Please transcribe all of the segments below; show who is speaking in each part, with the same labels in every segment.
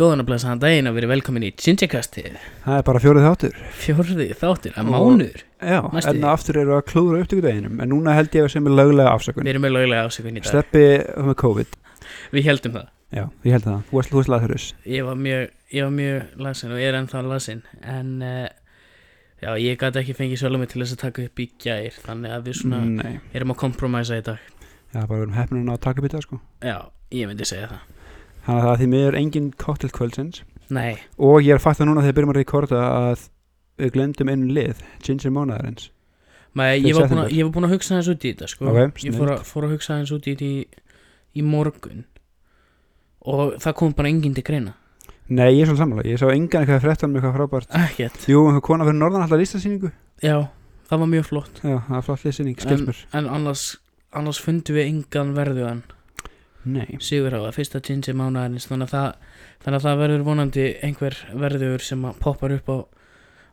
Speaker 1: Góðan og blæsaðan daginn og verið velkomin í Gingerkastið
Speaker 2: Það er bara fjórið þáttur
Speaker 1: Fjórði þáttir, að
Speaker 2: Og-
Speaker 1: mánur
Speaker 2: Já,
Speaker 1: Næstu
Speaker 2: en
Speaker 1: því.
Speaker 2: aftur eru að klúðra upptökudeginum En núna held ég að sem er löglega afsökun
Speaker 1: Við erum með lögulega ásökun í dag
Speaker 2: Steppi með COVID
Speaker 1: Við heldum það
Speaker 2: Já, ég held það, þú varst, þú varst laðhörðus
Speaker 1: Ég var mjög, ég var mjög lasin og ég er ennþá lasin En uh, já, ég gæti ekki fengið sjálfum mig til þess að taka upp í gær Þannig að við svona
Speaker 2: Nei,
Speaker 1: erum að kompromæsa í dag
Speaker 2: já, bara við erum hefnir að ná að taka býta sko
Speaker 1: Já, ég myndi segja það
Speaker 2: Þannig að það er því miður engin cocktail kvöldsins
Speaker 1: Nei,
Speaker 2: Og ég er fatt að núna þegar byrjum að rekorda að Við glemdum einu lið, Ginger Mónaðarins
Speaker 1: maður,
Speaker 2: Fyrir
Speaker 1: ég, var búinn að-
Speaker 2: september.
Speaker 1: ég var búin að hugsa aðeins út í þetta sko.
Speaker 2: Ok,
Speaker 1: Ég
Speaker 2: snillt.
Speaker 1: fór að, fór að hugsa aðeins út í þetta í, í morgun Og það kom bara enginn til greina
Speaker 2: Nei, ég er svolítið sammála, ég sá engan eitthvað fréttan með eitthvað frábært
Speaker 1: Ekkert
Speaker 2: Jú, einhver kona fyrir norðan alltaf listasýningu
Speaker 1: Já, það var mjög flott
Speaker 2: Já, það er flott listasýning, skilst mér
Speaker 1: En annars, annars fundum við engan verðuðan
Speaker 2: Nei,
Speaker 1: Sigur á að fyrsta ginger mánuðarins þannig að, það, þannig að það verður vonandi einhver verðuður sem að poppar upp á,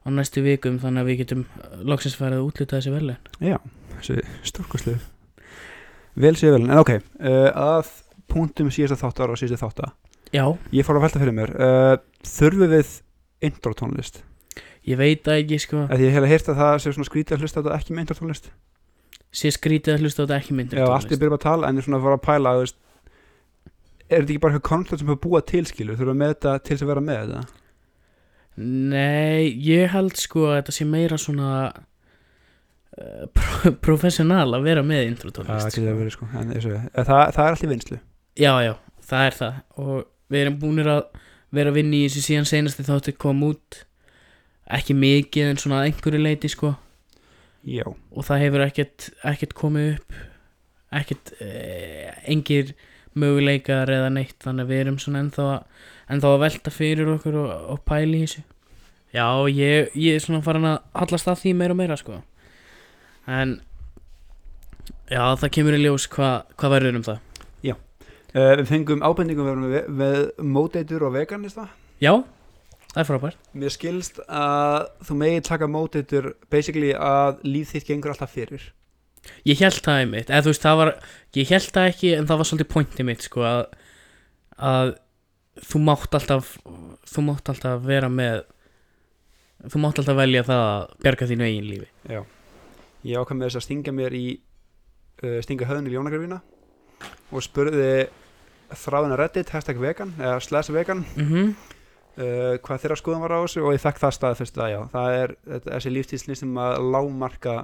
Speaker 1: á næstu vikum þannig að við getum eh, loksins farið að útluta þessi verðlun
Speaker 2: þessi stórkoslu Vel séu vel, en ok uh, að punktum síðasta þáttar og síðasta þáttar
Speaker 1: Já,
Speaker 2: Ég fór að velta fyrir mér uh, Þurfum við intro tónlist?
Speaker 1: ég veit það ekki sko
Speaker 2: Því ég hef heila heyrt að það sé svona skrítið að hlusta á þetta ekki með intro tónlist
Speaker 1: sé skrítið að hlusta á þetta ekki myndir
Speaker 2: Já, allt er byrjum að tala en ég svona var að pæla þú veist, Er þetta ekki bara eitthvað koncept sem hefur búa tilskilu? Þurfum við með þetta til þess að vera með þetta?
Speaker 1: Nei, ég held sko að þetta sé meira svona uh, pro professional að vera með
Speaker 2: Það
Speaker 1: introtónlist
Speaker 2: getur að vera sko en, eins og ég- eh, það, það er allt í vinslu
Speaker 1: Já, já, það er það og við erum búinir að vera að vinna í þessu síðan seinasti þáttu kom út ekki mikið en svona að einhverju leiti sko
Speaker 2: Já,
Speaker 1: og það hefur ekkert, ekkert komið upp ekkert eh, engir möguleikar eða neitt þannig að við erum svona ennþá, að- ennþá að velta fyrir okkur og, og pæli í þessu Já, ég, ég er svona farin að hallast að því meira og meira sko en já, það kemur í ljós hvað hva verður um það
Speaker 2: uh, Við fengum ábendingum við, við, við móteitur og veganista
Speaker 1: Já, það er frábært
Speaker 2: Mér skilst að þú megið taka móteitur basically að líf þitt gengur alltaf fyrir
Speaker 1: Ég held það einmitt, eða þú veist það var Ég held það ekki en það var svolítið pointið mitt sko að, að þú mátt alltaf þú mátt alltaf vera með þú mátt alltaf velja það að bjarga þínu eigin lífi
Speaker 2: Já Ég ákvæm með þess að stinga mér í uh, stinga höfðinu í ljónakarvína og spurði þráðina reddit, hashtag vegan eða slash vegan
Speaker 1: mm -hmm.
Speaker 2: uh, hvað þeirra skoðan var á þessu og ég fekk það stað fyrst að já, það er þetta- þessi líftíðsli sem að lágmarka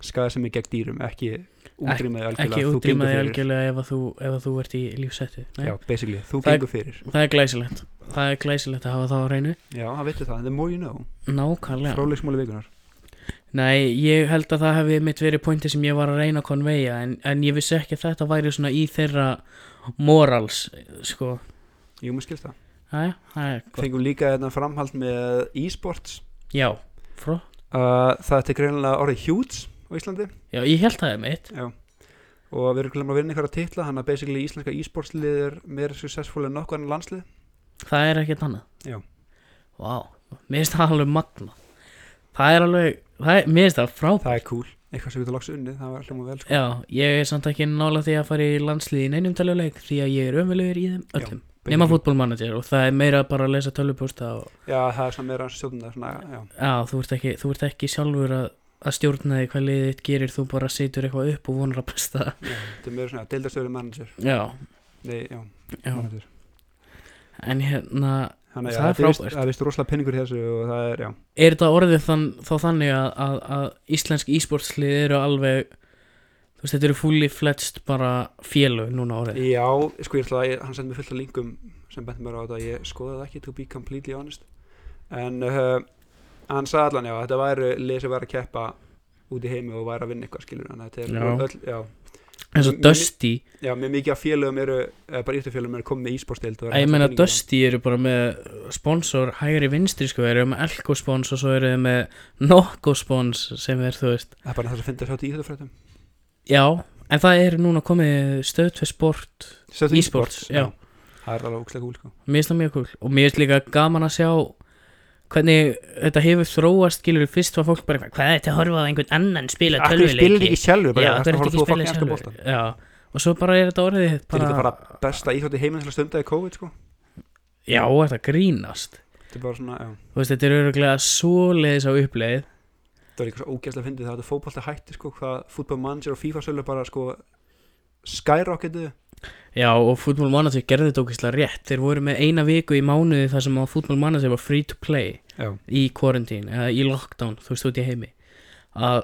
Speaker 2: skada sem er gegn dýrum, ekki útrýmaði algjörlega,
Speaker 1: Ekki
Speaker 2: þú gengur
Speaker 1: útrýmaði
Speaker 2: fyrir.
Speaker 1: algjörlega ef að þú, ef að þú ert í lífsættu Nei,
Speaker 2: Já, basically, þú
Speaker 1: Það er-
Speaker 2: gengur fyrir
Speaker 1: Það er glæsilegt Það er glæsilegt að hafa það á reynu
Speaker 2: Já, það veitur það, the more you know
Speaker 1: Nákvæmlega
Speaker 2: fróðleiksmóli vikunar
Speaker 1: Nei, ég held að það hefði mitt verið pointið sem ég var að reyna að konveja en, en ég vissi ekki að þetta væri svona í þeirra morals sko
Speaker 2: Jú, mér skilst það
Speaker 1: Jæja, það er gott.
Speaker 2: Fengum líka þetta framhald með e-sports
Speaker 1: Já, frá.
Speaker 2: uh, Það er greinilega orðið huge á Íslandi
Speaker 1: Já, ég held það er mitt.
Speaker 2: Já og við erum glemur að vinna einhverja titla hann að basically íslenska e-sportslið er meira successful en nokkuð annar landslið
Speaker 1: Það er ekkert annað.
Speaker 2: Já.
Speaker 1: Vá, mér finnst það alveg magna. Það er alveg, það er, mér finnst það frábært.
Speaker 2: það er cool eitthvað sem við það lagst unni það var hljóma vel sko.
Speaker 1: Já, ég er samt ekki nála því að fara í landsliði í neinum tölvuleik því að ég er ömulegur í þeim öllum. Nefna fútbolmanager og það er meira bara að lesa tölvupústa og
Speaker 2: já það er svona meira stjórnum það svona, já.
Speaker 1: já, þú ert ekki, þú ert ekki sjálfur að, að stjórna því hvað liðið þitt gerir, þú bara situr eitthvað upp og vonar að besta.
Speaker 2: Já, þetta er meira svona deildarstöður manager
Speaker 1: Já,
Speaker 2: nei já,
Speaker 1: já,
Speaker 2: manager
Speaker 1: en hérna,
Speaker 2: Þannig,
Speaker 1: Það er
Speaker 2: já, þetta vist-
Speaker 1: frábært.
Speaker 2: það er vist rosalega peningur í þessu og það er já
Speaker 1: er þetta orðið þann, þá þannig að, að, að íslensk ísportslið eru alveg þú veist þetta eru fully fledged bara félög núna orðið
Speaker 2: já sko ég ætla að ég- hann sendi mér fullt af linkum sem benti mér á þetta ég skoðaði það ekki to be completely honest en uh, hann sagði allan já þetta væri lið sem væri að keppa út í heimi og væri að vinna eitthvað skilur þannig að þetta
Speaker 1: Já.
Speaker 2: er öll já
Speaker 1: eins og
Speaker 2: Mér-
Speaker 1: Dusty,
Speaker 2: Já, mjög mikið af félögum eru, eða bara írtafélögum eru komið með ísporstild
Speaker 1: að ég meina Dusty eru bara með sponsor hægri vinstri sko, eru með Elko spons og svo eru þau með Nokko spons sem er þú veist,
Speaker 2: Það er bara það sem finnst að sjá þetta í íþjóðafrættum
Speaker 1: já en það er núna komið stöð til sport Ísports, já.
Speaker 2: Það er alveg ókslega gúl sko.
Speaker 1: mér finnst það mjög cool og mér finnst líka gaman að sjá hvernig þetta hefur þróast skilur fyrst var fólk bara eitthvað, hvað er þetta að horfa á einhvern annan spila
Speaker 2: Akkur spilir ekki sjálfur, bara
Speaker 1: Já,
Speaker 2: það
Speaker 1: það
Speaker 2: er
Speaker 1: er
Speaker 2: að
Speaker 1: ekki
Speaker 2: horfa þú að
Speaker 1: spilin
Speaker 2: fokka ennska
Speaker 1: sjálfur
Speaker 2: boltan
Speaker 1: Já, og svo bara er þetta orðið
Speaker 2: Þetta
Speaker 1: bara,
Speaker 2: er bara besta íþjóði heiminn til að stunda í COVID sko.
Speaker 1: já, þetta grínast
Speaker 2: þetta er bara svona, já
Speaker 1: þú veist, þetta er öruglega svoleiðis á uppleið
Speaker 2: það var eitthvað svo ógeðslega fyndið það að fótbolta hætti sko hvað fútbol manager og FIFA sölu bara sko skyrocketu
Speaker 1: já, og Football Manager gerði þetta okkur rétt þeir voru með eina viku í mánuði þar sem að Football Manager var free to play
Speaker 2: já,
Speaker 1: í quarantine eða í lockdown, þú veist, út í heimi að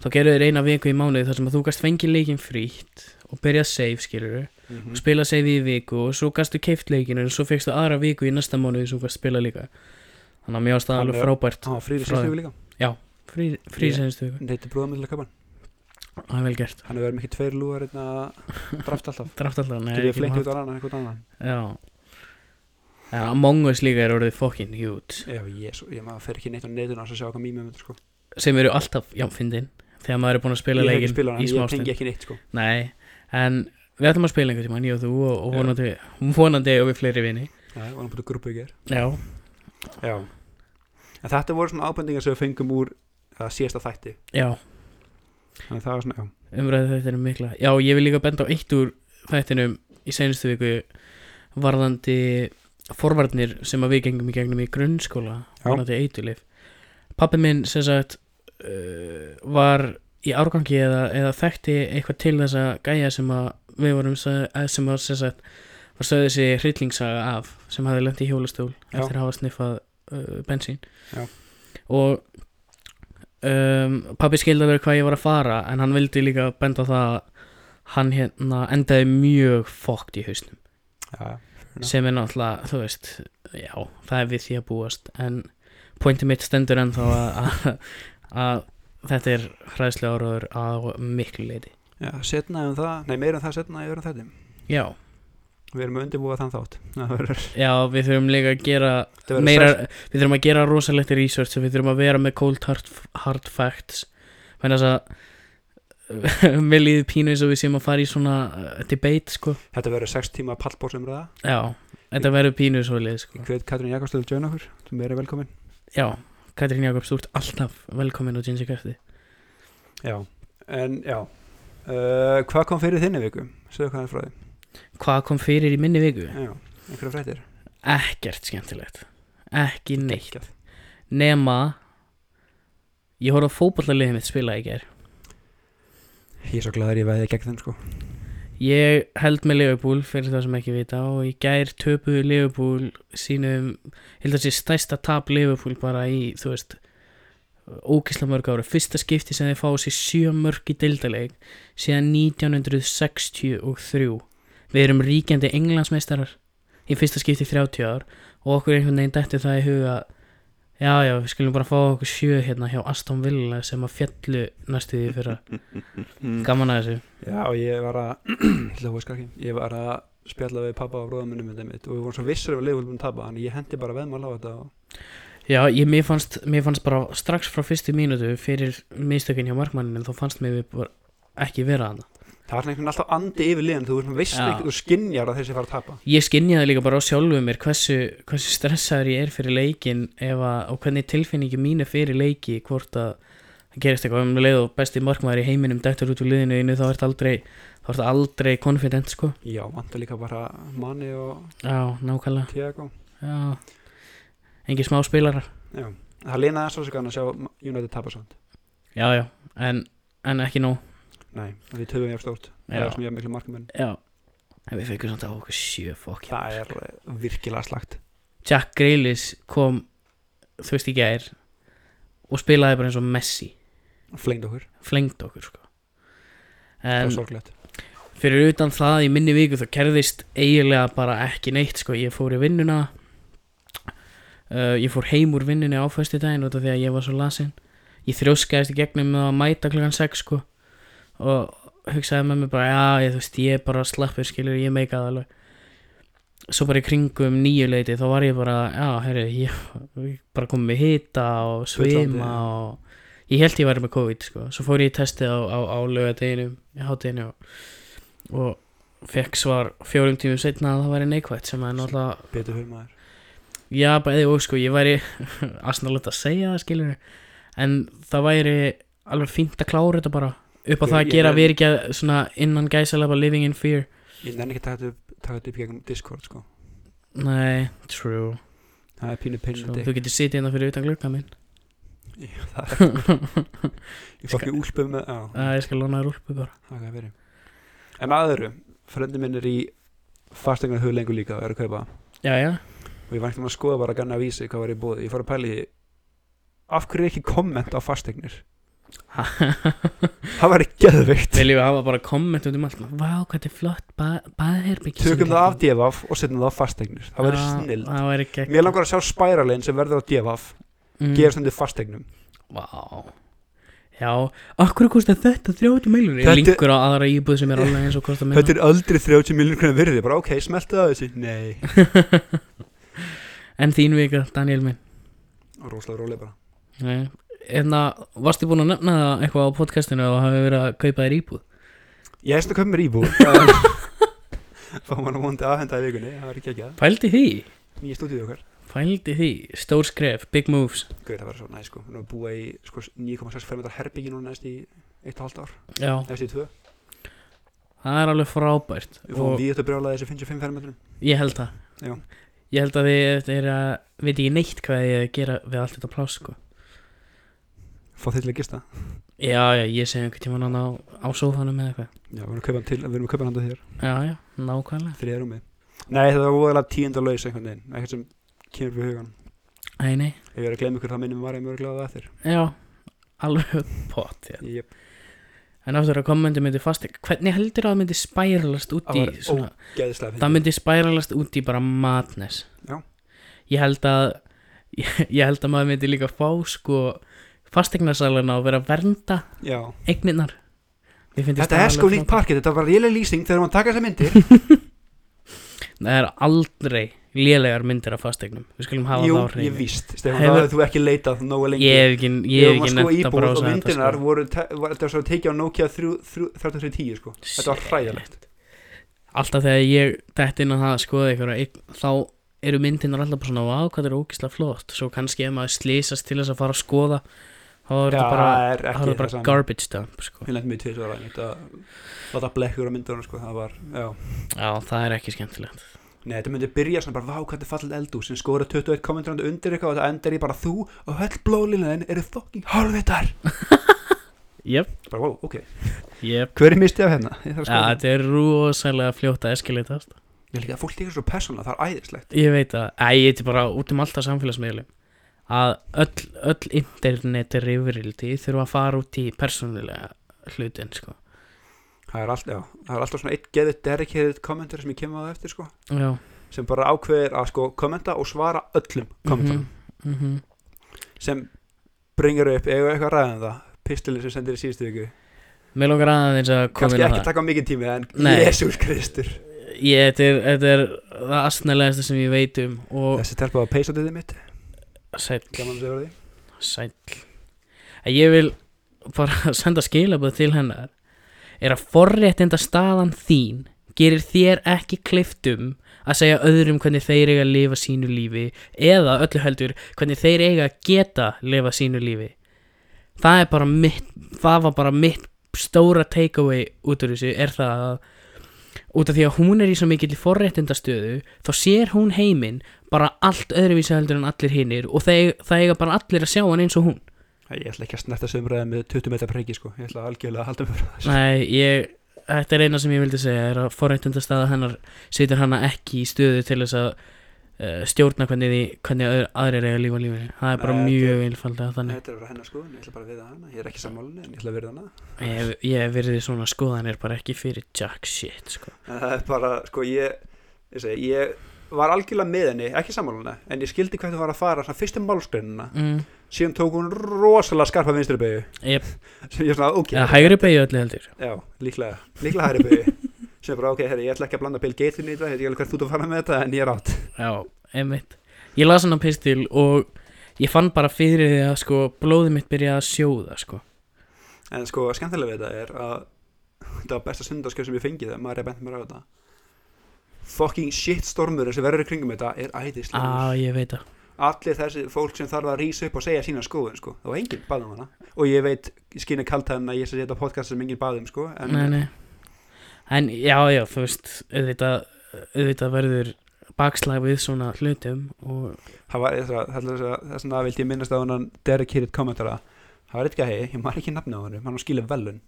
Speaker 1: þá gerðu þeir eina viku í mánuði þar sem að þú gast fengið leikinn frítt og byrja að save, skilur
Speaker 2: mm
Speaker 1: og spila save í viku og svo gastu keift leikinu og svo fegstu aðra viku í næsta mánuði sem þú gast spila líka þannig að mér varst það alveg
Speaker 2: Þannig að-
Speaker 1: frábært
Speaker 2: hann var fríður
Speaker 1: Frá-
Speaker 2: sérstöku líka
Speaker 1: frí
Speaker 2: Ég-
Speaker 1: senstu viku,
Speaker 2: þetta er bróðamill að kapan
Speaker 1: það er vel gert
Speaker 2: hann er verið með ekki tveir lúar einna að drafta alltaf
Speaker 1: draft alltaf, nei,
Speaker 2: getur við
Speaker 1: ekki
Speaker 2: flengt
Speaker 1: maður-
Speaker 2: út á annan eitthvað annan
Speaker 1: já en Among Us líka er orðið fokkin hjút
Speaker 2: já, jésu, ég maður fer ekki neitt á netun að sjá hvað mýmið myndir sko
Speaker 1: sem eru alltaf, já, fyndin þegar maður er búin að spila
Speaker 2: ég hef ekki
Speaker 1: leikinn
Speaker 2: spilað hann,
Speaker 1: í
Speaker 2: ég
Speaker 1: smástund
Speaker 2: tengi ekki neitt sko
Speaker 1: Nei, en við ætlum að spila einhvern tímann, ég og þú og, og vonandi, vonandi og við fleiri vini
Speaker 2: já, og hann búið grúpu í ger
Speaker 1: Já,
Speaker 2: já en þetta voru svona ábendingar sem við fengum úr það síðasta þætti
Speaker 1: já,
Speaker 2: þannig að það var svona, já,
Speaker 1: umræðið þetta er mikla Já, ég vil líka benda á eitt úr þættinum í seinustu viku varðandi forvarnir sem að við gengum í gegnum í grunnskóla
Speaker 2: Já.
Speaker 1: varðandi eitulif Pappi minn sem sagt uh, var í árgangi eða, eða þekkti eitthvað til þessa gæja sem að við vorum sa- að- sem var sem sagt var sögðu þessi hryllingssaga af sem hafði lent í hjólastól
Speaker 2: Já.
Speaker 1: eftir að hafa sniffað uh, bensín
Speaker 2: Já.
Speaker 1: og um, pappi skildi alveg hvað ég var að fara en hann vildi líka benda á það að hann hérna endaði mjög fókt í hausnum
Speaker 2: já, já, Já.
Speaker 1: sem er náttúrulega, þú veist já, það er við því að búast en pointi mitt stendur ennþá að- að- að þetta er hræðslega áraður á miklu leiti
Speaker 2: já setna um það, nei, meira um það setna í öðrum þætti
Speaker 1: já,
Speaker 2: Við erum að undirbúa þann þátt Það verður-
Speaker 1: já, við þurfum líka að gera
Speaker 2: þetta verður
Speaker 1: meira,
Speaker 2: sæl-
Speaker 1: við þurfum að gera rosalegt research og við þurfum að vera með cold hard, hard facts menn þess að mér líður pínu eins og við séum að fara í svona uh, debate sko
Speaker 2: Þetta verður sex tíma pallbórsumræða
Speaker 1: já, þetta verður pínu svo leið
Speaker 2: Ég
Speaker 1: sko
Speaker 2: hveit Katrín Jakobsdóttir að joina okkur sem er velkomin
Speaker 1: já, Katrín Jakobs, þú ert alltaf velkomin á Ginger Kæfti
Speaker 2: Já, en já uh, Hvað kom fyrir þinni viku? Segðu hvað er frá því
Speaker 1: hvað kom fyrir í minni viku?
Speaker 2: Já, einhverja frættir
Speaker 1: ekkert skemmtilegt ekki neitt nema ég horfði á fótballaliðið mitt spila í ger
Speaker 2: Ég er svo gladur ég veði gegn þeim sko
Speaker 1: ég held með Liverpool fyrir það sem ekki vita og í gær töpuðu Liverpool sínum, ég held að sé stærsta tap Liverpool bara í, þú veist ógisla mörg ára fyrsta skipti sem þeir fá sér sjö mörg í deildaleg síðan 1963 við erum ríkjandi englandsmeistarar í fyrsta skipti í 30 ár og okkur einhvern veginn dættu það í huga já já, við skulum bara fá okkur sjö hérna hjá Aston Villa sem að fjallu næstu því fyrra
Speaker 2: Mm.
Speaker 1: gaman að þessu
Speaker 2: Já, og ég var að Hlóa skarki Ég var að spjalla við pappa og bróðamunum með þeim mitt og við vorum svo vissir að við leifum búin að tapa þannig ég hendi bara veðmál á þetta og
Speaker 1: Já, ég, mér, fannst, mér fannst bara strax frá fyrstu mínútu fyrir mistökin hjá markmanninu þá fannst mér við bara ekki vera hana
Speaker 2: það var svona einhvern veginn alltaf andi yfir liðan þú veist, maður veist
Speaker 1: Já.
Speaker 2: ekki, þú skinjar að þessi fara að tapa
Speaker 1: Ég skinjaði líka bara á sjálfu mér hversu, hversu stressaður ég er fyrir leikin efa, og hvernig tilfinningi mín er fyrir leiki hvort að það gerist eitthvað um leið og besti markmaður í heiminum dættur út úr liðinu einu þá ert aldrei þá ert aldrei confident sko
Speaker 2: Já, vantar líka bara manni og
Speaker 1: Já, nákvæmlega
Speaker 2: Tiago
Speaker 1: Já, engi smá spilarar
Speaker 2: Já, það lenaði svo sig að sjá United tapa samt
Speaker 1: Já, já, en, en ekki nóg
Speaker 2: Nei, við töfum ég stórt Það
Speaker 1: Já.
Speaker 2: er svona ég miklu markumenn
Speaker 1: Já, en við fekkum samt á okkur sjö fokk
Speaker 2: Það er eh, virkilega slagt
Speaker 1: Jack Grealish kom þú veist í gær og spilaði bara eins og Messi
Speaker 2: Flengd okkur,
Speaker 1: flengd okkur sko
Speaker 2: það
Speaker 1: en
Speaker 2: er sorglegt
Speaker 1: fyrir utan það í minni viku þá kerðist eiginlega bara ekki neitt sko ég fór í vinnuna uh, ég fór heim úr vinnunni á föstu daginn út af því að ég var svo lasin ég þrjóskaðist í gegnum með að mæta klukkan 6 sko og hugsaði með mér bara já ég, þú veist ég er bara slappur skilur ég meika það alveg svo bara í kringum nýju leiti þá var ég bara já herri ég ég bara komið með hita og
Speaker 2: Bullandi,
Speaker 1: svima
Speaker 2: já.
Speaker 1: og ég held ég væri með COVID sko svo fór ég í testið á, á, á lögadeginu í hátteginu og, og fekk svar fjórum tímum setna að það væri neikvætt sem er náttúrulega
Speaker 2: Betur fyrir maður
Speaker 1: Já, bæði og sko, ég væri asnalegt að segja það, skilur En það væri alveg fínt að klára þetta bara Upp á
Speaker 2: Ég-
Speaker 1: það að
Speaker 2: ég
Speaker 1: gera
Speaker 2: nenn-
Speaker 1: við ekki að svona innan gæsalega bara living in fear
Speaker 2: Ég nenni ekki að taka þetta upp- taka þetta upp gegnum Discord sko
Speaker 1: Nei, true
Speaker 2: það er pínu
Speaker 1: Svo,
Speaker 2: pinni
Speaker 1: Þú getur sitið hérna fyrir utan glugga minn
Speaker 2: það er
Speaker 1: Það
Speaker 2: ég fá ekki úlpu með á,
Speaker 1: ég skal lóna þér úlpu bara
Speaker 2: það kan verið en að öðru, frendi minn er í fastegna huglengu líka og er að kaupa
Speaker 1: Já, já
Speaker 2: og ég var ekkert um að skoða bara að ganna að vísi hvað var í bóði ég fór að pæli því af hverju er ekki komment á fastegnir það var ekki geðveikt
Speaker 1: Viljum við hafa bara komment út um allt Vá, hvað þetta er flott ba baðherbyggi
Speaker 2: tökum það af devaf og setjum það á fastegnir það verður snill
Speaker 1: Það væri gegn
Speaker 2: mér langar að sjá spæralinn sem verður á devaf
Speaker 1: mm.
Speaker 2: gefur stundu fastegnum
Speaker 1: Vá Já, okkur kostar þetta 30 miljonir
Speaker 2: Þetta-
Speaker 1: Þetta... Linkur á aðra íbúð sem er alveg eins og kostar minna
Speaker 2: þetta er aldrei 30 miljonir hvernig virði bara ok, smeltu það af þessu nei,
Speaker 1: En þín vika, Daniel minn
Speaker 2: og rosalega rólega bara
Speaker 1: Nei. Hérna, varstu búin að nefna það eitthvað á podcastinu og hafi verið að kaupa þér íbúð?
Speaker 2: ég hefst að köpa mér íbú fá maður vondi aðhenda í vikunni það var ekki ekki að
Speaker 1: Pældi því?
Speaker 2: nýja stúdíu okkar
Speaker 1: Pældi því? Stór skref, big moves
Speaker 2: Guð, það var svo næ sko, nú búa í sko, 9,6 fermetar herbyggi núna næst í 1,5 ár,
Speaker 1: Já,
Speaker 2: næst í 2
Speaker 1: það er alveg frábært
Speaker 2: Við fórum
Speaker 1: og
Speaker 2: við þetta brjálaði þessi 55 fermetrum
Speaker 1: ég held það
Speaker 2: Já.
Speaker 1: Ég held að þið er að, veit ekki neitt hvað ég er að gera við allt þetta pláss sko
Speaker 2: Fá þeir til að gista
Speaker 1: Já, já, ég segi einhvern tímann hann á, á sófanum eða eitthvað
Speaker 2: Já, við erum að kaupa hann til, við erum að kaupa hann til þér
Speaker 1: Já, já, nákvæmlega
Speaker 2: Þriðar um mig Nei, þetta var óðalega tíunda laus einhvern veginn Ekkert sem kemur við hugan
Speaker 1: Æ, nei,
Speaker 2: Ef ég er að gleyma ykkur þá minnum var ég mjög gláða það eftir
Speaker 1: já, alveg pott já.
Speaker 2: Jep,
Speaker 1: En aftur að kommentum myndi fastegn Hvernig heldur að það myndi spæralast út í
Speaker 2: Það var
Speaker 1: svona,
Speaker 2: geðislega
Speaker 1: Það
Speaker 2: fyndið
Speaker 1: myndi spæralast út í bara madness
Speaker 2: Já.
Speaker 1: Ég held að ég, ég held að maður myndi líka fá sko fastegnarsalana og vera að vernda
Speaker 2: Já,
Speaker 1: eigninar
Speaker 2: þetta er sko nýtt parkið Þetta var rélega lýsing þegar maður taka þessa myndir
Speaker 1: Það er aldrei lélegar myndir af fastegnum Við skulum hafa
Speaker 2: Jú,
Speaker 1: það á
Speaker 2: ég
Speaker 1: hreinu
Speaker 2: víst Stefán,
Speaker 1: Hefur-
Speaker 2: það hefur þú ekki leitað nógu lengi
Speaker 1: Ég hef ekki, ég hef
Speaker 2: Ég
Speaker 1: ekki
Speaker 2: var sko
Speaker 1: nefnt að
Speaker 2: íbúð og
Speaker 1: brása þetta
Speaker 2: myndirnar
Speaker 1: sko.
Speaker 2: voru, te- var- þetta var svo tekið á Nokia 3- 3- 3310 sko Þetta var
Speaker 1: Shit.
Speaker 2: hræðilegt
Speaker 1: Alltaf þegar ég dætt inn á það að skoða ykkur þá eru myndirnar alltaf bara svona vá hvað þetta er ógislega flott svo kannski ef maður slýsast til þess að fara að skoða þá er
Speaker 2: Já,
Speaker 1: þetta bara,
Speaker 2: það er
Speaker 1: það
Speaker 2: ekki
Speaker 1: er bara
Speaker 2: það sama.
Speaker 1: garbage dump sko.
Speaker 2: Ég lenti mig tvið svara Þetta var blekkur á myndunum sko Það var, já
Speaker 1: Já, það er ekki skemmtilegt
Speaker 2: Nei, þetta myndi byrja svona bara, vá, hvað þetta er fallið eldú sem skora 21 kommentarandi undir eitthvað og þetta endar í bara þú og höll blóðlínaðin eru fucking hálfvitar
Speaker 1: Jöp,
Speaker 2: Bara, wow, ok
Speaker 1: jöp
Speaker 2: Hver er mistið af hérna? Ég þarf að
Speaker 1: Já,
Speaker 2: skoða
Speaker 1: þetta er rosalega fljótt að eskileitast
Speaker 2: Ég er líka að fólk líka svo persónlega, það er æðislegt
Speaker 1: Ég veit að, æ, ég veit bara út um alltaf samfélagsmiðlum að öll, öll internet er yfirildi þurfa að fara út í persónulega hlutin sko.
Speaker 2: Það er alltaf, já, það er alltaf svona eitt geðið dedicated kommentar sem ég kemur á það eftir, sko
Speaker 1: Já,
Speaker 2: sem bara ákveðir að, sko, kommenta og svara öllum
Speaker 1: Mhm.
Speaker 2: kommentarum
Speaker 1: mm -hmm.
Speaker 2: sem bringar upp, eigum við eitthvað að ræða um það pistilin sem sendir í síðustu viku
Speaker 1: Mér lókar aðeins að koma
Speaker 2: kannski
Speaker 1: inn á
Speaker 2: ekki
Speaker 1: það
Speaker 2: taka mikið tími, en
Speaker 1: Nei.
Speaker 2: Jesús Kristur
Speaker 1: Ég, þetta er, þetta er það asnalegasta sem ég veit um og
Speaker 2: Þessi telpa var peysatið mitt,
Speaker 1: sæll,
Speaker 2: gaman að segja því
Speaker 1: sæll að ég vil bara senda skilabóð til hennar er að forréttinda staðan þín gerir þér ekki kliftum að segja öðrum hvernig þeir eiga að lifa sínu lífi eða öllu heldur hvernig þeir eiga að geta lifa sínu lífi það er bara mitt það var bara mitt stóra takeaway út úr þessu er það að út af því að hún er í svo mikill forréttindastöðu þá sér hún heiminn bara allt öðruvísi heldur en allir hinnir og það, það eiga bara allir að sjá hann eins og hún
Speaker 2: Æ, Ég ætla ekki að snerta sömræði með 20 metra preki sko. Ég ætla algjörlega að halda mér frá þessu
Speaker 1: Nei, ég, þetta er eina sem ég vildi segja er að forréttindastaða hennar situr hana ekki í stöðu til þess að uh, stjórna hvernig, því, hvernig öðru, aðrir eiga að lífa lífinu það er bara
Speaker 2: Nei,
Speaker 1: mjög einfaldið þannig
Speaker 2: Þetta er bara hennar sko, ég ætla bara að verða hana Ég er ekki sammálunni, en ég ætla að verða hana
Speaker 1: ég, ég verði svona skoðanir bara ekki fyrir jack shit sko.
Speaker 2: En það er bara, sko, ég Ég, segi, ég var algjörlega með henni, ekki sammálunni En ég skildi hvað þú var að fara svona fyrstu málskreinina
Speaker 1: mm,
Speaker 2: Síðan tók hún rosalega skarpa vinstri beigju
Speaker 1: yep.
Speaker 2: Sem ég svona, ok,
Speaker 1: okay. hægri beigju öllu heldur
Speaker 2: já, líklega Líklega hæri beigju Sem bara, ok, herri, ég ætla ekki að blanda Bill Gates inn í þetta Ég veit ekki alveg hvert þú ert að fara með þetta, en ég er átt
Speaker 1: Já, einmitt Ég las hann á pistil og ég fann bara fyrir því að sko blóðið mitt byrjaði að sjóða sko
Speaker 2: En sko, skemmtilega við þetta er að þetta var besta sundarskjöf sem ég fengið þegar maður er bent mér á þetta fucking shitstormurinn sem verður í kringum þetta er æðislega
Speaker 1: Á, ég veit það
Speaker 2: allir þessi fólk sem þarf að rýsa upp og segja sína skoðun sko, það var enginn baðum hana og ég veit, skýna kaltaðan að ég sé þetta podcast sem enginn baðum sko, en
Speaker 1: Nei, nei En já, já, þú veist auðvitað, auðvitað verður bakslag við svona hlutum og
Speaker 2: það var þess að þess að þess að vildi ég minnast á hann Derek Hyrrit kommentara það var eitthvað hei, ég maður ekki nafna á hann hann skilur velun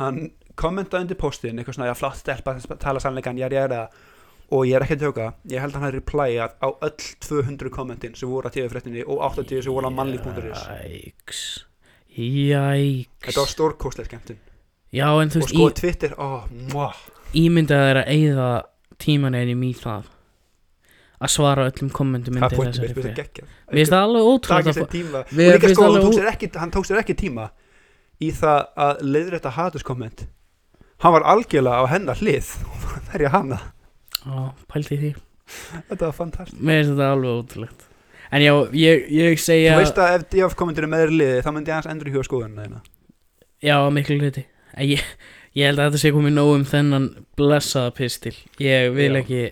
Speaker 2: hann kommentaði undir postin eitthvað svona, já flott stelpa tala sannleikan, jæri jæri og ég er ekki að tjóka, ég held að hann hafi replyað á öll 200 kommentin sem voru á TV-fréttinni og 80 sem voru á mannlíf.is
Speaker 1: Jæks Jæks
Speaker 2: þetta var stórkostlega skemmtun
Speaker 1: Já en þú
Speaker 2: og
Speaker 1: veist,
Speaker 2: sko
Speaker 1: sko,
Speaker 2: Twitter, ó, mwah
Speaker 1: ímyndað er að eigða tíman einum í það að svara öllum kommentum
Speaker 2: það
Speaker 1: undir
Speaker 2: pointum
Speaker 1: þessari
Speaker 2: við, við
Speaker 1: frétt.
Speaker 2: þetta
Speaker 1: Mér finnst
Speaker 2: geggjað
Speaker 1: það alveg ótrúlega
Speaker 2: takið sér tíma og
Speaker 1: Mér
Speaker 2: líka
Speaker 1: finnst
Speaker 2: sko, hann
Speaker 1: alveg
Speaker 2: tók,
Speaker 1: ú-
Speaker 2: sér ekki, hann tók sér ekki tíma í það að leiðrétta hatuskomment hann var algjörlega á hennar hlið og var að verja hana
Speaker 1: Ó, pælti í því
Speaker 2: þetta var fantastisk
Speaker 1: Mér finnst þetta alveg ótrúlegt En já, ég, ég segja
Speaker 2: þú veist að ef DF komendur er með þér í liði þá myndi ég hans endur í huga skoðunna þína
Speaker 1: Já, að miklu hluti En ég, ég held að þetta sé komið nóg um þennan blessaða pistil Ég vil
Speaker 2: Já.
Speaker 1: ekki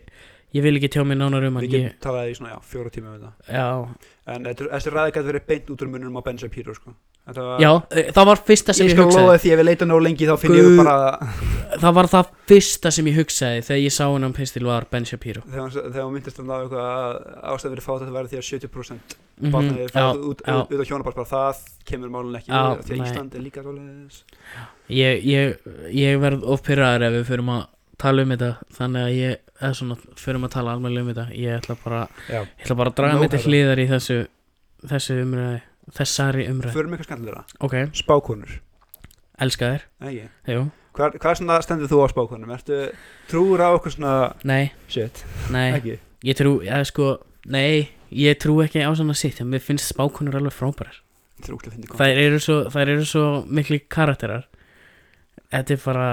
Speaker 1: Ég vil ekki tjá mig nánar um hann
Speaker 2: við
Speaker 1: ég,
Speaker 2: getum talað í svona já, fjóra tíma um þetta
Speaker 1: Já,
Speaker 2: en þetta- þessi ræði gæti verið beint út úr mununum á Benja Píró sko. Þetta var-
Speaker 1: já, e, það var fyrsta sem
Speaker 2: ég
Speaker 1: ég,
Speaker 2: skal
Speaker 1: hugsaði
Speaker 2: lofa því ef við leitum nóg lengi þá finn ég
Speaker 1: Guð.
Speaker 2: bara
Speaker 1: Það var það fyrsta sem ég hugsaði Þegar ég sá hann á pistil var Ben Shapiro
Speaker 2: þegar hann- þegar hún myndist að ná eitthvað að ástæðan verið fátt að það verið því að 70%
Speaker 1: mm
Speaker 2: barna er
Speaker 1: Já,
Speaker 2: fætt út,
Speaker 1: já.
Speaker 2: út, út á hjónabart bara það kemur málun ekki
Speaker 1: Já,
Speaker 2: við, því að
Speaker 1: nei.
Speaker 2: Ísland er líka svoleiðis
Speaker 1: ég, ég, ég verð ofpyrraður ef við förum að tala um þetta Þannig að ég, eða svona, förum að tala almenlega um þetta Ég ætla bara,
Speaker 2: Já.
Speaker 1: ég ætla bara að draga
Speaker 2: Nóg
Speaker 1: mig til
Speaker 2: þetta.
Speaker 1: hliðar í þessu Þessu umræði, þessari umræði
Speaker 2: förum eitthvað skandalera,
Speaker 1: Ok,
Speaker 2: spákonur
Speaker 1: elska þér,
Speaker 2: Nei,
Speaker 1: jú,
Speaker 2: hvað, hvað svona stendur þú á spákonum ertu trúur á okkur svona
Speaker 1: nei,
Speaker 2: shit,
Speaker 1: nei
Speaker 2: ekki
Speaker 1: Ég trú, eða sko, nei, ég trú ekki á svona sitt en mér finnst spákonur alveg frábærar
Speaker 2: þrúkla fyndi kom
Speaker 1: Þær eru svo, þær eru svo miklu karakterar Þetta er bara,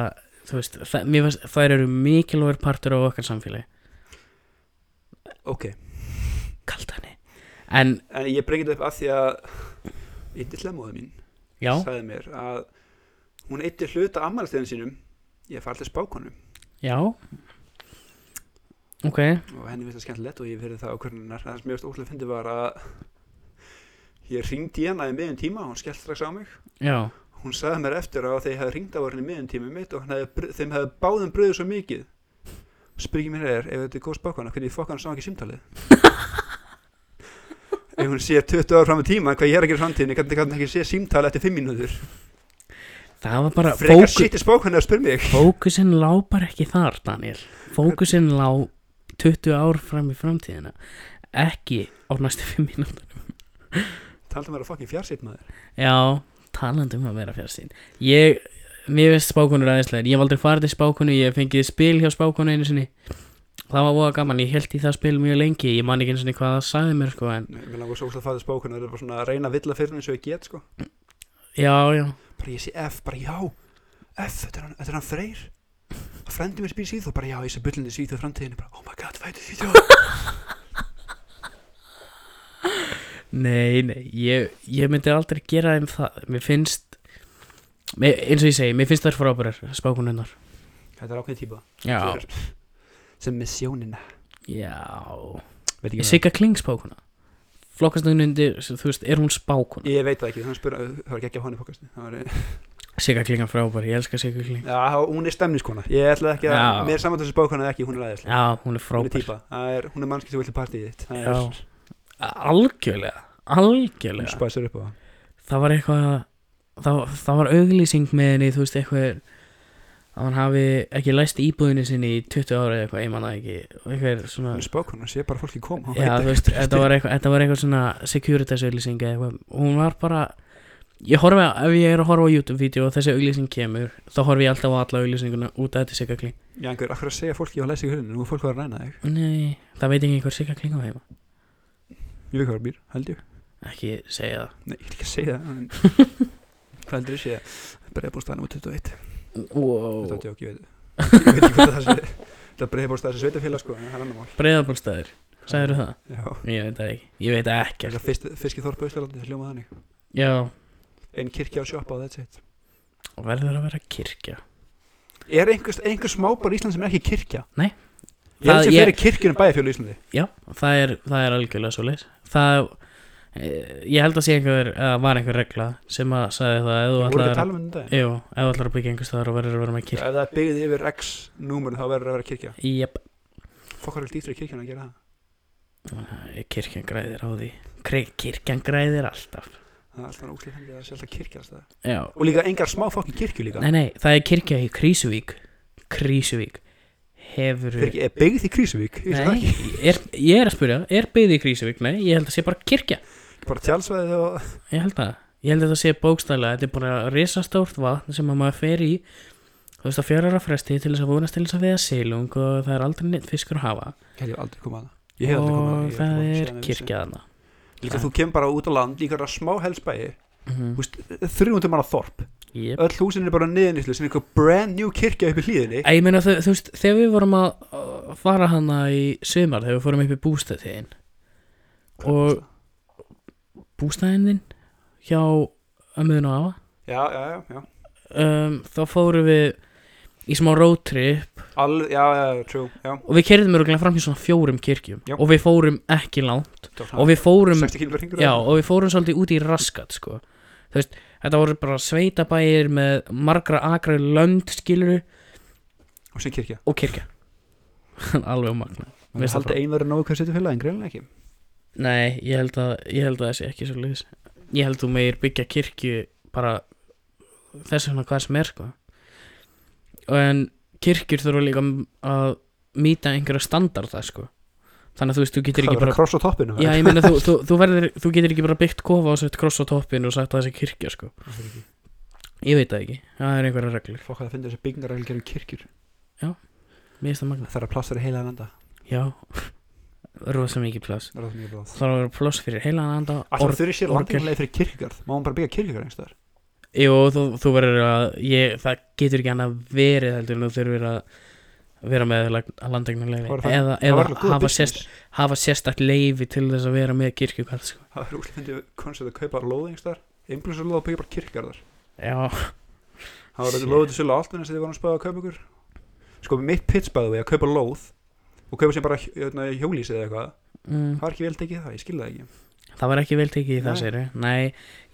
Speaker 1: þú veist, það, mér finnst, þær eru mikilvægur partur á okkar samfélagi
Speaker 2: ok,
Speaker 1: Kaldani En,
Speaker 2: en ég brengið upp af því að yndislemóðu mín
Speaker 1: já,
Speaker 2: sagði mér að hún eittir hluta ammælstæðin sínum ég fara til spákonum
Speaker 1: já Ok,
Speaker 2: og henni finnst það skemmtilegt og ég verið það á hvernig það sem mjög ótrúlega fyndi var að ég ringdi hana í miðjum tíma hún skellt strax á mig
Speaker 1: já,
Speaker 2: Hún sagði mér eftir á að þeir hefði ringt á henni miðan tími mitt og hann hefði, br- þeim hefði báðum bröðið svo mikið. Spyrji mér er, ef þetta er góð spákvæðan, hvernig fokk hann sá ekki símtalið? ef hún sé 20 ára fram í tíma, hvað ég er að gera í framtíðinni, hvernig kann ekki sé símtalið eftir 5 mínútur?
Speaker 1: það var bara
Speaker 2: Frekar
Speaker 1: fóku,
Speaker 2: sýtti spákvæðan að spyrja mig.
Speaker 1: Fókusin lá bara ekki þar, Daniel Fókusin lá 20 ár fram í framtíðina Ekki á næstu 5 mínútur
Speaker 2: Taldi mér að fokkin fjarsýtt maður.
Speaker 1: Já, talandi um að vera fjarsýn Ég, mér finnst spákonur aðeinslega Ég hef aldrei farið til spákonu, ég hef fengið spil hjá spákonu einu sinni Það var voða gaman, ég held í það spil mjög lengi Ég man ekki einu sinni hvað það sagði mér sko en
Speaker 2: Mér langar svo óslega að faða spákvæðan, það er bara svona að reyna að villa fyrir henni svo ég get, sko.
Speaker 1: Já, já,
Speaker 2: Bara ég sé F, bara já, F, þetta er hann, þetta er hann freyr. Og frendi mér spýr síð og bara já, ég sé bullin í síð og framtíðinni, bara oh my god, hvað heitir Svíþjóð?
Speaker 1: nei, nei Ég, ég myndi aldrei gera þeim það Mér finnst mér, Eins og ég segi, mér finnst þær frábærar spákonunnar
Speaker 2: Þetta er ákveðin típa
Speaker 1: Já,
Speaker 2: Sem missjónina
Speaker 1: já
Speaker 2: Veit
Speaker 1: Ég
Speaker 2: ekki
Speaker 1: sigga Kling spákona Flokkast hún undir, þú veist, er hún spákona
Speaker 2: Ég veit það ekki, þannig spyr, það var ekki ekki á hann í podcasti Það var,
Speaker 1: Sigga Kling er frábær, ég elska Sigga Kling
Speaker 2: Já, hún er stemniskona Ég ætla ekki að,
Speaker 1: Já.
Speaker 2: mér er saman þessi bókona eða ekki, hún er aðeinslega
Speaker 1: Já, hún er
Speaker 2: Hún er
Speaker 1: frábær
Speaker 2: típa, það er, hún er mannski sem vilti partíið þitt Það
Speaker 1: Já,
Speaker 2: er,
Speaker 1: algjörlega
Speaker 2: hún
Speaker 1: algjörlega
Speaker 2: spæsir upp á það
Speaker 1: það var eitthvað það, það var auglýsing með henni þú veist eitthvað að hann hafi ekki læst íbúðinu sinni í 20 ára eða eitthvað, ég manna ekki og eitthvað svona,
Speaker 2: Hún er spókona, sé bara fólki koma hún
Speaker 1: já
Speaker 2: veit
Speaker 1: þú veist, þetta var eitthvað, þetta var eitthvað svona securitas auglýsing eða eitthvað, og hún var bara ég horfi, á- ef ég er að horfa á YouTube-vídeó og þessi auglýsing kemur, þá horfi ég alltaf á alla auglýsinguna út að þetta er sikkakling
Speaker 2: Já, einhver, akkur að segja fólki að læsa í hörninu Nú er fólk að ræna þig
Speaker 1: nei, það veit ekki einhver sikkakling á heima
Speaker 2: Ég veit hvað það býr, held ég
Speaker 1: ekki segja
Speaker 2: Nei, ég vil ekki segja það en- Hvað heldur þú sé Breiðbólstaðan út 21
Speaker 1: það wow.
Speaker 2: Þetta átti ég ekki, ég veit Ég veit ekki hvað það sé Þetta breiðbólstaðan sem sveitafélag sko en Það er annar mál
Speaker 1: breyðabólstaður, sagður það?
Speaker 2: Já
Speaker 1: Ég veit það ekki, ég veit ekkert
Speaker 2: Þessar fyrst, fiskiþorp Íslandi, það hljóma þannig
Speaker 1: Já,
Speaker 2: Einn kirkja á sjoppa og that's it
Speaker 1: og verður að vera kirkja
Speaker 2: Er einhver, einhver smábar í Íslandi sem er ekki kirkja?
Speaker 1: Nei.
Speaker 2: Ég held
Speaker 1: Það-
Speaker 2: sem
Speaker 1: ég-
Speaker 2: fyrir kirkjunum bæjarfjölu í Íslandi
Speaker 1: Já, það er, það er algjörlega svo leys Það, eh, ég held að sé einhver að var einhver regla sem að sagði það að ef þú
Speaker 2: Þú voru
Speaker 1: ætlar
Speaker 2: að
Speaker 1: að,
Speaker 2: tala um þetta
Speaker 1: jú, ef þú ætlar að byggja einhver staðar og verður að vera með
Speaker 2: Ef
Speaker 1: kirkja
Speaker 2: það er byggðið yfir x númur þá verður að vera kirkja
Speaker 1: Jep,
Speaker 2: fokkar vilt ítrið kirkjana að gera það
Speaker 1: Æ, kirkjan græðir á því Kri- kirkjan græðir alltaf
Speaker 2: það er alltaf óslega hendið að sjálf að kirkja alltaf
Speaker 1: já,
Speaker 2: og líka engar smá fokkin kirkju líka
Speaker 1: nei nei, það er kirkja í Krísuvík Krísuvík hefur
Speaker 2: Fyrir ekki, er byggð í Krísuvík Ég veist það
Speaker 1: nei,
Speaker 2: ekki.
Speaker 1: er, ég er að spyrja, er byggð í Krísuvík nei, ég held að sé bara kirkja
Speaker 2: bara tjálsvæðið og
Speaker 1: ég held að, ég held að það sé bókstæðlega þetta er bara risastórt vatn sem að maður fer í þú veist að fjörara fresti til þess að vonast til þess að veiða silung og það er aldrei neitt fiskur að hafa
Speaker 2: hef ég aldrei komað að ég hef aldrei komað að
Speaker 1: og það
Speaker 2: ég bara
Speaker 1: er
Speaker 2: séð hana vissi.
Speaker 1: kirkjaðana
Speaker 2: líka þú kem bara út á land líka það smá helsbæi
Speaker 1: mm
Speaker 2: þrjúndum manna þorp
Speaker 1: -hmm.
Speaker 2: öll húsin er bara niðurnislu sem er eitthvað brand new kirkja upp í hlíðinni
Speaker 1: Ég meina þú, þú veist, þegar við vorum að að fara hana í sumar þegar við fórum upp í bústæðin og- bústæðin þinn hjá ömmuðin og afa
Speaker 2: já, já, já, já,
Speaker 1: um, þá fórum við í smá roadtrip
Speaker 2: Alv, já, já, true já.
Speaker 1: og við kerðum örgulega fram hjá svona fjórum kirkjum
Speaker 2: Já.
Speaker 1: og við fórum ekki langt
Speaker 2: Það var svona
Speaker 1: og við fórum
Speaker 2: 60 kílómetra hringur
Speaker 1: já,
Speaker 2: eða?
Speaker 1: og við fórum svolítið út í raskat sko. þú veist, þetta voru bara sveitabæir með margra akra lönd skiluru
Speaker 2: og sem kirkja
Speaker 1: og kirkja alveg magna
Speaker 2: Mér
Speaker 1: finnst það
Speaker 2: haldi
Speaker 1: bara-
Speaker 2: einverður nógu hvað setjum félagin, greinlega ekki
Speaker 1: Nei, ég held að, ég held að það sé ekki svo liðis Ég held þú meir byggja kirkju bara þess vegna hvað sem er sko og en kirkjur þurfa líka að mýta einhverja standarda sko Þannig að þú veist, þú getur
Speaker 2: Það
Speaker 1: ekki
Speaker 2: verður
Speaker 1: bara
Speaker 2: kross á toppinu
Speaker 1: Já, ég meina, þú, þú, þú, verður, þú getur ekki bara byggt kofa og sett kross á toppin og sagt að þessi kirkja sko Ég veit það ekki, það er einhverja reglur
Speaker 2: Fokk að það finnir þessi byggingarreglur um kirkjur
Speaker 1: Mér finnst það magna
Speaker 2: Það er að plássa í heila landa
Speaker 1: Já, rosa mikið pláss
Speaker 2: Það er það mjög bráð
Speaker 1: Það er að vera pláss fyrir heilan anda
Speaker 2: Alltaf þurfi sér
Speaker 1: orgel.
Speaker 2: landingarlega fyrir kirkjugarð Má hún bara byggja kirkjugarð einhverstaðar
Speaker 1: Jú, þú, þú verður að ég, það getur ekki annað verið heldur en þú þurfir að vera með landegnulegri
Speaker 2: Það var það-
Speaker 1: eða,
Speaker 2: Það
Speaker 1: eða
Speaker 2: var alveg góð
Speaker 1: hafa,
Speaker 2: business.
Speaker 1: sérst, hafa sérstakt leifi til þess að vera með kirkjukall sko.
Speaker 2: Það er útlendið koncept að kaupa lóð einhverstaðar Einblúsur lóð að byggja bara kirkjugarðar
Speaker 1: Já,
Speaker 2: Það var
Speaker 1: Shit.
Speaker 2: þetta lóðu til sölu á allt Þannig að þið vorum spáð að kaupa ykkur Sko mitt pitch bæðu við að kaupa lóð Og kaupa sér bara hérna, hjólísið eða eitthvað
Speaker 1: mm,
Speaker 2: Það var ekki vel tekið það, ég skil það ekki
Speaker 1: það var ekki vel tekið í
Speaker 2: Nei.
Speaker 1: það sér Nei,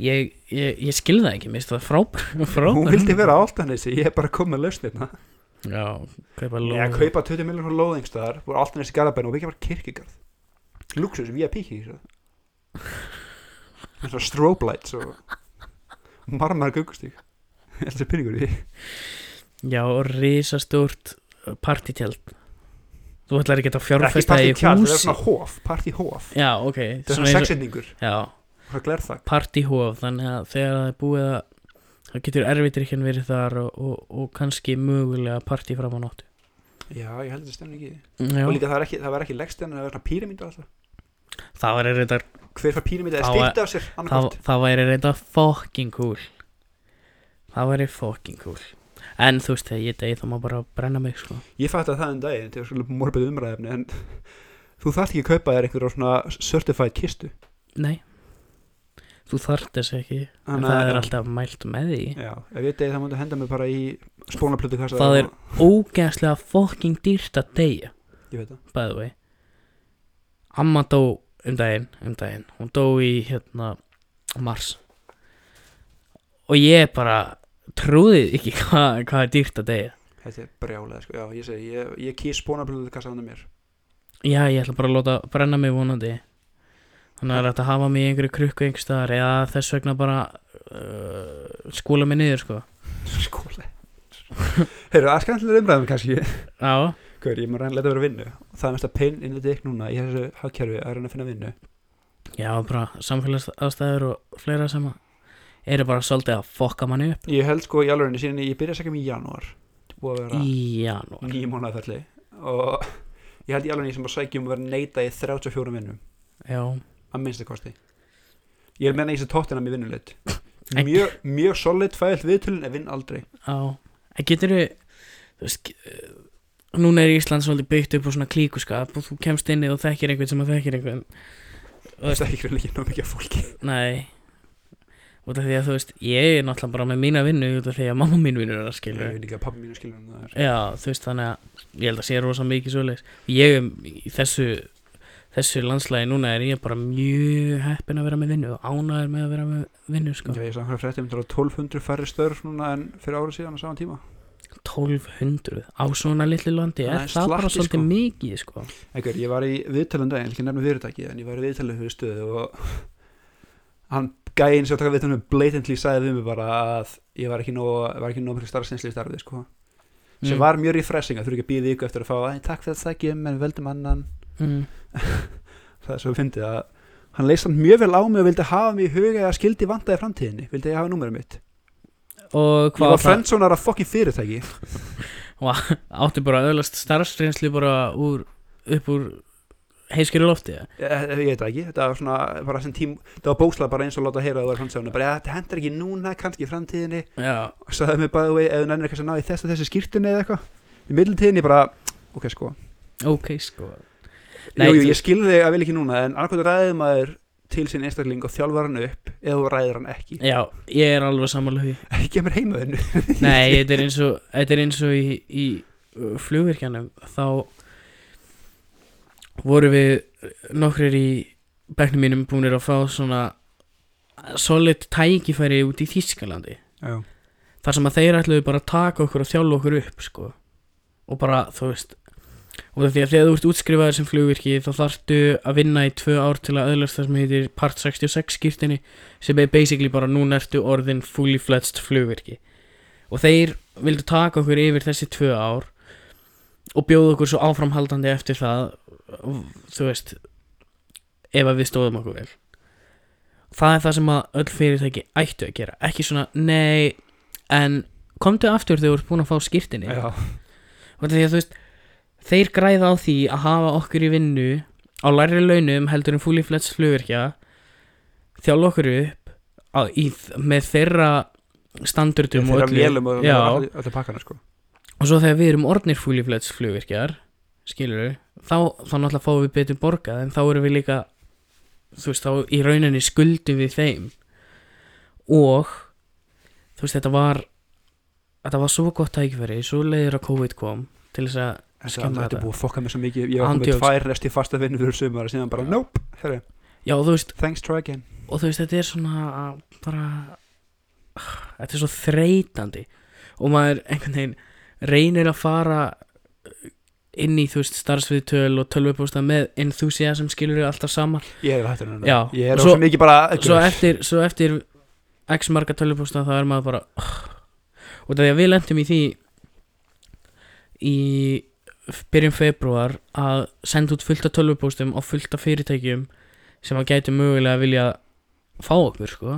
Speaker 1: ég, ég, ég skil það ekki, mér finnst það frábær frábær
Speaker 2: Hún vildi vera á allt Ég er bara komið lausnirna
Speaker 1: Já, kaupa
Speaker 2: hérna. Ég
Speaker 1: lóð
Speaker 2: að kaupa 20 miljonar lóðingstæðar voru alltaf næst í garðabæðinu og byggja bara kirkigarð Luxus, við að píkja í þessu Með svona strobe lights og marmar guggustík Þetta er pinningur í því
Speaker 1: Já, og risastórt partítjald Þú ætlar ekki að
Speaker 2: Ekki
Speaker 1: fjárfesta
Speaker 2: partí
Speaker 1: í
Speaker 2: tjald, það er
Speaker 1: húsi
Speaker 2: svona hof, partí hof
Speaker 1: Já, ok
Speaker 2: Þetta er
Speaker 1: svona
Speaker 2: svona
Speaker 1: eins og-
Speaker 2: sexinningur,
Speaker 1: Já,
Speaker 2: svona glerþak
Speaker 1: partíhof þannig að þegar það er búið að það getur erfiðrykjan verið þar og, og, og kannski mögulega partí fram á nóttu
Speaker 2: Já, ég held þetta stemning í því
Speaker 1: Já,
Speaker 2: Og líka það var ekki, það var ekki leggstæðan en það var svona píramíta alltaf
Speaker 1: það væri reynda
Speaker 2: Hver fær píramíta eða
Speaker 1: Það var-
Speaker 2: stýrt af sér,
Speaker 1: það,
Speaker 2: annarkort
Speaker 1: það væri reynda fucking cool það væri fucking cool en þú veist þegar ég degi þá má bara brenna mig sko
Speaker 2: Ég fætti að það um daginn til að skilja morbið umræðefni en þú þarft ekki að kaupa þér einhverja svona certified kistu
Speaker 1: nei þú þarft þess ekki en
Speaker 2: Þannig
Speaker 1: það
Speaker 2: að-
Speaker 1: er alltaf mælt með því
Speaker 2: Já, ef ég degi það múti að henda mig bara í spónaplötu kassa
Speaker 1: Það er- ógeðslega fucking dýrt að degja
Speaker 2: Ég veit það
Speaker 1: by the way amma dó um daginn, um daginn. hún dó í hérna mars og ég bara trúði ekki hvað hva er dýrt að degja
Speaker 2: Þetta er brjálega sko Já, ég segi, ég, ég kýr spónaplötu kassa handa mér
Speaker 1: já ég ætla bara að láta brenna mig vonandi þannig að þetta hafa mig í einhverju krukku einhverstaðar eða þess vegna bara uh, skúla mig niður sko
Speaker 2: Skóli Heyrðu, það er skræmtilega umræðum kannski
Speaker 1: já,
Speaker 2: Hver, ég má reyna að leta vera vinnu Það er mest að pein inn í dykk núna í þessu hagkerfi að reyna að finna vinnu
Speaker 1: já bara samfélagsaðstæður og fleira sem að eru bara svolítið að fokka manni upp
Speaker 2: Ég held sko í alvegni síðan ég byrja að segja mig í janúar Búið að
Speaker 1: í janúar
Speaker 2: vera nýjum mánuðarferli Og ég held í alvegni sem bara sækja um að vera neita í 34 vinnum
Speaker 1: já,
Speaker 2: Að minnsta kosti Ég er meina í þessu tóttina mér vinnulit
Speaker 1: En-
Speaker 2: Mjög, mjög solid fælt viðtölin en vinn aldrei
Speaker 1: Já, en getur þú veist, eh, núna er Ísland svolítið byggt upp á svona klíkuskap og þú kemst inni og þekkir einhvern sem að þekkir einhvern og þú
Speaker 2: Það
Speaker 1: veist,
Speaker 2: er ekki ekki ná mikið af fólki
Speaker 1: nei út af því að þú veist, ég er náttúrulega bara með mína vinnu út af því að mamma mín vinnur er að
Speaker 2: Ég
Speaker 1: skilja
Speaker 2: veit ekki að pappi mínu skilur um það er
Speaker 1: Já, þú veist, þannig að ég held að sé rosa mikið svoleiðis ég er í þessu þessu landslægi núna er ég bara mjög heppin að vera með vinnu og ánæður með að vera með vinnu, sko
Speaker 2: Ég veist að hverja fréttum Það eru 1200 færri störf núna en fyrir árið síðan á saman tíma
Speaker 1: 1200 á svona litlu landi
Speaker 2: Það
Speaker 1: er
Speaker 2: er
Speaker 1: það bara
Speaker 2: slatti,
Speaker 1: svolítið
Speaker 2: sko.
Speaker 1: mikið sko.
Speaker 2: Ekkur, ég var í viðtalum daginn, ég vil ekki nefna fyrirtækið en ég var í viðtalum fyrir stöðu og hann gæinn sem var að taka viðtalum blatantly sagði við mig bara að ég var ekki nóg, var ekki nóg mikil starfsinsli í starfið sko. sem
Speaker 1: Mm,
Speaker 2: var mjög refreshing að þurfa ekki að býða ykkur eftir að fá að takk fyrir það ekki um en veldum annan
Speaker 1: mm,
Speaker 2: það er svo fyndið að hann leist hann mjög vel á mig og vildi hafa mig í huga eða skildi vandaði framtíðinni, vildi ég hafa númerið mitt
Speaker 1: og
Speaker 2: ég
Speaker 1: hvað
Speaker 2: var
Speaker 1: var það,
Speaker 2: frendsonar að fokkin fyrirtæki
Speaker 1: áttu bara að öðlast starfsreynslu bara úr, upp úr heiskjöru lofti eða?
Speaker 2: ég, ég veit það ekki, þetta var svona bara sem tím, það var bókslega bara eins og láta heyra að það var frendsonar, bara ja, þetta hendur ekki núna, kannski í framtíðinni
Speaker 1: já,
Speaker 2: og sagði mig bæði vei, ef þú nennir kannski að ná í þess og þessi skýrtunni eða eitthvað í millitíðinni bara, ok sko
Speaker 1: ok sko Nei,
Speaker 2: jú, jú,
Speaker 1: þú-
Speaker 2: ég skilði þig að vil ekki núna en annarkvæmt ræðið maður til sinn einstakling og þjálfar hann upp eða þú ræðir hann ekki
Speaker 1: já, ég er alveg samanlega
Speaker 2: ekki kemur heima þennu
Speaker 1: Nei, þetta er eins og, þetta er eins og í, í uh, flugvirkjanum þá voru við nokkrir í bekknum mínum búinir að fá svona solid tækifæri út í Þískalandi
Speaker 2: já,
Speaker 1: þar sem að þeir ætluðu bara að taka okkur og þjálfa okkur upp sko og bara þú veist og því að þegar þú ert útskrifaður sem flugvirki þá þarftu að vinna í tvö ár til að öðlast það sem heitir part 66 skýrtinni sem er basically bara núna ertu orðin fully fledged flugvirki og þeir vildu taka okkur yfir þessi tvö ár og bjóða okkur svo áframhaldandi eftir það þú veist ef að við stóðum okkur vel það er það sem að öll fyrirtæki ættu að gera ekki svona nei en komdu aftur þegar þú ert búin að fá skýrtinni
Speaker 2: já,
Speaker 1: og því að þú veist þeir græða á því að hafa okkur í vinnu á læri launum heldur en fully fledged flugverkja þjálfa okkur upp á, í, með þeirra standardum
Speaker 2: þeirra
Speaker 1: öllu.
Speaker 2: mjölum og
Speaker 1: já,
Speaker 2: öllu- öllu pakkana sko
Speaker 1: og svo þegar við erum orðnir fully fledged flugverkjar skilur við þá, þá náttúrulega fáum við betur borgað en þá erum við líka þú veist þá í rauninni skuldum við þeim og þú veist þetta var þetta var svo gott tækifæri svo leiðir að COVID kom til þess að
Speaker 2: Þetta
Speaker 1: skemma
Speaker 2: þetta er
Speaker 1: þetta.
Speaker 2: búið að fokka mig svo mikið Ég var
Speaker 1: Andjóks.
Speaker 2: komið tvær resti fasta vinnu fyrir sumar og síðan bara,
Speaker 1: Já.
Speaker 2: nope, herri,
Speaker 1: já þú veist
Speaker 2: thanks, try again
Speaker 1: og þú veist þetta er svona bara þetta er svo þreytandi og maður einhvern veginn reynir að fara inn í þú veist starfsviðtöl og tölvupósta með enthusiasm skilur við alltaf saman
Speaker 2: Ég er hættur núna,
Speaker 1: Já,
Speaker 2: ég er
Speaker 1: og
Speaker 2: svo,
Speaker 1: svo-
Speaker 2: svo mikið bara
Speaker 1: svo eftir, svo eftir x marga tölvupósta þá er maður bara og það er að við lentum í því í byrjum februar að senda út fullt af tölvupóstum og fullt af fyrirtækjum sem að gæti mögulega vilja fá okkur sko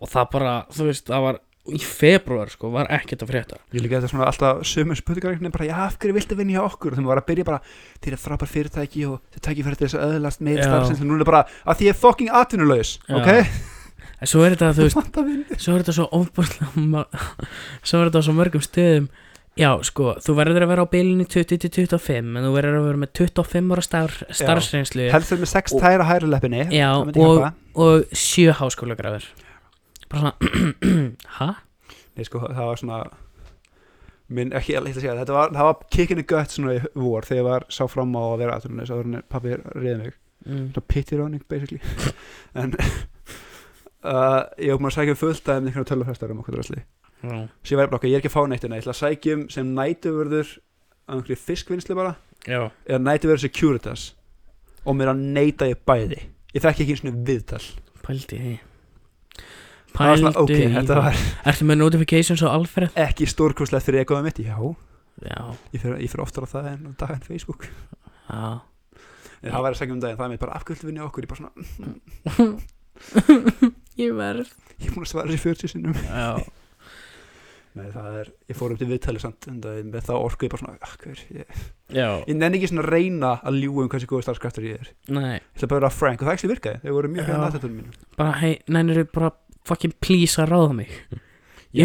Speaker 1: og það bara, þú veist, það var í februar sko, var ekkert að frétta
Speaker 2: Ég líka þetta svona alltaf sömur spurningar einhvern veginn bara, já, af hverju viltu vinna hjá okkur og þeim var að byrja bara, þeir eru frábær fyrirtæki og þeir tæki fyrir þess að öðlast meira
Speaker 1: Já.
Speaker 2: starfsins og núna bara, að því ég er fokking atvinnulaus
Speaker 1: Já.
Speaker 2: ok,
Speaker 1: en svo er þetta, þú veist,
Speaker 2: þetta vinnu
Speaker 1: svo er þetta svo ofbúrslega ma- svo er þetta á svo mörgum stöðum já sko, þú verður að vera á bilinu 20-25 en þú verður að vera með 25 ára starf, starfsreynslu
Speaker 2: Helst þeir með sex tæra hæra leppinni
Speaker 1: Já,
Speaker 2: það myndi
Speaker 1: og-
Speaker 2: hjálpa.
Speaker 1: og 7 háskóla græður bara svona ha?
Speaker 2: Nei, sko, það var svona minn, ekki alveg hitt að segja þetta var, það var kikinu gött svona í vor þegar ég var sá fram á að vera atvinnulaus áður en pappi reyði mig
Speaker 1: Mm.
Speaker 2: svona pity running basically en uh, ég var búin að sækja um fullt aðeins einhvern tölvfestar um okkur drasli
Speaker 1: Já.
Speaker 2: svo ég væri bara okkur, ég er ekki að fá neitt en ég ætla að sækja um sem nætuvörður á einhverju fiskvinnslu bara
Speaker 1: já,
Speaker 2: eða nætuvörður securitas og mér að neita ég bæði ég þekki ekki eins og viðtal
Speaker 1: pældi því
Speaker 2: Það var
Speaker 1: pældi
Speaker 2: svona, ok,
Speaker 1: því.
Speaker 2: þetta var
Speaker 1: ertu með notifications á Alfred?
Speaker 2: ekki stórkurslegt fyrir egoða mitt já,
Speaker 1: já,
Speaker 2: ég fyrir, ég fyrir oftar á það en á daginn Facebook
Speaker 1: já
Speaker 2: en það væri að sækja um daginn, það er mér bara afkvöldu vinni okkur ég bara svona,
Speaker 1: ég verð
Speaker 2: ég er búin að svara þessi 40 sinnum
Speaker 1: já,
Speaker 2: Nei, það er, ég fór um til viðtalið samt en það, með það orku ég bara svona, ah, hver, ég,
Speaker 1: já,
Speaker 2: Ég nenni ekki svona að reyna að ljúa um hversu góðu starfskraftur ég er
Speaker 1: nei
Speaker 2: Ég ætla bara að vera Frank og það ekki virkaði Þau voru mjög
Speaker 1: Já.
Speaker 2: hérna aðtættunum mínum
Speaker 1: bara hei, nænir bara fucking please að ráða mig
Speaker 2: Ég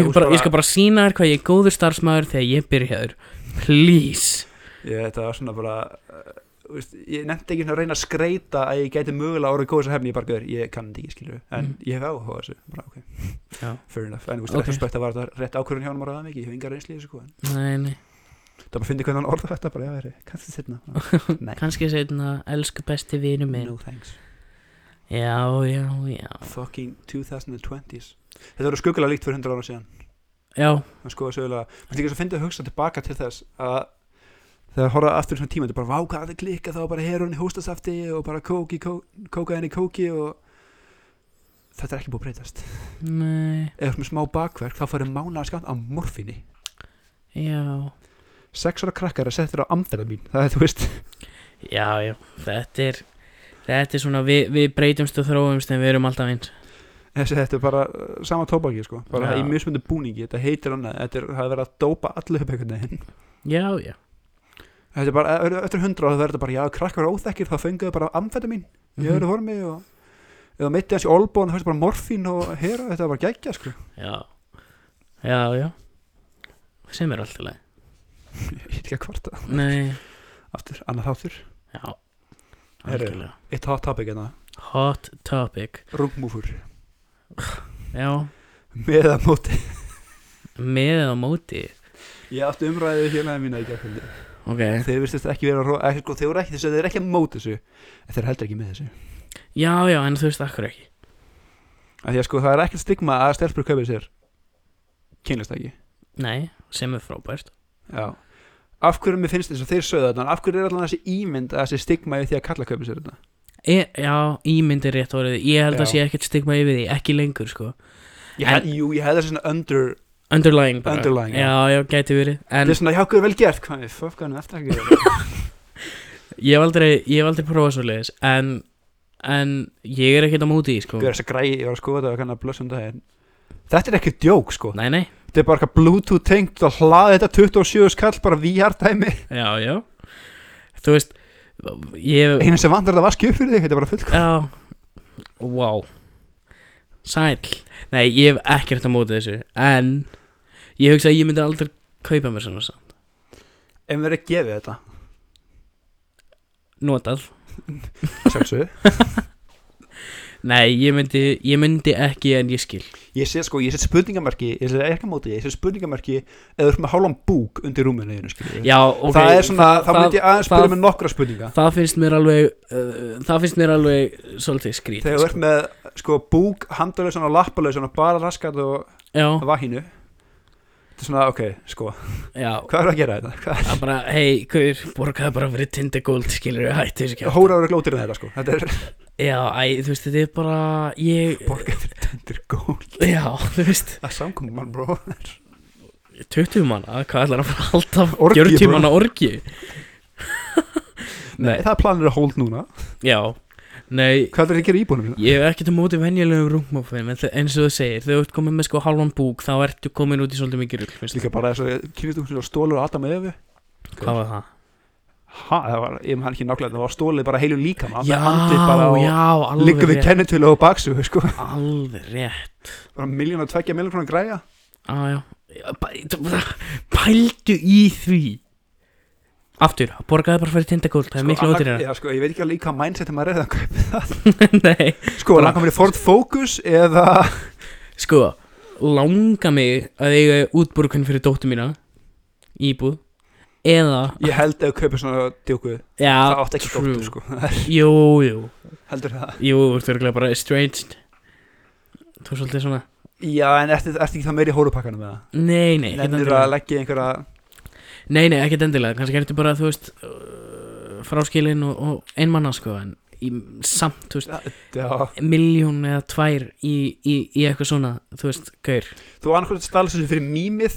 Speaker 1: ég,
Speaker 2: hugsa
Speaker 1: ég, bara,
Speaker 2: bara-
Speaker 1: ég skal bara sína þér hvað ég er góður starfsmæður þegar ég byrjaður please
Speaker 2: Ég þetta var svona bara uh, veist, Ég nefndi ekki svona að reyna að skreita að ég gæti mögulega orðið góðu sem hefni Ég bara gauður, ég kann þetta ekki skilur En
Speaker 1: Mm.
Speaker 2: ég hef áhuga á þessu bara, okay.
Speaker 1: Já.
Speaker 2: Fair enough En þú veist,
Speaker 1: Ok.
Speaker 2: okay. retrospekt að var þetta rétt ákvörðun hjá hann Máraða mikið, ég hef engar reynsli í þessu sko en
Speaker 1: nei, nei,
Speaker 2: Það bara fyndi hvernig hann orða þetta bara, já, herri, kannski setna Nei,
Speaker 1: kannski um segna elsku besti vinu minn
Speaker 2: no thanks
Speaker 1: já, já, já
Speaker 2: Fucking 2020s Þetta voru skuggulega líkt fyrir 100 ára síðan
Speaker 1: já,
Speaker 2: að skoða sögulega Mér finnst líka svo fyndið að hugsa tilbaka til þess að þegar horfaði aftur í svona tíma þetta er bara váka að það klikka þá var bara herun í hóstasafti og bara kóki, kó, kóka henni kóki og þetta er ekki búið að breytast
Speaker 1: nei,
Speaker 2: eða með smá bakverk þá farið mánaða skamt á morfinni
Speaker 1: já
Speaker 2: sex ára krakkar að setja þér á amfetamín það er þú veist
Speaker 1: Já, já, þetta er Þetta er svona, við, við breytumst og þróumst en við erum alltaf eins
Speaker 2: þessi þetta er bara uh, sama tóbaki sko bara
Speaker 1: Já.
Speaker 2: í mismundu búningi þetta heitir annað þetta er það er verið að dópa allu upp einhvern veginn
Speaker 1: Já, já,
Speaker 2: þetta er bara ö- eftir hundra ára það verður þetta bara já krakkar eru óþekkir þá fenguðu bara amfetamín í öðru formi og eða mitti hans í olbón það fyrst bara morfín og hera þetta er bara geggja sko
Speaker 1: já Já, já Sem er alltaf leið
Speaker 2: ég veit ekki að kvarta
Speaker 1: Nei,
Speaker 2: aftur annað þáttur
Speaker 1: já
Speaker 2: Herru.
Speaker 1: Algjörlega
Speaker 2: eitt hot topic hérna
Speaker 1: Hot topic
Speaker 2: rungmúfur
Speaker 1: Já,
Speaker 2: með að móti
Speaker 1: með eða á móti
Speaker 2: ég átti umræðið félagin mína í gerðkvöldi
Speaker 1: Ok
Speaker 2: þeir vistist ekki vera ró- ekki, sko, þeir voru ekki þessu þeir eru ekki að móti þessu en þeir eru heldur ekki með þessu
Speaker 1: Já, já, en þú veist akkur ekki
Speaker 2: af því að sko það er ekkert stigma að stelpur kaupið sér kynlistæki
Speaker 1: Nei, sem er frábært
Speaker 2: já af hverju mér finnst þess að þeir sögðu þetta en af hverju er allan þessi ímynd að þessi stigma yfir því að kalla kaupið sér þetta
Speaker 1: e, Já, ímyndir rétt orðið Ég held að
Speaker 2: Já.
Speaker 1: sé ekkert stigma yfir því, ekki lengur sko
Speaker 2: ég, en, jú ég hefði svona under
Speaker 1: Underlying bara
Speaker 2: Underlying, já.
Speaker 1: Já, já, gæti verið
Speaker 2: en,
Speaker 1: En
Speaker 2: þetta er svona hjá hverju vel gert hvað er fokkanum eftir að gera
Speaker 1: Ég hef aldrei, ég hef aldrei prófað svo leiðis en, en ég er ekkert á móti í sko
Speaker 2: Hver er þess að græði, ég var að skoða þetta og kannar að blössa um daginn Þetta er ekki djók sko
Speaker 1: Nei, nei,
Speaker 2: Þetta er bara eitthvað bluetooth tengt og hlaði þetta 27 skall bara VR dæmi
Speaker 1: já, já Þú veist, ég
Speaker 2: Einu sem vandar þetta vaski upp fyrir þig, þetta er bara fullkom
Speaker 1: Já, wow Sæll Nei, ég hef ekkert á móti þessu En ég hugsa að ég myndi aldrei kaupa mér svona samt
Speaker 2: Ef mér er gefið þetta
Speaker 1: Notað
Speaker 2: Sjálfsög
Speaker 1: Nei, ég myndi, ég myndi ekki en ég skil
Speaker 2: Ég sé sko, ég set spurningamarki, ég set ekki á móti því, Ég set spurningamarki eða þú ert með hálfan búk undir rúminu þínu, skilurðu.
Speaker 1: Já, ok
Speaker 2: Það er svona, þá myndi ég aðeins spyrja
Speaker 1: það-
Speaker 2: með nokkra spurninga
Speaker 1: Það finnst mér alveg, uh, það finnst mér alveg svolítið skrít
Speaker 2: Þegar þú ert með sko búk, handalausan og lappalausan og bara raskat og
Speaker 1: sko. Já,
Speaker 2: vahinu Þetta er svona, ok, sko,
Speaker 1: já,
Speaker 2: hvað er að gera þetta? Hvað
Speaker 1: Það er bara, hei, hver, borgaði bara fyrir Tinder Gold, skilur við, hættu þessu
Speaker 2: er
Speaker 1: kjátt
Speaker 2: hóraður glótir en þetta sko Þetta er
Speaker 1: Já, æ, þú veist, þetta er bara, ég
Speaker 2: borgað fyrir tendur góð
Speaker 1: Já, þú veist,
Speaker 2: Það er samkomum mann bró
Speaker 1: 20 manna, hvað ætlar að fara að halda
Speaker 2: Orgíu,
Speaker 1: 40
Speaker 2: bro.
Speaker 1: manna orgi Nei,
Speaker 2: Það er planir að hold núna
Speaker 1: já, nei
Speaker 2: Hvað er það að gera í íbúinum mína?
Speaker 1: Ég hef ekkert á móti venjulegum rúmófum en þe- eins og þú segir, þegar þú ert komin með sko halvan búk þá ertu komin út í svolítið mikið rugl finnst
Speaker 2: Líka bara þess að kynist um svona stólur og Adam og Efi
Speaker 1: þér. Hvað var það?
Speaker 2: Ha, það var, ég maður ekki nákvæmlega, það var stólið bara heilu líkama
Speaker 1: Já, já, alveg
Speaker 2: Liggur við
Speaker 1: rétt
Speaker 2: kennitölu og baksu, sko
Speaker 1: Alveg rétt
Speaker 2: Bara miljón og tveggja miljón kronar græja
Speaker 1: Já, já Bæ- Pældu í því Aftur, borgaði bara fyrir tindakóld Það er miklu
Speaker 2: annar-
Speaker 1: ótir hérna
Speaker 2: Já, sko, ég veit ekki alveg í hvað mindset maður er að kaupa það
Speaker 1: Nei,
Speaker 2: Sko,
Speaker 1: Bara-
Speaker 2: langar mér í Ford Focus eða
Speaker 1: sko Langa mig að eiga útborgun fyrir dóttu mína Íbúð Eða
Speaker 2: Ég held að kaupa svona djóku Það
Speaker 1: Já,
Speaker 2: átt ekki
Speaker 1: true.
Speaker 2: dóttur, sko Það
Speaker 1: jú, jú
Speaker 2: er- Heldur það
Speaker 1: Jú, þú ert örgulega bara estranged Þú er svolítið svona
Speaker 2: Já, en ertu ertu ekki það meiri í hórupakkanum með það?
Speaker 1: Nei, hérna, nei, ekkert
Speaker 2: Nennir að
Speaker 1: endilega
Speaker 2: leggja í einhverja
Speaker 1: Nei, nei, ekkert endilega Kannski ertu bara, þú veist uh, Fráskilin og, og einmanna, sko En í, samt, þú veist
Speaker 2: Já,
Speaker 1: miljón eða tvær í, í, í eitthvað svona, þú veist, gaur
Speaker 2: þú annarkvæmt stalst þessu fyrir mýmið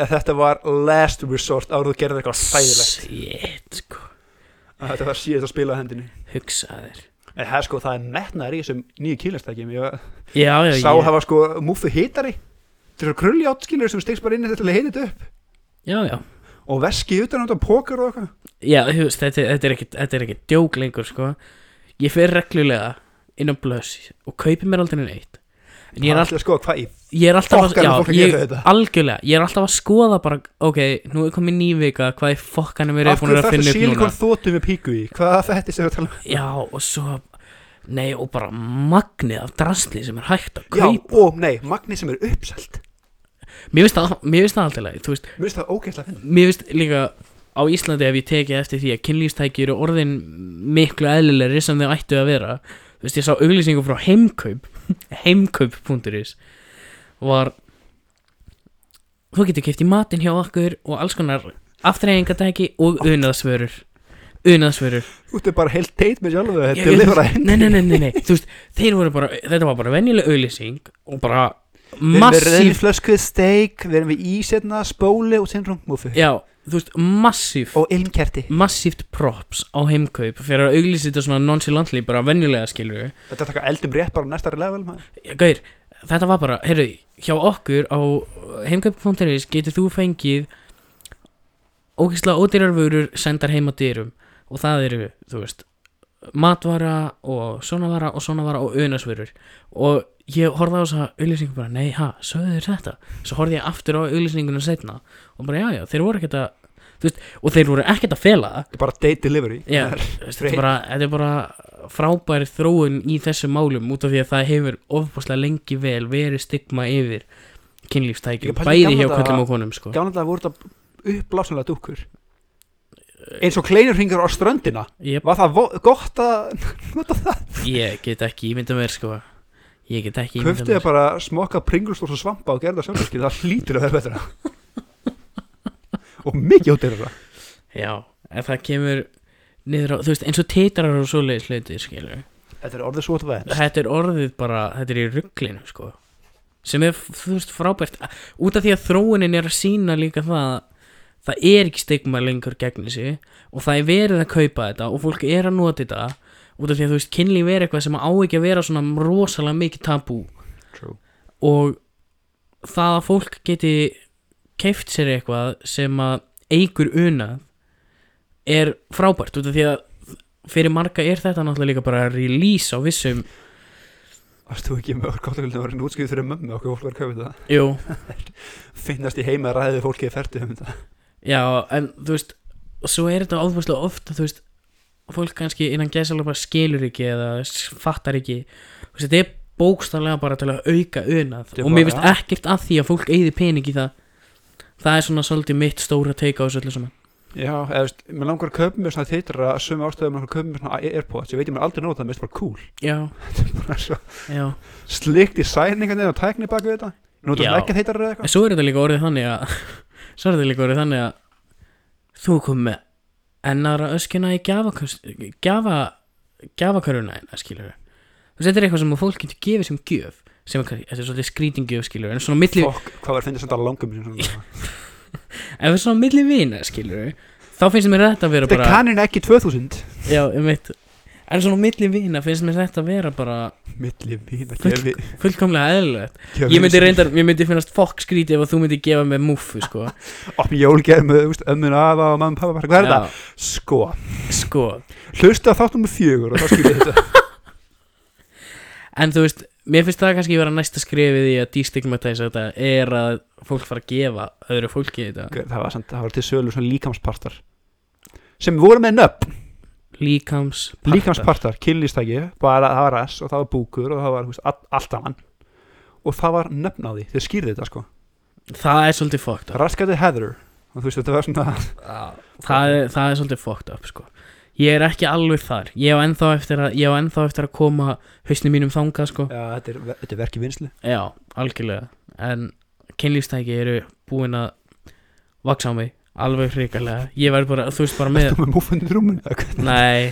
Speaker 2: eða þetta var last resort árið þú gerði eitthvað sæðilegt
Speaker 1: Shit, sko,
Speaker 2: þetta var síðast að spila á hendinni
Speaker 1: hugsaðir
Speaker 2: en það er sko, það er metnaður í þessum nýju kýlastækjum ég
Speaker 1: Já, já,
Speaker 2: sá
Speaker 1: Eh, ég,
Speaker 2: hafa sko múfu hitari þetta er svo krulljátt skilur sem stegst bara inn í þetta til að hita þetta upp
Speaker 1: já, já
Speaker 2: og veski utan á þetta og póker og eitthvað
Speaker 1: Já, þú veist, þetta, þetta er ekkit, þetta er ekkit djók lengur, sko Ég fer reglulega inn á blöss og kaupi mér aldrei neitt En ég er, all,
Speaker 2: alltaf sko, hvað í
Speaker 1: ég er alltaf að,
Speaker 2: fokkanum
Speaker 1: já,
Speaker 2: fólk að
Speaker 1: ég,
Speaker 2: gera þetta?
Speaker 1: algjörlega, ég er alltaf að skoða bara, ok, nú er komið ný vika, hvað er fokkanum er
Speaker 2: af
Speaker 1: búin
Speaker 2: hverju
Speaker 1: að
Speaker 2: þarf
Speaker 1: finna
Speaker 2: það
Speaker 1: upp núna
Speaker 2: sílikon þóttu með píku í hvað er þetta sem við tala um
Speaker 1: Já, og svo, nei, og bara magnið af drasli sem er hægt að
Speaker 2: já,
Speaker 1: kaupa
Speaker 2: og nei, magni sem er uppselt
Speaker 1: Mér finnst það, mér finnst það alltaf leið, þú veist,
Speaker 2: mér finnst það ógeðslega finn
Speaker 1: mér finnst líka á Íslandi ef ég tekið eftir því að kynlýstæki eru orðin miklu eðlilegri sem þau ættu að vera þú veist, ég sá auglýsingu frá heimkaup heimkaup.is var þú getur keft í matinn hjá okkur og alls konar aftreyingatæki og unaðsvörur unaðsvörur
Speaker 2: Þú ert bara heilt teit með sjálfu
Speaker 1: Ég-
Speaker 2: Þetta er lifra
Speaker 1: nei, nei, nei, nei, nei, þú veist, þeir voru bara þetta var bara venjuleg auðlýsing og bara
Speaker 2: Við erum við
Speaker 1: massíf
Speaker 2: flösku steik, við erum við ísetna, spóli og sinn rungmúfu
Speaker 1: já, þú veist, massíf
Speaker 2: Og ilmkerti
Speaker 1: massíft props á heimkaup fyrir að auglýsa þetta svona nonchalantly bara venjulega skilur
Speaker 2: Þetta er taka eldum rétt bara á næsta level maður.
Speaker 1: Gaur, þetta var bara, heyrðu, hjá okkur á heimkaup.is getur þú fengið ógeðslega ódýrar vörur sendar heim á dyrum og það eru, þú veist matvara og svonavara og svonavara og unasvörur og ég horfði á þessa auðlýsingu bara, nei, ha, sögðu þér þetta svo horfði ég aftur á auðlýsinguna setna og bara, já, já, þeir voru ekkert að þú veist, og þeir voru ekkert að fela það
Speaker 2: Þetta er bara date delivery
Speaker 1: Já,
Speaker 2: Það er-
Speaker 1: þú veist, þetta er bara, þetta er bara frábæri þróun í þessu málum út af því að það hefur ofbáslega lengi vel verið stigma yfir
Speaker 2: Ég
Speaker 1: kynlífstækjum,
Speaker 2: pældi í
Speaker 1: bæði hjá
Speaker 2: gamla daga-
Speaker 1: kvöllum og konum sko.
Speaker 2: Gjánaðlega voru þetta uppblásanlega dúkkur Eins og kleinur hringur á ströndina
Speaker 1: ég,
Speaker 2: Var það vo- gott að nota það?
Speaker 1: ég get ekki ímynda mér sko. ég get ekki ímynda
Speaker 2: Köftu
Speaker 1: mér
Speaker 2: þið bara smokka pringlustórs og svampa og gerða sjálfskið Það hlýtur að vera betra Og mikið út er þetta
Speaker 1: já, en það kemur niður á, þú veist, eins og teitarar og svoleiðis hluti skilur.
Speaker 2: Þetta er orðið svo að það
Speaker 1: þetta er orðið bara, þetta er í rugglinu sko. sem er, þú veist, frábært út af því að þróunin er að sína líka það að það er ekki stigma lengur gegn þessi og það er verið að kaupa þetta og fólk er að nota þetta út af því að þú veist, kynlíf er eitthvað sem á ekki að vera svona rosalega mikið tabú
Speaker 2: True.
Speaker 1: og það að fólk geti keift sér eitthvað sem að eigur una er frábært út af því að fyrir marga er þetta náttúrulega líka bara release á vissum
Speaker 2: Varst þú ekki með orðgáttakvöldinu að vera nútskýðu fyrir mömmu okkur fólk var að kaupa þetta?
Speaker 1: jú,
Speaker 2: Finnast í heima að ræðið fólkið ferdi um þetta
Speaker 1: Já, en þú veist Svo er þetta óðvæslega oft að, Þú veist, fólk kannski innan gæðsala bara skilur ekki eða s- fattar ekki Þú veist, þetta er bókstarlega bara til að auka unað
Speaker 2: Þetta er
Speaker 1: Og mér
Speaker 2: bara-
Speaker 1: finnst ekkert að því að fólk eyði pening í það Það er svona svolítið mitt stóra teika á þessu öllu saman
Speaker 2: Já, eða veist, mér langar að kaupa mér svona þeitra að suma ástöðum að kaupa mér svona Airpods, ég veit ég mér aldrei nota það, mér finnst bara cool
Speaker 1: Já,
Speaker 2: bara svo
Speaker 1: já
Speaker 2: slikt í sæningarnir og tækni bak við þetta Nótum
Speaker 1: Já.
Speaker 2: við ekki þeitra eða
Speaker 1: En
Speaker 2: eitthvað
Speaker 1: svo er þetta líka orðið þannig að Svo er þetta líka orðið þannig að Þú kom með ennara öskjuna í gjafaköst- gjafa gjafaköruna en það skilur Þú veist, þetta er eitthvað sem að fólk getur gefið sem gjöf sem er kannski, þetta er svolítið skrítingjöf skilur en svona milli,
Speaker 2: Fokk, hvað var að finna þetta langum sem svona.
Speaker 1: ef við svona milli vina skilur þá finnst mér þetta að vera
Speaker 2: Þetta er
Speaker 1: bara
Speaker 2: kannin ekki 2000
Speaker 1: já, um mitt, en svona milli vina finnst mér þetta að vera bara
Speaker 2: Milli mín að
Speaker 1: Full-
Speaker 2: gefi
Speaker 1: fullkomlega eðlilegt
Speaker 2: gefi-
Speaker 1: ég myndi reyndar, ég myndi finnast fokk skrítið ef að þú myndi gefa mér múfu sko
Speaker 2: Opni jólgeð með úst, ömmun aða og mamma pappa bara, Hvað er þetta? Sko,
Speaker 1: Já, sko,
Speaker 2: hlusta þáttum með fjögur og þá skilja þetta
Speaker 1: En þú veist, mér finnst það kannski vera næsta skrefið í að destigmatæsa þetta er að fólk fara að gefa öðru fólki þetta
Speaker 2: Gaur, Það var, samt, það var til sölu svona líkamspartar sem voru með nöfn
Speaker 1: Líkams
Speaker 2: líkamspartar, kynlýstæki, bara það var S og það var búkur og það var úst, all, allt saman og það var nöfn á því þeir skýrði þetta sko,
Speaker 1: Það er svolítið fucked up
Speaker 2: raskati Heather og þú veist þetta var svona
Speaker 1: það er, það er svolítið fucked up sko Ég er ekki alveg þar Ég á ennþá eftir að, ég á ennþá eftir að koma hausnum mínum þangað sko
Speaker 2: Já, þetta er, þetta er verkið vinslu
Speaker 1: Já, algjörlega En kynlífstæki eru búin að vaksa á mig Alveg hrikalega Ég verð bara, þú veist bara með
Speaker 2: með múfundir rúmun ekki
Speaker 1: Nei,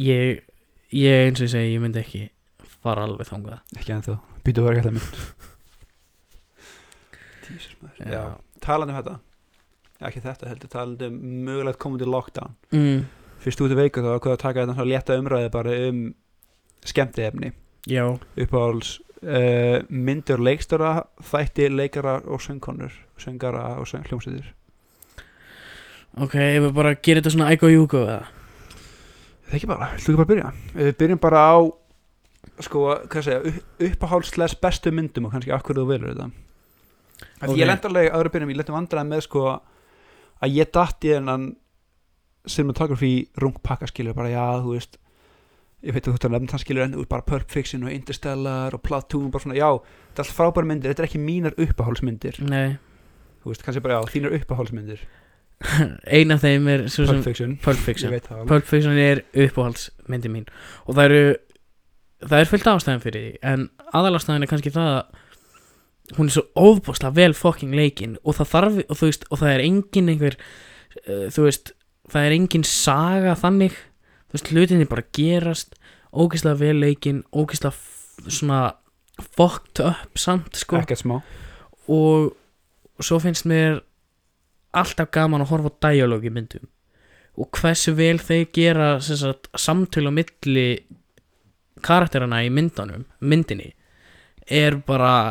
Speaker 1: ég, ég eins og ég segi, ég myndi ekki fara alveg þangað
Speaker 2: ennþá, býtu að vera ekki alltaf mynd Jesus, maður. Já, talandi um þetta ekki þetta heldur, talandi um mögulegt komandi lockdown
Speaker 1: mm,
Speaker 2: fyrst út í veiku þá ákveða að taka þetta svona létta umræði bara um skemmti efni
Speaker 1: Já,
Speaker 2: uppáhalds uh, myndur leikstöra, þætti, leikara og söngkonur, söngara og söng, hljómsveitir
Speaker 1: ok, ef við bara gerum þetta svona æg og júk og það
Speaker 2: Það ekki bara, hlutu bara að byrja Eh, Við byrjum bara á sko, hvað segja, uppáhaldsles bestu myndum og kannski akkur þú velur þetta Af Því
Speaker 1: Ok.
Speaker 2: Ég lent alveg aðra byrjum, ég lent um vandræðan með sko að ég datt í hennan cinematography rungpakka skilur bara, já, þú veist ég veit að þú ert að nefna það skilur en þú veist bara Pulp Fiction og Interstellar og Platoon bara svona, já, þetta er allt frábæra myndir þetta er ekki mínar uppáhaldsmyndir
Speaker 1: Nei,
Speaker 2: þú veist, kannski bara, já, þínar uppáhaldsmyndir
Speaker 1: ein af þeim er svo sem
Speaker 2: Pulp Fiction,
Speaker 1: Pulp
Speaker 2: ég
Speaker 1: Fiction
Speaker 2: veit það alveg.
Speaker 1: Pulp Fiction er uppáhaldsmyndi mín og það eru það er fullt ástæðan fyrir því en aðalástæðan er kannski það að hún er svo óbúslega vel fucking leikinn og það þarf, og þú veist, og það er engin einhver, uh, þú veist það er engin saga þannig þú veist, hlutinni bara gerast ógeðslega vel leikinn, ógeðslega f- svona fucked up samt, sko
Speaker 2: ekkert smá
Speaker 1: og svo finnst mér alltaf gaman að horfa á dialog í myndum og hversu vel þeir gera sem sagt, samtölu á milli karakterana í myndanum myndinni er bara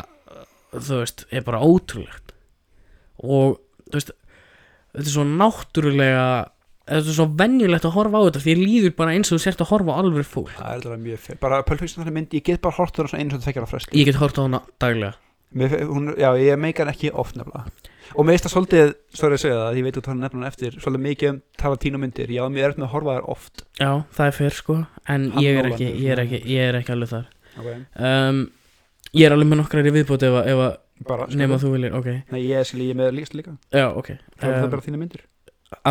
Speaker 1: þú veist, er bara ótrúlegt og þú veist þetta er svo náttúrulega þetta er svo venjulegt að horfa á þetta því ég líður bara eins og þú sért að horfa á alveg fólk
Speaker 2: það er alltaf mjög fyrir, bara pölfingst þannig mynd ég get bara hort þar á einu sem þekkar á fresti
Speaker 1: ég get hort á hana daglega
Speaker 2: Mér, fe- hún, já, ég meikar ekki oft nefnilega og mér veist það svolítið, sorry að segja það ég veit þú tala nefnilega eftir, svolítið mikið um Tarantino myndir, já, mér er eftir með að horfa þær oft
Speaker 1: já, það er fyrr sko en
Speaker 2: Hann
Speaker 1: ég er,
Speaker 2: Nolan
Speaker 1: ekki,
Speaker 2: er
Speaker 1: ég, er
Speaker 2: svona-
Speaker 1: ekki, ég er ekki alveg þar
Speaker 2: okay.
Speaker 1: um, Ég er alveg með nokkrar í viðbót ef að, ef að
Speaker 2: bara, sko,
Speaker 1: nema þú viljir, ok
Speaker 2: nei, ég skil, ég er með líst líka
Speaker 1: Já, ok
Speaker 2: það er
Speaker 1: um,
Speaker 2: bara þína myndir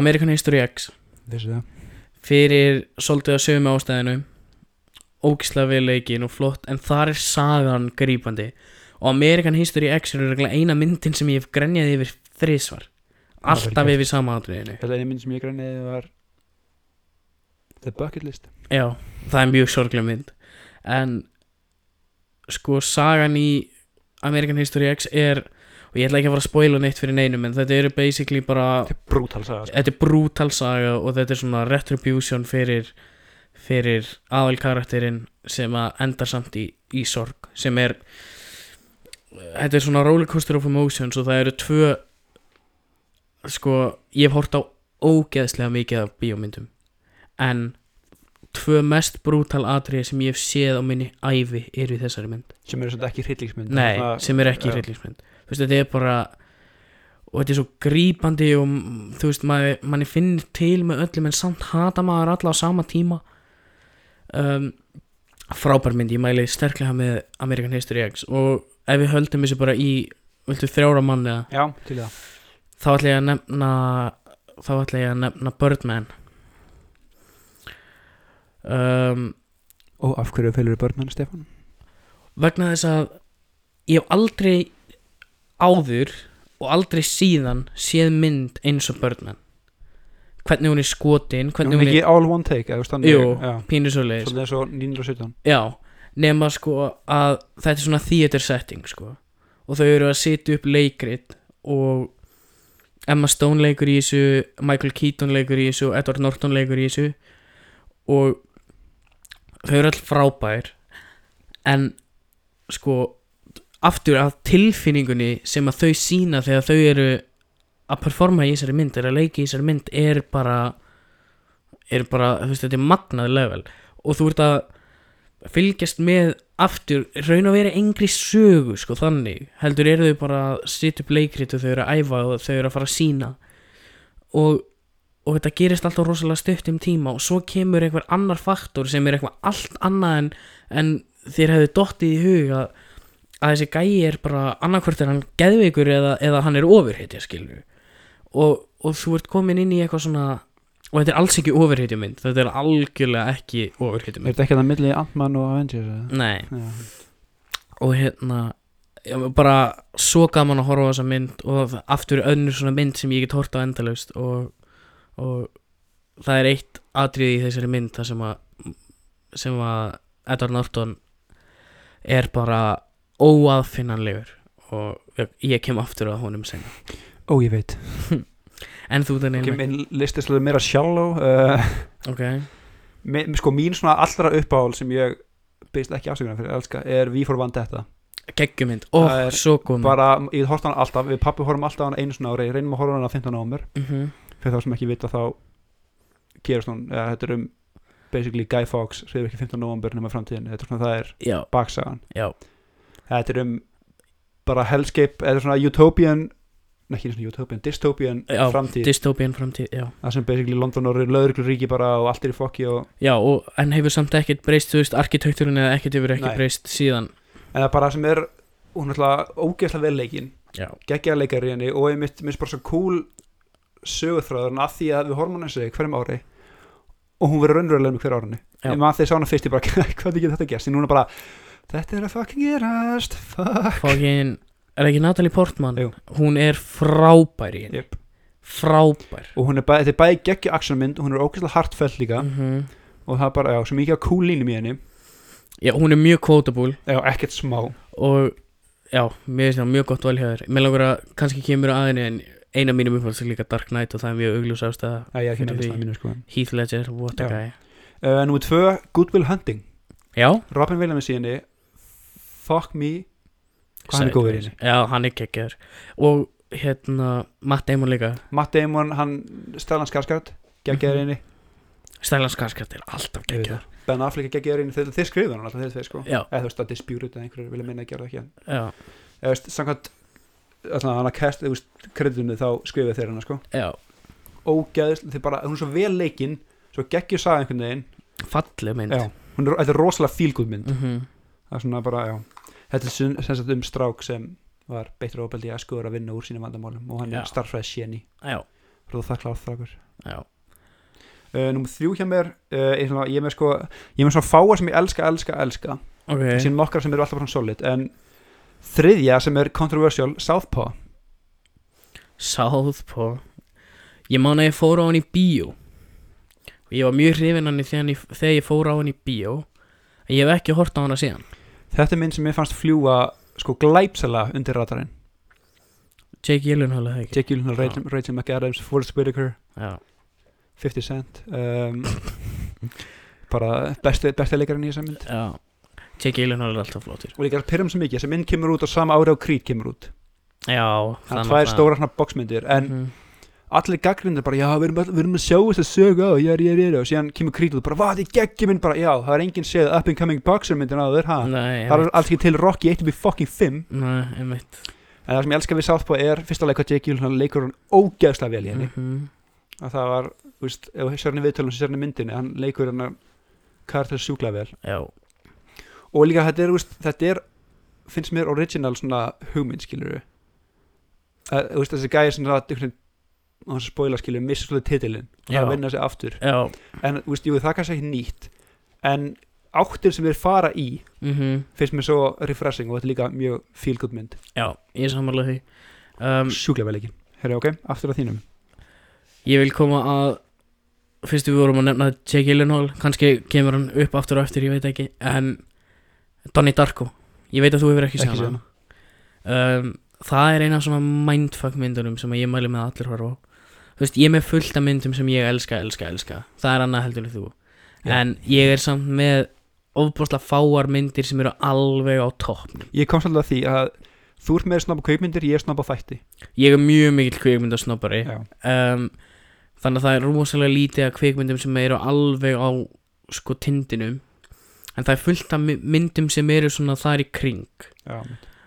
Speaker 1: American History X
Speaker 2: vissi það,
Speaker 1: fyrir svolítið að sögum ástæðinu ógislega vel leikinn og flott en þar er sagan grípandi og American History X er regla eina myndin sem ég hef grenjaði yfir þrísvar
Speaker 2: Það er vel
Speaker 1: alltaf
Speaker 2: gert.
Speaker 1: yfir sama atriðinu
Speaker 2: þetta einu mynd sem ég græniði var The Bucket List
Speaker 1: Já, það er mjög sorglega mynd en sko sagan í American History X er og ég ætla ekki að fara að spoila neitt fyrir neinum en þetta eru basically bara
Speaker 2: þetta er brútal saga sko.
Speaker 1: þetta er brútal saga og þetta er svona retribution fyrir fyrir aðalkarakterinn sem að endar samt í, í sorg sem er þetta er svona rollercoaster of emotions og það eru tvö sko, ég hef hort á ógeðslega mikið af bíómyndum en tvö mest brútal atriði sem ég hef séð á minni ævi eru í þessari mynd
Speaker 2: sem eru svolítið ekki hryllingsmynd
Speaker 1: Nei,
Speaker 2: Svona-
Speaker 1: sem er ekki
Speaker 2: já.
Speaker 1: hryllingsmynd Þú veist, þetta er bara og þetta er svo grípandi og mm, þú veist, maður, maður finnir til með öllum en samt hata maður alla á sama tíma um, frábær mynd, ég mæli sterklega með American History X og ef við höldum þessu bara í viltu þrjára manni eða,
Speaker 2: já, til í það
Speaker 1: þá ætla ég að nefna þá ætla ég að nefna Birdman um,
Speaker 2: og af hverju fylgur börnmenn Stefán?
Speaker 1: vegna þess að ég hef aldrei áður og aldrei síðan séð mynd eins og Birdman hvernig hún er skotin
Speaker 2: Hún
Speaker 1: hvernig
Speaker 2: er
Speaker 1: hún
Speaker 2: ekki
Speaker 1: er
Speaker 2: all one take eða, þú veist, þannig-
Speaker 1: Jú.
Speaker 2: já,
Speaker 1: pínusulegis
Speaker 2: svolítið eins og 917
Speaker 1: já, nema sko að þetta er svona theater setting sko og þau eru að setja upp leikrit og Emma Stone leikur í þessu Michael Keaton leikur í þessu Edward Norton leikur í þessu og þau eru all frábær en sko aftur að tilfinningunni sem að þau sína þegar þau eru að performa í þessari mynd, eru að leika í þessari mynd er bara er bara, þú veist, þetta er magnað level og þú ert að fylgjast með aftur raun og vera engri sögu sko þannig heldur eru þau bara að sitja upp leikrit og þau eru að æfa og þau eru að fara að sína og, og þetta gerist alltaf rosalega stuttum tíma og svo kemur einhver annar faktor sem er eitthvað allt annað en, en þér hefði dottið í hug að, að þessi gæi er bara annarkvort er hann geðveikur eða, eða hann er ofurheitja skilur og, og þú ert komin inn í eitthvað svona og þetta er alls ekki ofurheitja mynd þetta er algjörlega ekki ofurheitja
Speaker 2: er
Speaker 1: mynd
Speaker 2: þetta ekki það milli Ant-Man og Avengers eða?
Speaker 1: Nei,
Speaker 2: Já.
Speaker 1: og hérna já, bara svo gaman að horfa á þessa mynd og aftur önnur svona mynd sem ég get hort á endalaust og, og það er eitt atrið í þessari mynd þar sem að sem að Edward Norton er bara óaðfinnanlegur og ég- ég kem aftur að honum senna
Speaker 2: ó ég veit
Speaker 1: en þú þannig
Speaker 2: ok, minn listi svolítið meira shallow uh,
Speaker 1: ok,
Speaker 2: mi- sko mín svona allra uppáhald sem ég beist ekki afsökunar fyrir elska er V for Vendetta
Speaker 1: geggjumynd ó,
Speaker 2: Það er
Speaker 1: svo góð mynd
Speaker 2: bara, ég horfði hana alltaf, við pappi horfum alltaf á hana einu svona ári, ég reynum að horfa á hana 15 ámur
Speaker 1: Mhm.
Speaker 2: fyrir þá sem ekki vita þá gerist hún, eða þetta er um basically Guy Fawkes, segir ekki 15 november nema framtíðin, þetta er svona það er
Speaker 1: já,
Speaker 2: baksagan
Speaker 1: já,
Speaker 2: þetta er um bara hellscape, eða svona utopian nei, ekki svona utopian, dystopian
Speaker 1: já
Speaker 2: framtíð
Speaker 1: dystopian framtíð, já
Speaker 2: það sem basically London orður löðurglur ríki bara og allt er í fokki og
Speaker 1: Já, og, en hefur samt ekkert breyst, þú veist, arkitekturinn eða ekkert hefur ekki
Speaker 2: Nei.
Speaker 1: breyst síðan
Speaker 2: en það er bara sem er, hún er alltaf ógeðslega vel leikin
Speaker 1: Já,
Speaker 2: geggjaða leikari í henni og ég mitt minnst bara svo cool sögurþráður af því að við horfum hann eins og hverjum ári og hún verður raunverulega með hver árunni
Speaker 1: Já.
Speaker 2: ég maður þegar ég sá hana fyrst ég bara hvernig getur þetta gerst en núna bara þetta er að fucking gerast fuck
Speaker 1: fókin er ekki Natalie Portman
Speaker 2: Jú.
Speaker 1: hún er frábær í henni
Speaker 2: Jep.
Speaker 1: frábær
Speaker 2: og hún er bæ, þetta er bæði geggja aksjónmynd og hún er ógeðslega hartfell líka
Speaker 1: mm
Speaker 2: og það er bara, já, svo mikið að kúlínum í henni
Speaker 1: já, hún er mjög quotable
Speaker 2: já, ekkert smá
Speaker 1: og já, mér finnst það mjög gott valhjáður mér langar að kannski kemur að henni en eina mínum uppfalds er líka Dark Knight og það er mjög augljós ástæða
Speaker 2: já, ég er ekki
Speaker 1: Fyrir
Speaker 2: með
Speaker 1: því.
Speaker 2: það mínu sko
Speaker 1: Heath Ledger, what a
Speaker 2: Já.
Speaker 1: guy
Speaker 2: uh, Númer tvö, Good Will Hunting
Speaker 1: já,
Speaker 2: Robin Williams í henni Fuck me Hvað hann er góður í henni?
Speaker 1: já, hann er kekkjar og hérna, Matt Damon líka
Speaker 2: Matt Damon, hann Stellan Skarsgård geggjaður í henni
Speaker 1: Stellan Skarsgård er alltaf kekkjar
Speaker 2: Ben Affleck er geggjaður í henni þeir, þeir skrifa hann alltaf þeir tveir sko
Speaker 1: já,
Speaker 2: eða þú veist að Disputed eða einhverjir vilja minna að gera það ekki en
Speaker 1: já,
Speaker 2: eða þú veist, samkvæmt allan hann að cast, þú veist, kreditunni þá skrifa þeir hana sko
Speaker 1: já,
Speaker 2: ógæðist, þeir bara, hún er svo vel leikinn svo geggjur saga einhvern veginn
Speaker 1: falleg mynd
Speaker 2: já, hún er, þetta er rosalega fílgúð mynd
Speaker 1: Mhm.
Speaker 2: það er svona bara, já, þetta er sem, sem sagt um strák sem var beittur ofbeldi í æsku og er að vinna úr sínum vandamálum og hann
Speaker 1: Já.
Speaker 2: er starfræði séni,
Speaker 1: já,
Speaker 2: rúðu þakkláð þrákur
Speaker 1: já,
Speaker 2: uh, Númer þrjú hjá mér, uh, ég, svona, ég er með sko ég er með svona fáa sem ég elska, elska, elska
Speaker 1: ok
Speaker 2: okay. síðan nokkar sem eru alltaf bara solid en þriðja sem er controversial, Southpaw
Speaker 1: Southpaw Ég man að ég fór á hann í bíó og ég var mjög hrifin hann þegar, ég- þegar ég fór á hann í bíó en ég hef ekki hort á hann síðan
Speaker 2: þetta er mynd sem ég fannst fljúa sko glæpsala undir radarinn
Speaker 1: Jake Gyllenhaal er það ekki
Speaker 2: Jake Gyllenhaal, Rachel, Rachel McAdams, Forrest Whitaker
Speaker 1: Já,
Speaker 2: 50 Cent um, bara besti, besti leikarinn í þessa mynd
Speaker 1: já Jake Gyllenhaal er alltaf flottur
Speaker 2: og líka pyrrum svo mikið, þessi mynd kemur út á sama ári á Creed kemur út,
Speaker 1: Já,
Speaker 2: þannig að það er stóra svona boxmyndir en
Speaker 1: Mhm.
Speaker 2: allir gaggrindir bara, já, við erum, all- við erum að sjá þess að sögu á, já, já, já, já, og síðan kemur Creed út bara, hvað, þið geggjum mynd, bara, já, það er enginn séð up and coming boxer myndin áður, ha
Speaker 1: Nei,
Speaker 2: Ah, það
Speaker 1: einmitt.
Speaker 2: er alls ekki til Rocky 1 við fucking 5
Speaker 1: Nei, einmitt
Speaker 2: en það sem ég elska við Southpaw er, fyrsta leik að Jake Gyllenhaal leikur hann ógeðslega vel í henni
Speaker 1: Mhm.
Speaker 2: að það var, þú veist, ef þú sér hann í viðtölum sér hann í myndinni, hann leikur hann að karakter sjúkla vel
Speaker 1: Já,
Speaker 2: og líka þetta er, þú veist, þetta er finnst mér original svona hugmynd skilur þú veist, þessi gæði sem það einhvern veginn, og hans spoiler skilur, missa svolítið titilinn og það
Speaker 1: Já.
Speaker 2: er að vinna sig aftur
Speaker 1: já
Speaker 2: en, þú veist, jú, það er kannski ekki nýtt en áttir sem þeir fara í
Speaker 1: mhm.
Speaker 2: finnst mér svo refreshing og þetta er líka mjög feel good mynd,
Speaker 1: Já, ég samanlega því um,
Speaker 2: sjúkla vel ekki herri, ok, aftur að þínum
Speaker 1: Ég vil koma að fyrst við vorum að nefna Jake Gyllenhaal kannski kemur hann upp aftur og eftir, ég veit ekki en Donnie Darko ég veit að þú hefur ekki séð
Speaker 2: Ekki
Speaker 1: hann um, það er eina af svona mindfuck myndunum sem að ég mæli með að allir horfa á þú veist, ég er með fullt af myndum sem ég elska, elska, elska það er annað heldur en þú
Speaker 2: Já.
Speaker 1: en ég er samt með ofbúrslega fáar myndir sem eru alveg á toppnum
Speaker 2: ég kom svolítið að því að þú ert með snabba kaupmyndir, ég er snabba þætti
Speaker 1: ég er mjög mikill kvikmyndasnobbari
Speaker 2: Já.
Speaker 1: um, þannig að það er rosalega lítið af kvikmyndum sem eru alveg á sko tindinum en það er fullt af my- myndum sem eru svona þar í kring
Speaker 2: Já.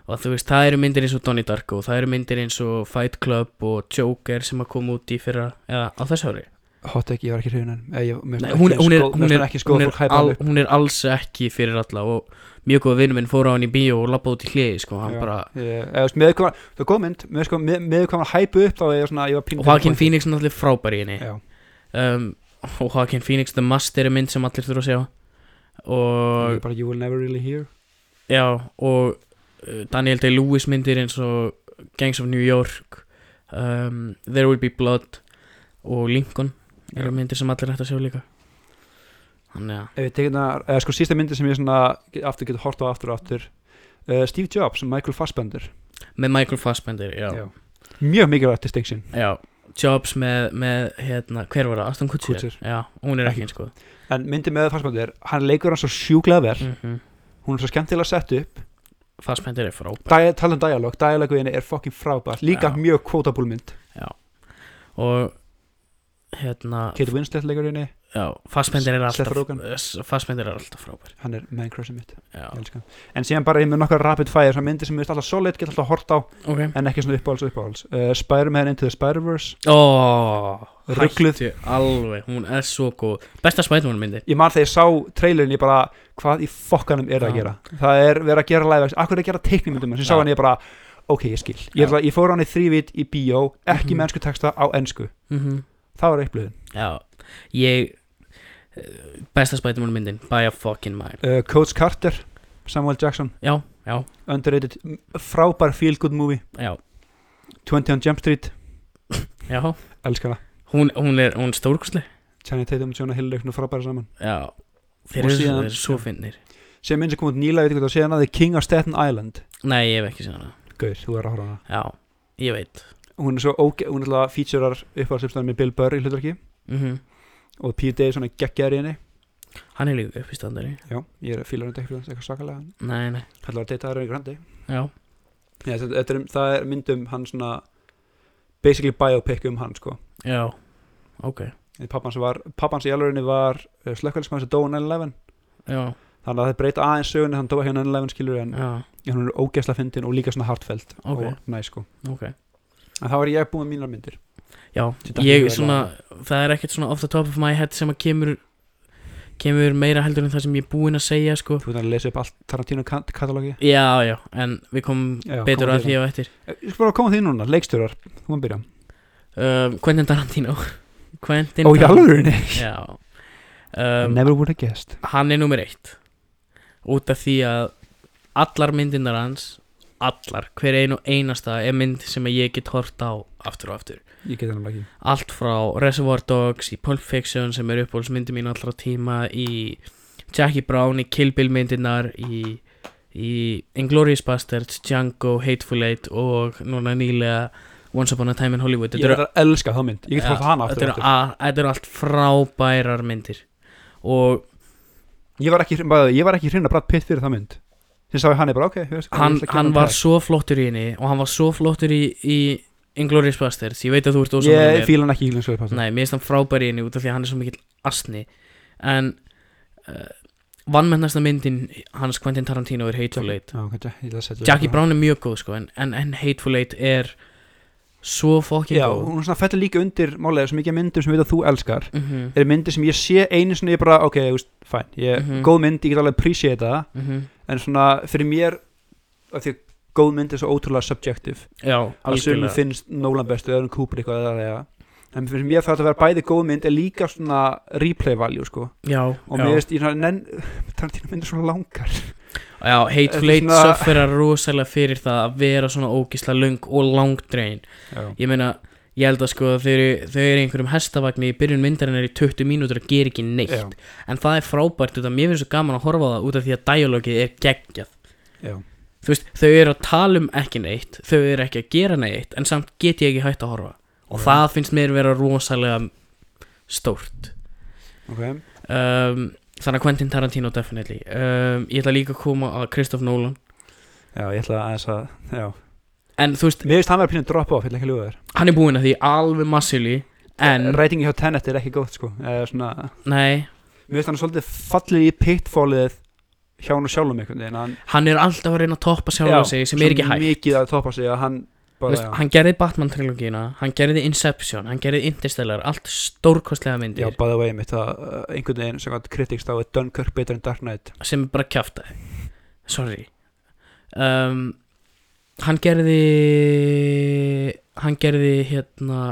Speaker 1: og þú veist, það eru myndir eins og Donnie Darko það eru myndir eins og Fight Club og Joker sem að koma út í fyrra eða á þessu ári
Speaker 2: hot ekki, ég var ekki hreifin
Speaker 1: Nei, hún, hún, er, hún, er,
Speaker 2: ekki sko-
Speaker 1: hún,
Speaker 2: skoð fólk
Speaker 1: er
Speaker 2: hæpa
Speaker 1: al,
Speaker 2: alveg
Speaker 1: hún er alls ekki fyrir alla og mjög góð vinnum minn fór á hann í bíó og lappa út í hliði sko, hann
Speaker 2: Já.
Speaker 1: bara
Speaker 2: Ég- eða, þú veist, með hvað, það er góð mynd með, sko, með, með hvað maður hæpu upp þá er ég svona, ég var pínu
Speaker 1: og Joaquin Phoenix er náttúrulega frábær í henni
Speaker 2: já,
Speaker 1: um, og Joaquin Phoenix The Master er mynd sem allir þurfa að sjá
Speaker 2: ég
Speaker 1: og
Speaker 2: bara, you will never really hear
Speaker 1: já og uh, Daniel Day-Lewis myndir eins og Gangs of New York um, There Will Be Blood og Lincoln eru
Speaker 2: Já.
Speaker 1: myndir sem allir ætti að sjá líka þannig að
Speaker 2: ef ég tekið það, eða sko sísta myndi sem ég svona get- aftur getur hort á aftur og aftur uh, Steve Jobs, Michael Fassbender
Speaker 1: með Michael Fassbender, já, já.
Speaker 2: mjög mikilvægt distinction
Speaker 1: Jobs með, með hérna, hver var það, Aston Kutcher,
Speaker 2: Kutcher.
Speaker 1: já, hún er
Speaker 2: Ekki.
Speaker 1: ekki eins góð
Speaker 2: en myndi með Fassbender, hann leikur hann svo sjúklega vel
Speaker 1: mm
Speaker 2: hún er svo skemmtilega sett upp
Speaker 1: Fassbender er frábær
Speaker 2: Dæ, tala um dialog, dialogu henni er fucking frábært líka
Speaker 1: Já.
Speaker 2: mjög quotable mynd
Speaker 1: og hérna,
Speaker 2: Kate Winslet leikur henni,
Speaker 1: já, Fassbender er
Speaker 2: Seth
Speaker 1: alltaf
Speaker 2: Rogen.
Speaker 1: Fassbender er alltaf frábær
Speaker 2: hann er man crushið mitt
Speaker 1: já,
Speaker 2: Ég elska hann. en síðan bara ég með nokkar rapid fire svona myndir sem ég veist alltaf solid, get alltaf hort á
Speaker 1: ok
Speaker 2: en ekki svona uppáhalds uppáhalds uh, Spider-Man Into the Spider-Verse
Speaker 1: Ó,
Speaker 2: Rugluð.
Speaker 1: hættu alveg, hún er svo góð Besta Spiderman myndi
Speaker 2: ég man þegar ég sá trailerin ég bara hvað í fokkanum er það að
Speaker 1: Já.
Speaker 2: gera það er verið að gera live action, akkur er að gera teiknumyndum sem ég sá
Speaker 1: Já.
Speaker 2: hann ég bara, ok ég skil ég,
Speaker 1: Já.
Speaker 2: er það, ég fór hann í þrývit í bíó, ekki
Speaker 1: Mhm.
Speaker 2: með ennsku texta á ennsku
Speaker 1: mm
Speaker 2: það var upplöðin
Speaker 1: Já, ég eh, Besta Spiderman myndin, by a fucking mile
Speaker 2: uh, Coach Carter, Samuel Jackson
Speaker 1: Já, já,
Speaker 2: underrated, m- frábær feel good movie
Speaker 1: já,
Speaker 2: 20 on Jump Street,
Speaker 1: já
Speaker 2: elskar það
Speaker 1: hún, hún er, hún er stórkosleg
Speaker 2: Channing Tatum og Jonah Hill leiknum frábæra saman
Speaker 1: já, þeir
Speaker 2: Og
Speaker 1: eru,
Speaker 2: síðan-
Speaker 1: þeir eru svo finnir
Speaker 2: sem eins og kom út nýlega, veit ekki hvað það sé hana The King of Staten Island
Speaker 1: nei, ég hef ekki séð hana
Speaker 2: Gauð, þú er að horfa á hana
Speaker 1: já, ég veit
Speaker 2: hún er svo óge, hún er alltaf featurar uppáðsumstæðan með Bill Burr í hlutverki
Speaker 1: mm
Speaker 2: Mhm. og Pete Davidson er geggjaður í henni
Speaker 1: hann er líka uppistandari
Speaker 2: já, ég er fílar hann ekki fyrir hans eitthvað sakalega en
Speaker 1: nei, nei,
Speaker 2: kallar að deyta það er einhver handi
Speaker 1: já,
Speaker 2: já, þetta, þetta er, um- það er myndum hann svona basically biopic um hann sko
Speaker 1: já ok,
Speaker 2: pappans, var, pappans í alvegurinni var slökkvælismann sem dó á 9-11
Speaker 1: já,
Speaker 2: þannig að það breyta aðeins sögunni hann dó ekki á 9-11 skilur en
Speaker 1: já,
Speaker 2: en hún er ógeðsla fyndin og líka svona hartfelt
Speaker 1: Ok.
Speaker 2: og næ sko
Speaker 1: ok
Speaker 2: en þá er ég búin mínar myndir
Speaker 1: Já,
Speaker 2: Þetta
Speaker 1: ég
Speaker 2: hljóðar
Speaker 1: svona, það er ekkert svona off the top of my head sem að kemur kemur meira heldur en það sem ég er búinn að segja sko.
Speaker 2: þú veit að lesa upp allt Tarantino kat- katalogi
Speaker 1: Já, já, en við komum
Speaker 2: Já,
Speaker 1: betur
Speaker 2: komum
Speaker 1: að
Speaker 2: við
Speaker 1: því á eftir
Speaker 2: Eh, ég skal bara koma að því núna leikstjórar þú maður byrja
Speaker 1: um, Quentin Tarantino Quentin
Speaker 2: ó í alvegurinni
Speaker 1: Já um,
Speaker 2: never would have guessed
Speaker 1: Hann er nummer eitt út af því að allar myndindar hans allar, hver ein og einasta er mynd sem að ég get hort á aftur og aftur
Speaker 2: ég get hann ekki
Speaker 1: allt frá Reservoir Dogs í Pulp Fiction sem er uppbólsmyndi mín allra tíma í Jackie Brown í Kill Bill myndinar í, í Inglourious Basterds, Django, Hateful Eight og núna nýlega Once Upon a Time in Hollywood
Speaker 2: ég er að elska þá mynd ég get
Speaker 1: Ja,
Speaker 2: hótt hana
Speaker 1: þetta
Speaker 2: aftur,
Speaker 1: eru
Speaker 2: aftur.
Speaker 1: a- þetta eru allt frábærar myndir og
Speaker 2: ég var ekki bara, ég var ekki hrinn að bratt pitt fyrir það mynd sem sá ég hann er bara ok ég veist,
Speaker 1: hann,
Speaker 2: ég ætla að gefa
Speaker 1: hann
Speaker 2: honum
Speaker 1: var
Speaker 2: tag.
Speaker 1: svo flottur í henni og hann var svo flottur í, í Inglourious Basterds, ég veit að þú ert ósammála mér.
Speaker 2: ég fíla hann ekki í hljóðsvöðu passa
Speaker 1: Nei, mér finnst hann frábær í henni út af því að hann er svo mikill asni En uh, Vannmennasta myndin hans Quentin Tarantino er Hateful Eight Jackie
Speaker 2: Jackie
Speaker 1: Brown er mjög góð sko En, en, en Hateful Eight er Svo fokkin
Speaker 2: já,
Speaker 1: góð
Speaker 2: hún svona fættir líka undir málega sem ekki myndum sem við að þú elskar
Speaker 1: mm -hmm,
Speaker 2: er myndir sem ég sé einu svona ég bara ok, þú veist, fæn, ég,
Speaker 1: Mhm.
Speaker 2: góð mynd ég get alveg appreciate það, en svona fyrir mér, af því að góð mynd er svo ótrúlega subjective,
Speaker 1: Já,
Speaker 2: að sumum
Speaker 1: algjörlega
Speaker 2: finnst Nolan bestu, öðrum Kubrick og það ja. en fyrir mér þarf þetta að vera bæði góð mynd en líka svona replay value sko.
Speaker 1: Já,
Speaker 2: og mér
Speaker 1: já,
Speaker 2: veist, ég svona nenn Tarantino myndir svona langar
Speaker 1: já, Hateful
Speaker 2: Þetta er
Speaker 1: Eight
Speaker 2: svona-
Speaker 1: sofferar rosalega fyrir það að vera svona ógisla lung og langdrein
Speaker 2: já,
Speaker 1: Ég meina, ég held að sko þau eru, þau eru í einhverjum hestavagni í byrjun myndarinnar í 20 mínútur og gera ekki neitt
Speaker 2: já,
Speaker 1: en það er frábært út af mér finnst svo gaman að horfa á það út af því að dialogið er geggjað
Speaker 2: já.
Speaker 1: þú veist, þau eru að tala um ekki neitt þau eru ekki að gera neitt en samt get ég ekki hægt að horfa og
Speaker 2: Ok.
Speaker 1: það finnst mér vera rosalega stórt
Speaker 2: ok
Speaker 1: um, þannig að Quentin Tarantino definitely um, ég ætla líka að koma að Kristoff Nolan
Speaker 2: Já, ég ætla aðeins að, já
Speaker 1: en þú veist,
Speaker 2: Mér finnst hann verið að pínu drop off, ég ætla ekki að ljúga þér
Speaker 1: hann er búinn að því alveg massíli en,
Speaker 2: Ratingi hjá Tenet er ekki gótt, sko Eða, svona,
Speaker 1: nei,
Speaker 2: Mér finnst hann svolítið fallið í pitfallið hjá hann og sjálfum einhvern veginn hann,
Speaker 1: hann er alltaf að reyna að toppa sjálfa sig sem er ekki hægt
Speaker 2: mikið að toppa sig að hann
Speaker 1: Þú
Speaker 2: bara,
Speaker 1: veist, hann gerði Batman trilogíuna, hann gerði Inception, hann gerði Interstellar, allt stórkostlega
Speaker 2: já, já,
Speaker 1: myndir
Speaker 2: by the way, mitt að uh, einhvern veginn sem hann kritikst á er Dunkirk betur en Dark Knight
Speaker 1: sem er bara kjáftaði sorry um, hann gerði hann gerði hérna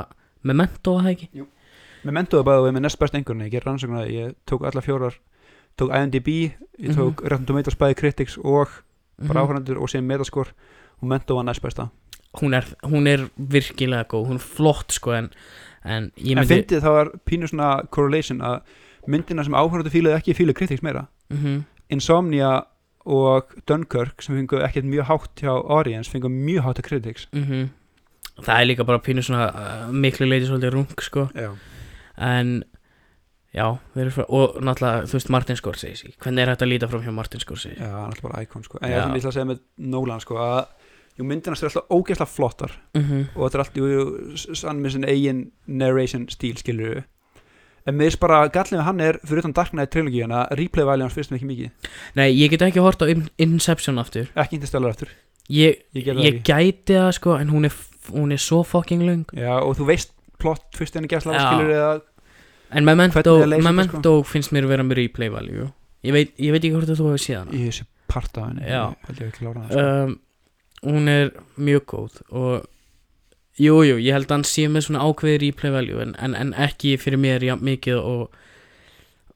Speaker 1: Memento að það ekki
Speaker 2: Mér mentuðu by the way með næst best einhvern veginn, ég ger rannsóknar ég tók alla fjórar, tók IMDb ég tók Rotten Tomatoes bæði critics og bara
Speaker 1: Mhm.
Speaker 2: áhverjandur og síðan metaskor og mentuðu var næst besta
Speaker 1: hún, er, hún er virkilega góð hún er flott sko en, en ég
Speaker 2: En
Speaker 1: myndi
Speaker 2: fyndið það var pínu svona correlation að myndina sem áhörðu fílaði ekki fílaði kritiks meira
Speaker 1: Mhm,
Speaker 2: Insomnia og Dunkirk sem fengu ekkert mjög hátt hjá audience fengu mjög hátt á kritiks
Speaker 1: mhm. það er líka bara pínu svona uh, miklu leiti svolítið rung sko
Speaker 2: Já,
Speaker 1: en já, þeir eru frá, og náttúrulega þú veist Martin Scorsese, hvernig er þetta að líta fram hjá Martin Scorsese
Speaker 2: Já hann er alltaf bara íkon sko En
Speaker 1: Já.
Speaker 2: ég ætla- ég ætla að segja með Nolan sko að jú, myndina er alltaf ógeðslega flottar
Speaker 1: Mhm,
Speaker 2: og þetta er allt, jú, jú, s- sann með sinni eigin narration stíl skilur við En með þess bara gallið með hann er fyrir utan Dark Knight trilogíuna replay value hans fyrst en ekki mikið
Speaker 1: nei, ég get ekki hort á In- Inception aftur
Speaker 2: Ekki interstellar eftir
Speaker 1: ég,
Speaker 2: Ég gerði það
Speaker 1: ég
Speaker 2: ekki
Speaker 1: gæti það sko en hún er, hún er svo fucking lung
Speaker 2: Já og þú veist plott fyrst en ekki að
Speaker 1: Já.
Speaker 2: skilur eða
Speaker 1: en Memento,
Speaker 2: Hvernig er leysið,
Speaker 1: Memento finnst mér vera með replay value ég veit, ég veit ekki hvort að þú hefur séð hana
Speaker 2: Ég sé part af henni
Speaker 1: Já.
Speaker 2: Ég held ég að klára það sko.
Speaker 1: um, hún er mjög góð og jú, jú, ég held að hann sé með svona ákveði replay value en, en, en ekki fyrir mér jafn mikið og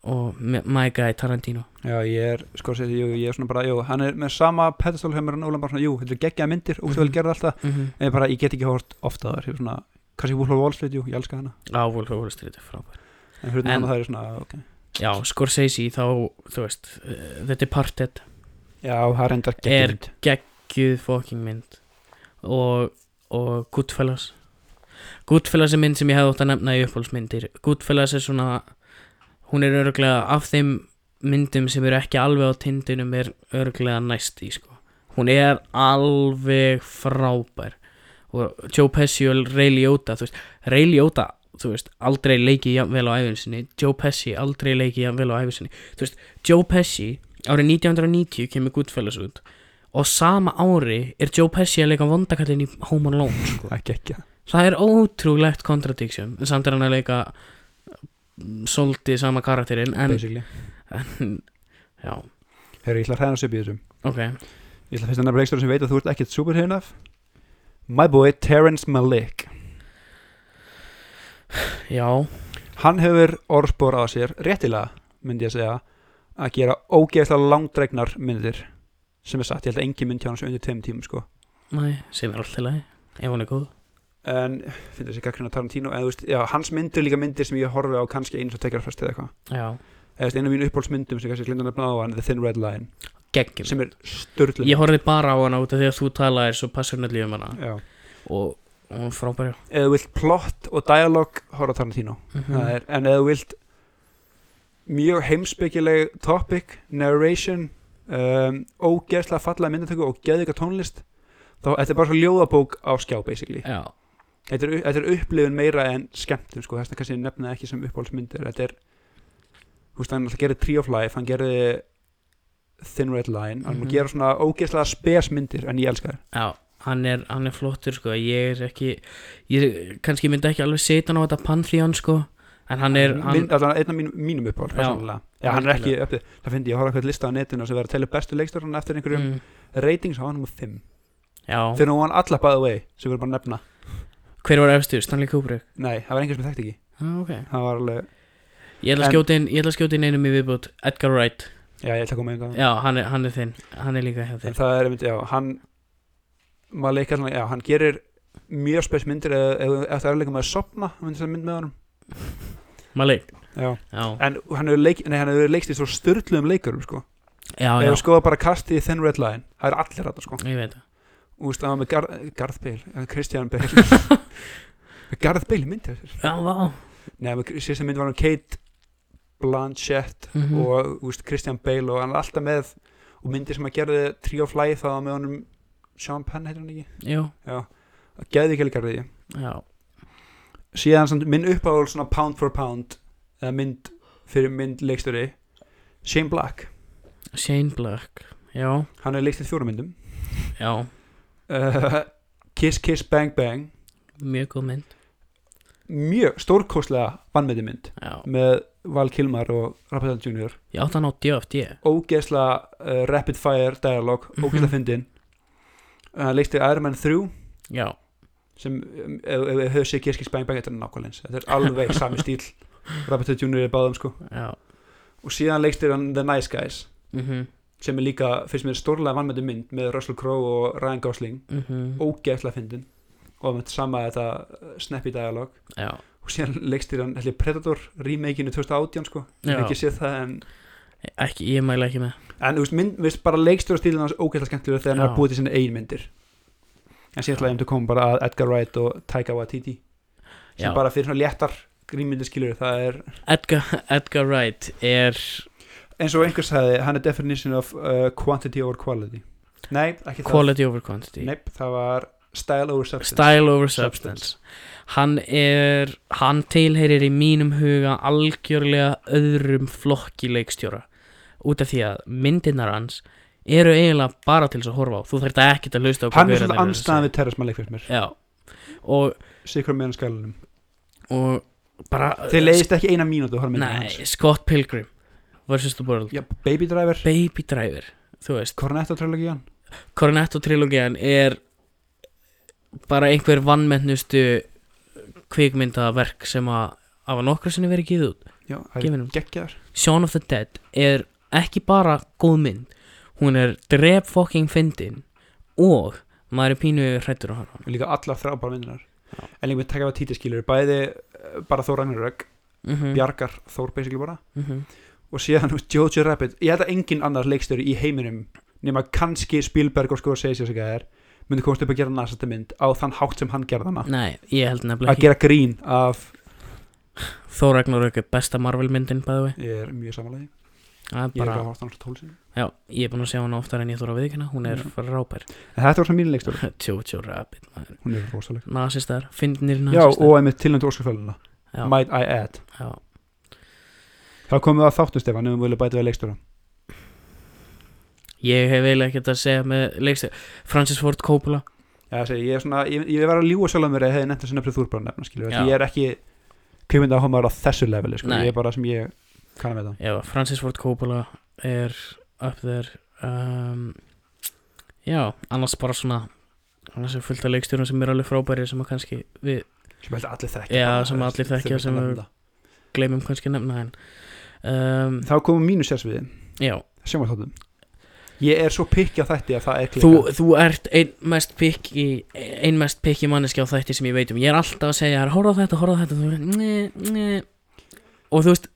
Speaker 1: og me- My Guy Tarantino
Speaker 2: Já, ég er, sko, sér, jú, ég er svona bara, jú, hann er með sama pedestálheimur en Ólan bara svona, jú, þetta er geggjað myndir, ógstu vel
Speaker 1: Mhm.
Speaker 2: gerð alltaf,
Speaker 1: mm -hmm.
Speaker 2: en ég bara, ég get ekki hort ofta þar, ég er svona, kannski Wolf of Wall Street, jú, ég elska hana,
Speaker 1: á Wolf of Wall Street er frábær
Speaker 2: en hlutin
Speaker 1: En-
Speaker 2: hana það er svona, ok.
Speaker 1: já, Scorsese þá, þú veist uh, The Departed,
Speaker 2: Já, það er enda
Speaker 1: Er-
Speaker 2: geggjað mynd.
Speaker 1: Gjöð fucking mynd og, og Goodfellas Goodfellas er mynd sem ég hefði ótt að nefna í upphólsmyndir Goodfellas er svona hún er örglega af þeim myndum sem eru ekki alveg á tindinum er örglega næst í sko hún er alveg frábær og Joe Pesci og Ray Liotta þú veist, Ray Liotta þú veist, aldrei leikið jafn vel á æfinsinni Joe Pesci aldrei leikið jafn vel á æfinsinni þú veist, Joe Pesci árið 1990 kemur Goodfellas út og sama ári er Joe Pesci að leika vondakallin í Home Alone sko.
Speaker 2: Það er geggjað.
Speaker 1: það er ótrúlegt contradiction en samt er hann að leika mm, svolítið sama karakterinn en,
Speaker 2: basically.
Speaker 1: en já,
Speaker 2: Herru, ég ætla að hræðast upp í þessum.
Speaker 1: ok
Speaker 2: Ég ætla fyrst að nefna leikstöru sem ég veit að þú ert ekkert superhefn af. My boy, Terrence Malick.
Speaker 1: já,
Speaker 2: Hann hefur orðspor á sér, réttilega, myndi ég að segja, að gera ógeðslega langdregnar myndir sem er satt, ég held að engin mynd hjá hans undir tveim tímum, sko.
Speaker 1: næ, sem er alltaf læg ef hún er góð
Speaker 2: en finnst þessi gaggrinn að Tarantino en þú veist, já, hans myndir eru líka myndir sem ég horfi á kannski eins og tekjar fast eða eitthvað
Speaker 1: já,
Speaker 2: eða þú veist, einu af mínu uppbólsmyndum sem kannski glinda nefna á hann The Thin Red Line,
Speaker 1: geggjum
Speaker 2: sem er störtlum
Speaker 1: ég horfði bara á hana út af því að þú talaðir svo passionatli um hana
Speaker 2: já.
Speaker 1: og, og hún er frábær já.
Speaker 2: eða þú vilt plott og dialog horfa á Tarantino,
Speaker 1: Mhm.
Speaker 2: það er, en eða þú vilt mjög heimsbyggileg topic, narration um, ógeðslega fallega myndatöku og geðvika tónlist þá, þetta er bara svo ljóðabók á skjá basically,
Speaker 1: já,
Speaker 2: þetta er, þetta er upplifun meira en skemmtum sko, þess að kannski ég nefna ekki sem uppáhaldsmyndir, þetta er þú veist, hann alltaf gerði Tree of Life, hann gerði Thin Red Line, hann mm
Speaker 1: Mhm.
Speaker 2: gera svona ógeðslega spesmyndir en ég elska þér
Speaker 1: já hann er, hann er flottur sko ég er ekki, ég kannski myndi ekki alveg setja hann á þetta pantheon sko en hann er, hann,
Speaker 2: Minn, allan, einn af mínum, mínum uppáhald
Speaker 1: Já.
Speaker 2: persónulega. Já, hann er ekki uppið, það finnst ég að horfa eitthvað lista á netinu sem verður að telja bestu leikstörun eftir einhverjum
Speaker 1: mm,
Speaker 2: ratings á hann um 5
Speaker 1: já
Speaker 2: þegar hún var alla by the way, sem við erum bara að nefna
Speaker 1: Hver var efstu? Stanley Kubrick?
Speaker 2: nei, það var einhver sem ég þekkt ekki,
Speaker 1: Ah, ok
Speaker 2: það var alveg
Speaker 1: Ég ætla
Speaker 2: En-
Speaker 1: að skjóta inn, ég ætla að skjóta inn einum í viðbútt Edgar Wright
Speaker 2: já, ég ætla að koma einhvern
Speaker 1: Já, hann er, hann er þinn Hann er líka hjá
Speaker 2: en
Speaker 1: þér
Speaker 2: það er einmitt, já, hann maður leikar svona, já, hann gerir mjög spes myndir eða eða- ef það er leika með að sopna myndir sem mynd með honum
Speaker 1: Malik
Speaker 2: já.
Speaker 1: Já,
Speaker 2: en hann hefur, leik, nei, hann hefur leikst í svo störtluðum leikurum sko.
Speaker 1: já, Ah, já
Speaker 2: eða skoða bara kastið í Thin Red Line það er allir þetta sko
Speaker 1: Ég veit það
Speaker 2: Úst, það var með Gar Garth Bale, Kristján Bale Með Garth Bale í myndi þessir
Speaker 1: Já, vá
Speaker 2: Nei, með- síðasta mynd var hann Kate Blanchett
Speaker 1: mm
Speaker 2: og úst, Kristján Bale og hann er alltaf með og myndir sem að gerði Tree of Life það var með honum Sean Penn heitir hann ekki
Speaker 1: Jú,
Speaker 2: já, geði ekki helgarði ég
Speaker 1: já
Speaker 2: síðan samt minn uppáhól svona pound for pound eða mynd fyrir mynd leikstöri Shane Black,
Speaker 1: Shane Black Já,
Speaker 2: hann er leikstið fjóra myndum
Speaker 1: já
Speaker 2: uh, Kiss Kiss Bang Bang
Speaker 1: Mjög góð mynd
Speaker 2: mjög stórkoslega vannmyndi mynd
Speaker 1: Já
Speaker 2: með Val Kilmar og Raphael Jr.
Speaker 1: Ég átti hann á DFD
Speaker 2: ógeðsla uh, rapid fire dialog,
Speaker 1: Mhm.
Speaker 2: ógeðsla fyndin hann leikstið Iron Man 3
Speaker 1: Já
Speaker 2: sem um, ef ef við höfum séð Kiss Kiss Bang Bang þetta er nákvæmleins, þetta er alveg sami stíl Raphael Jr. er báðum sko
Speaker 1: Já
Speaker 2: og síðan leikstið hann The Nice Guys
Speaker 1: Mhm, mhm
Speaker 2: sem er líka, finnst mér stórlega vannmætti mynd með Russell Crowe og Ryan Gosling
Speaker 1: Mhm.
Speaker 2: ógeðslega fyndin og með sama þetta uh, snappy dialog
Speaker 1: Já,
Speaker 2: og síðan leikstýr hann heldur Predator remakeinu 2018 sko ég
Speaker 1: Já.
Speaker 2: hef ekki séð það en
Speaker 1: ekki, ég mæla ekki með
Speaker 2: en þú veist, mynd, veist bara leikstýr og stílinn hans ógeðslega skemmtilega þegar
Speaker 1: Já.
Speaker 2: hann er búið til sinni eigin myndir en síðan ætlaði ég um til að koma bara að Edgar Wright og Taika Waititi sem
Speaker 1: Já.
Speaker 2: bara fyrir svona léttar grínmyndir skilur það er
Speaker 1: Edgar, Edgar Wright er
Speaker 2: eins og einhver sagði hann er definition of uh, quantity over quality nei, ekki
Speaker 1: quality over quantity
Speaker 2: það nei, það var style over substance
Speaker 1: Style over
Speaker 2: Substance.
Speaker 1: substance Hann er Hann tilheyrir í mínum huga algjörlega öðrum flokki leikstjóra Út af því að myndirnar hans eru eiginlega bara til þess að horfa á Þú þarft ekki að hlusta á
Speaker 2: hann er
Speaker 1: gaurarnir
Speaker 2: svolítið
Speaker 1: eru að
Speaker 2: anstæðan við Terrence Malick fyrir mér
Speaker 1: segja. Já Og,
Speaker 2: sikur meðan skalunum
Speaker 1: og bara
Speaker 2: þeir leiðist ekki eina mínútu að horfa myndina
Speaker 1: Uh, Nei,
Speaker 2: hans
Speaker 1: Scott Pilgrim versus the world
Speaker 2: Já, Baby Driver,
Speaker 1: Baby Driver Þú veist
Speaker 2: Cornetto trilogían
Speaker 1: Cornetto trilógian er bara einhver vannmennustu kvikmyndaverk sem að hafa nokkru sinni verið gefið út
Speaker 2: já, það
Speaker 1: Gefið
Speaker 2: er
Speaker 1: honum.
Speaker 2: geggjaður
Speaker 1: Shaun of the Dead er ekki bara góð mynd hún er drep fucking fyndin og maður er pínu hrættur að horfa á hana
Speaker 2: og líka alla þrábara myndinar
Speaker 1: Já.
Speaker 2: en líka með taka við títiskilur bæði eh, bara Þór Ragnarök
Speaker 1: Mhm,
Speaker 2: bjargar Þór basically bara
Speaker 1: mhm.
Speaker 2: og síðan þú veist, Jojo Rabbit ég held að engin annar leikstöri í heiminum nema kannski Spielberg og sko að segja sér sem það er myndi komast upp að gera nasasta mynd á þann hátt sem hann gerði hana
Speaker 1: Nei, ég held nefnilega
Speaker 2: að
Speaker 1: ekki
Speaker 2: gera grín af
Speaker 1: Þó Ragnarök er besta Marvel myndin bæði
Speaker 2: ég er mjög samanlega
Speaker 1: við
Speaker 2: ég er
Speaker 1: bara,
Speaker 2: ekki að horfa þannig tól sinni
Speaker 1: já, ég er búin að sjá hana oftar en ég þóra að viðkynna hún er
Speaker 2: Já.
Speaker 1: frábær
Speaker 2: en þetta var svona mín leikstöri
Speaker 1: Jojo Rabbit, maður
Speaker 2: hún er rosaleg
Speaker 1: Nasistar, fyndnir
Speaker 2: já
Speaker 1: nasistar
Speaker 2: og einmitt tilnæmt óskarfæluna
Speaker 1: Já,
Speaker 2: might I add
Speaker 1: já,
Speaker 2: þá komum við að þáttu Stefan ef við viljum bæta við leikstöra
Speaker 1: ég hef eiginlega ekkert að segja með leikstöð Francis Ford Coppola
Speaker 2: Já, segi, ég, er svona, ég, ég var að ljúa sjálf að mér að ég hefði nefnt að sinna fyrir þúrbara nefna skilur,
Speaker 1: Já.
Speaker 2: ég er ekki kvikmynda á þessu leveli sko.
Speaker 1: Nei.
Speaker 2: ég er bara sem ég kann að með það
Speaker 1: Já, Francis Ford Coppola er upp þér um, Já, annars bara svona annars er fullt af leikstjórnum sem er alveg frábæri sem að kannski við
Speaker 2: sem held að allir þekkja
Speaker 1: Já,
Speaker 2: bara,
Speaker 1: sem allir
Speaker 2: þurfum
Speaker 1: þekkja,
Speaker 2: ekki
Speaker 1: sem
Speaker 2: að
Speaker 1: við-
Speaker 2: nefna
Speaker 1: gleymum kannski að nefna henn um,
Speaker 2: það. þá komum mínu sérsviði,
Speaker 1: Já,
Speaker 2: sjómaþáttum ég er svo pikki á þætti að það er
Speaker 1: þú,
Speaker 2: klika
Speaker 1: þú ert einn mest pikki einn mest pikki manneski á þætti sem ég veit um ég er alltaf að segja, horfa á þetta, horfa á þetta og þú, veist, "Nei, nei." og þú veist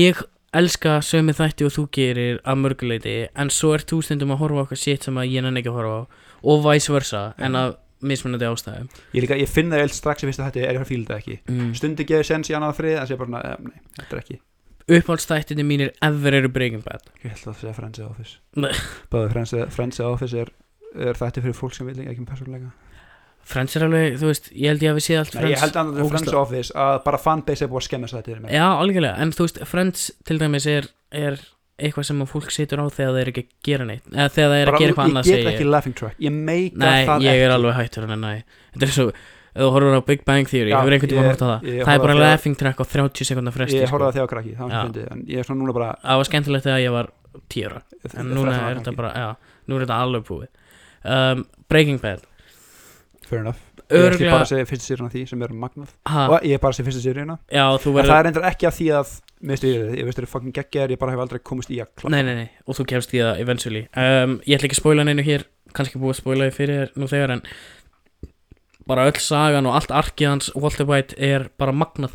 Speaker 1: ég elska sömu þætti og þú gerir að mörguleiti en svo ert þú stundum að horfa á okkar shit sem að ég nenni ekki að horfa á og vice versa en
Speaker 2: Já.
Speaker 1: að mismunandi ástæðum
Speaker 2: ég, líka, ég finn það eilt strax í fyrsta þætti er ég að fíla þetta ekki
Speaker 1: mm.
Speaker 2: stundi gefið sens í annað þrið en sé bara, svona, eh, nei, þetta er ekki
Speaker 1: uppáhaldstættinni mínir ever eru Breaking Bad
Speaker 2: ég held að það sé Friends eða
Speaker 1: Nei.
Speaker 2: Office báðu Friends eða- Friends eða Office er, er þætti fyrir fólk sem vil ekki um persónuleika
Speaker 1: Friends er alveg, þú veist, ég held ég hafi séð allt
Speaker 2: Nei, ég
Speaker 1: Friends
Speaker 2: held að það er Friends
Speaker 1: ógeðslega-
Speaker 2: eða Office að bara fanbase er búið að skemma þetta
Speaker 1: Já, algjörlega, en þú veist, Friends til dæmis er, er eitthvað sem að fólk situr á þegar það er ekki að gera neitt eða þegar það er að gera eitthvað annað
Speaker 2: ég
Speaker 1: segi
Speaker 2: get
Speaker 1: ég.
Speaker 2: ekki laughing track ég meika
Speaker 1: Nei,
Speaker 2: það
Speaker 1: ég er
Speaker 2: ekki.
Speaker 1: alveg hættur en nei Þetta er svo, ef þú horfur á Big Bang Theory,
Speaker 2: Já,
Speaker 1: hefur einhvern tímann
Speaker 2: ég-
Speaker 1: hort á það Það er
Speaker 2: ég horfði á
Speaker 1: bara
Speaker 2: þegar-
Speaker 1: laughing track á 30 sekundar fresti
Speaker 2: ég
Speaker 1: sko.
Speaker 2: horfði að þegar krakki það var
Speaker 1: Já.
Speaker 2: fyndið, en ég er svona núna bara
Speaker 1: Það var skemmtilegt þegar ég var 10 ára En núna
Speaker 2: þrettán ára
Speaker 1: er þetta
Speaker 2: krakki.
Speaker 1: bara, já, nú er þetta alveg búið um, Breaking Bad
Speaker 2: fair enough ég er
Speaker 1: Örglega,
Speaker 2: bara að segja fyrstu sérina því sem er magnað
Speaker 1: ha,
Speaker 2: og ég er bara að segja fyrstu sérina
Speaker 1: já, Ah. þú
Speaker 2: en það
Speaker 1: verður
Speaker 2: er endur ekki að því að mér styrir þið ég veist þeir eru fucking geggjær ég bara hef aldrei komist í að klappa
Speaker 1: Nei, nei, nei, og þú kemst í það eventually um, Ég ætla ekki að spoila neinu hér kannski búið að spoila þið fyrir þér nú þegar en bara öll sagan og allt arkið hans Walter White er bara magnað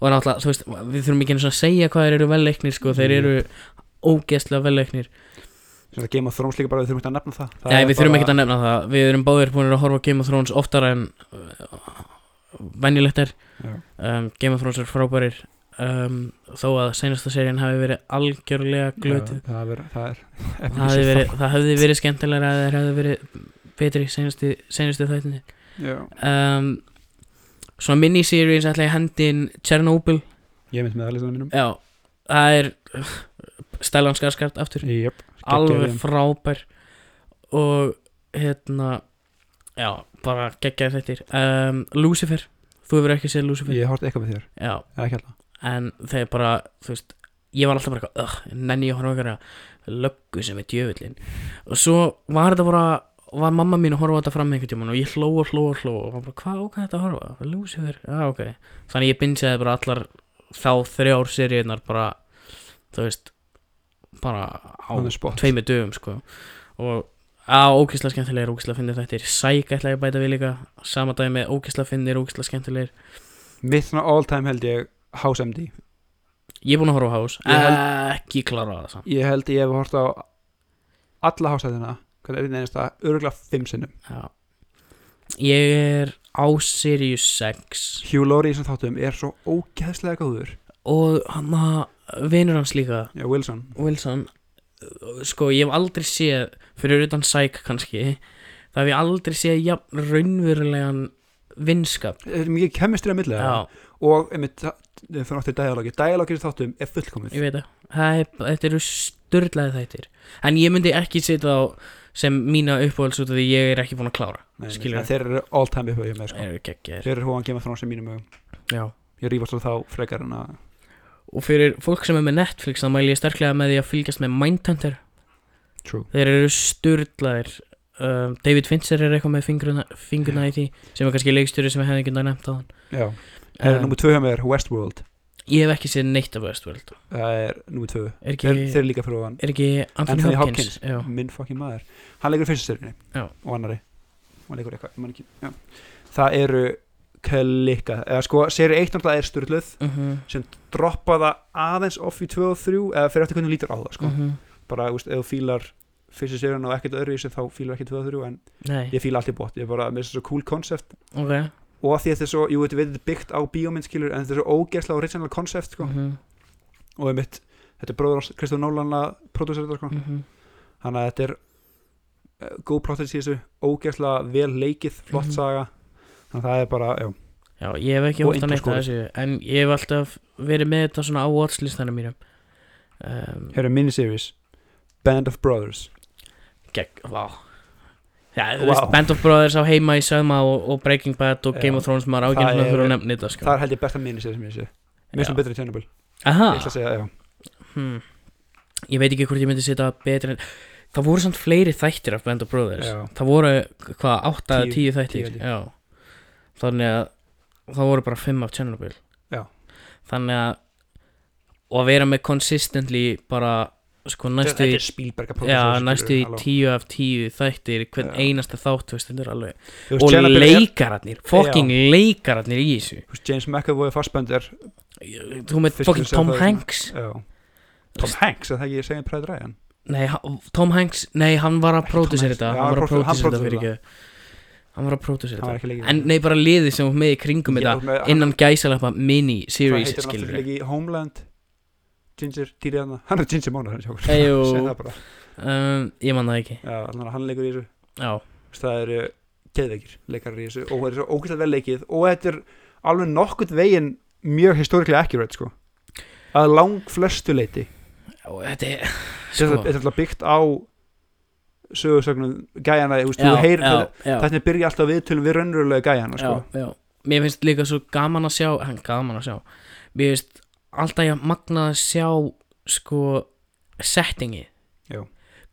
Speaker 1: og náttúrulega, þú veist, við þurfum ekki einu sinni að segja hvað þeir eru velleiknir, sko,
Speaker 2: Mm.
Speaker 1: þeir eru ógeðslega velleiknir
Speaker 2: sem það Game of Thrones líka bara við þurfum ekki að nefna það, það
Speaker 1: Nei,
Speaker 2: er
Speaker 1: við þurfum
Speaker 2: bara-
Speaker 1: ekki að nefna það, við erum báðir búin að horfa á Game of Thrones oftar en uh, venjulegt er
Speaker 2: Já.
Speaker 1: um, Game of Thrones er frábærir um, þó að senasta serían hafi verið algjörlega glötuð
Speaker 2: Já, það er það er
Speaker 1: það hefði verið, það hefði verið skemmtilega að það hefði verið betri senustu, senustu þættinni
Speaker 2: Já.
Speaker 1: um, svona miniseries ætla ég að hendi inn Chernobyl
Speaker 2: ég er mynd með það listanum mínum
Speaker 1: já, það er uh, Stellan Skarsgård aftur
Speaker 2: Jöp,
Speaker 1: alveg
Speaker 2: geggjaður.
Speaker 1: frábær og hérna já, bara geggjaði þettir um, Lucifer, þú hefur ekki séð Lucifer
Speaker 2: ég horfði eitthvað með þér
Speaker 1: já,
Speaker 2: eða ekki alltaf
Speaker 1: en þeir bara, þú veist ég var alltaf bara eitthvað, "Ugh, nenni ég að horfa okkar löggu sem er djöfullin og svo var þetta bara var mamma mín að horfa á þetta fram einhvern tímann og ég hló og hló og hló og var bara, hvað, ok, þetta að horfa Lucifer, já, ok þannig ég bindjaði bara allar þá þrjár seríunar bara, þú veist bara á
Speaker 2: On the spot.
Speaker 1: tveimur dögum, sko og á, ókisla skemmtilegir, ókisla finnir þetta er sæk ætla ég að bæta við líka sama dæmi, ókisla finnir, ókisla skemmtilegir
Speaker 2: mitt svona all time held ég House MD
Speaker 1: Ég er búinn að horfa á House Eh,
Speaker 2: Ég held-
Speaker 1: Ekki klára það samt
Speaker 2: ég held ég hef hort á alla hásæðina hvernig er þetta einasta, örgulega fimm sinnum
Speaker 1: Já. Ég er á Sirius 6
Speaker 2: Hugh Laurie í þessum þáttum er svo ógeðslega góður
Speaker 1: Og hann að Vinur hans líka
Speaker 2: já, Wilson
Speaker 1: Wilson Sko ég hef aldrei séð Fyrir utan Psych kannski Það hef ég aldrei séð jafn raunverulegan Vinskap
Speaker 2: þetta er mikið kemistri að milli þeirra.
Speaker 1: Já,
Speaker 2: og einmitt, það fyrir náttúrulega dialogi dialogi í þessum þáttum er fullkomið
Speaker 1: ég veit það Það er- Þetta eru störlaði þættir En ég myndi ekki setja á sem mína uppáhalds út af því ég er ekki búinn að klára
Speaker 2: Nei, nei,
Speaker 1: skilur.
Speaker 2: en þeir eru all time upphauð með sko.
Speaker 1: Það eru geggjær
Speaker 2: þeir eru hóðan Game of Thrones í mínum augum.
Speaker 1: Já
Speaker 2: ég rífast á þá frekar en að
Speaker 1: Og fyrir fólk sem er með Netflix þá mæli ég sterklega með því að fylgjast með Mindhunter
Speaker 2: true
Speaker 1: Þeir eru sturdlaðir um, David Fincher er eitthvað með fingruna, fingruna í því sem er kannski leikstjóri sem við hefðum ekki nefnt á hann
Speaker 2: já Það er
Speaker 1: Um,
Speaker 2: nummer 2 hjá mér, Westworld
Speaker 1: Ég hef ekki séð neitt af Westworld
Speaker 2: Það er nummer 2
Speaker 1: Er ekki,
Speaker 2: Þeir þeir eru líka fyrir ofan
Speaker 1: er ekki Anthony,
Speaker 2: Anthony
Speaker 1: Hopkins,
Speaker 2: Hopkins. Minn fucking maður Hann leikur í fyrstu styrjunni
Speaker 1: Já.
Speaker 2: Og annari Og hann leikur eitthvað ég man ekki, já. Það eru klikka Eða sko, seri 1 náttúrulega er styrluð
Speaker 1: Já, uh -huh,
Speaker 2: Droppa það aðeins off í 2 og 3 Eða fyrir eftir hvernig þú lítur á það sko.
Speaker 1: uh
Speaker 2: Bara, þú veist, ef þú fílar fyrstu styrjunni og ekkert öðru í sig Þá fílar ekki 2 og 3 En
Speaker 1: Nei,
Speaker 2: ég fíla allt í bótt Ég bara, mér finnst þetta svo cool concept
Speaker 1: ok
Speaker 2: Og af því að þetta er svo, jú, þetta er veitir byggt á bíómyndskilur En þetta er svo ógersla original concept sko.
Speaker 1: uh -huh,
Speaker 2: og einmitt, þetta er bróður hans Kristofur Nólan að pródúsera þetta sko
Speaker 1: uh -huh,
Speaker 2: þannig að þetta er uh, góð plottis í þessu, ógeðslega vel leikið flott
Speaker 1: Mhm.
Speaker 2: saga þannig að það er bara, já,
Speaker 1: Já, ég hef ekki
Speaker 2: Og
Speaker 1: hótt að neitt að
Speaker 2: Interstellar.
Speaker 1: þessu En ég hef alltaf verið með þetta svona á watchlistanum mínum um,
Speaker 2: hér er miniseries Band of Brothers
Speaker 1: Gegg, vá Já, þú
Speaker 2: Vá.
Speaker 1: veist, Band of Brothers á heima í Söðma og, og Breaking Bad og
Speaker 2: Já.
Speaker 1: Game of Thrones maður
Speaker 2: Það
Speaker 1: ágjörn
Speaker 2: er-
Speaker 1: fyrir að nefna þetta sko
Speaker 2: það er held ég besta miniseries sem ég sé mér
Speaker 1: Já.
Speaker 2: sem betri Tjernobyl,
Speaker 1: Aha
Speaker 2: ég ætla að segja, já
Speaker 1: hmm. Ég veit ekki hvort ég myndi setja betri en Það voru samt fleiri þættir af Band of Brothers
Speaker 2: Já.
Speaker 1: Það voru hvað, 8 eða
Speaker 2: Tíu-
Speaker 1: 10 þættir
Speaker 2: tíu held ég.
Speaker 1: Já Þannig að það voru bara 5 af Chernobyl
Speaker 2: Já.
Speaker 1: Þannig að Og að vera með consistently bara sko næstu
Speaker 2: þetta
Speaker 1: í
Speaker 2: er Spielberg að pródúsera
Speaker 1: Já,
Speaker 2: þessu,
Speaker 1: næstu í
Speaker 2: skilurðu, halló.
Speaker 1: 10 af 10 þættir hvern
Speaker 2: Já.
Speaker 1: einasta þátt, þú veist, þetta er alveg
Speaker 2: Þú veist,
Speaker 1: og
Speaker 2: Chernobyl er-
Speaker 1: leikararnir, fucking leikararnir í þessu
Speaker 2: þú veist, James McAvoy Fassbender
Speaker 1: þú með
Speaker 2: Fyrst
Speaker 1: fucking
Speaker 2: þú sér
Speaker 1: Tom
Speaker 2: það,
Speaker 1: Hanks
Speaker 2: já. Tom Hanks, er það ekki segja Pride Ryan
Speaker 1: nei, ha- Tom Hanks, nei, hann var að
Speaker 2: Ekki Tom
Speaker 1: pródusera
Speaker 2: Hanks.
Speaker 1: þetta,
Speaker 2: Já,
Speaker 1: hann var að
Speaker 2: hann
Speaker 1: pródusera þetta
Speaker 2: pródúsera
Speaker 1: fyrir ekki hann var að pródusera
Speaker 2: hann var
Speaker 1: þetta
Speaker 2: ekki leikið
Speaker 1: en nei, bara liðið sem hún með í kringum þetta innan gæsalappa mini-series,
Speaker 2: Hvað heitir hann
Speaker 1: skilur
Speaker 2: aftur í leik í Homeland? Ginger, týrið hann Hann er Ginger Mónar hann sjókur
Speaker 1: Eyjó.
Speaker 2: það bara
Speaker 1: um, ég man það ekki
Speaker 2: Já, allan að hann leikur í þessu
Speaker 1: já,
Speaker 2: Þess, Það eru geðveikir leikarar í þessu Og það er svo ógæslega vel leikið Og þetta er alveg nokkurt veginn Mjög historiklega accurate sko Að lang flestu leiti
Speaker 1: og þetta er
Speaker 2: Þetta
Speaker 1: sko,
Speaker 2: er alltaf byggt á Sögusögnum gæjana þú veist,
Speaker 1: já,
Speaker 2: Þú heyrir
Speaker 1: já,
Speaker 2: þetta
Speaker 1: já.
Speaker 2: Þetta byrja alltaf viðtölum við raunverulega gæjana sko.
Speaker 1: já, já. mér finnst líka svo gaman að sjá hann gaman að sjá mér finnst alltaf ég magna að sjá sko settingi
Speaker 2: Já.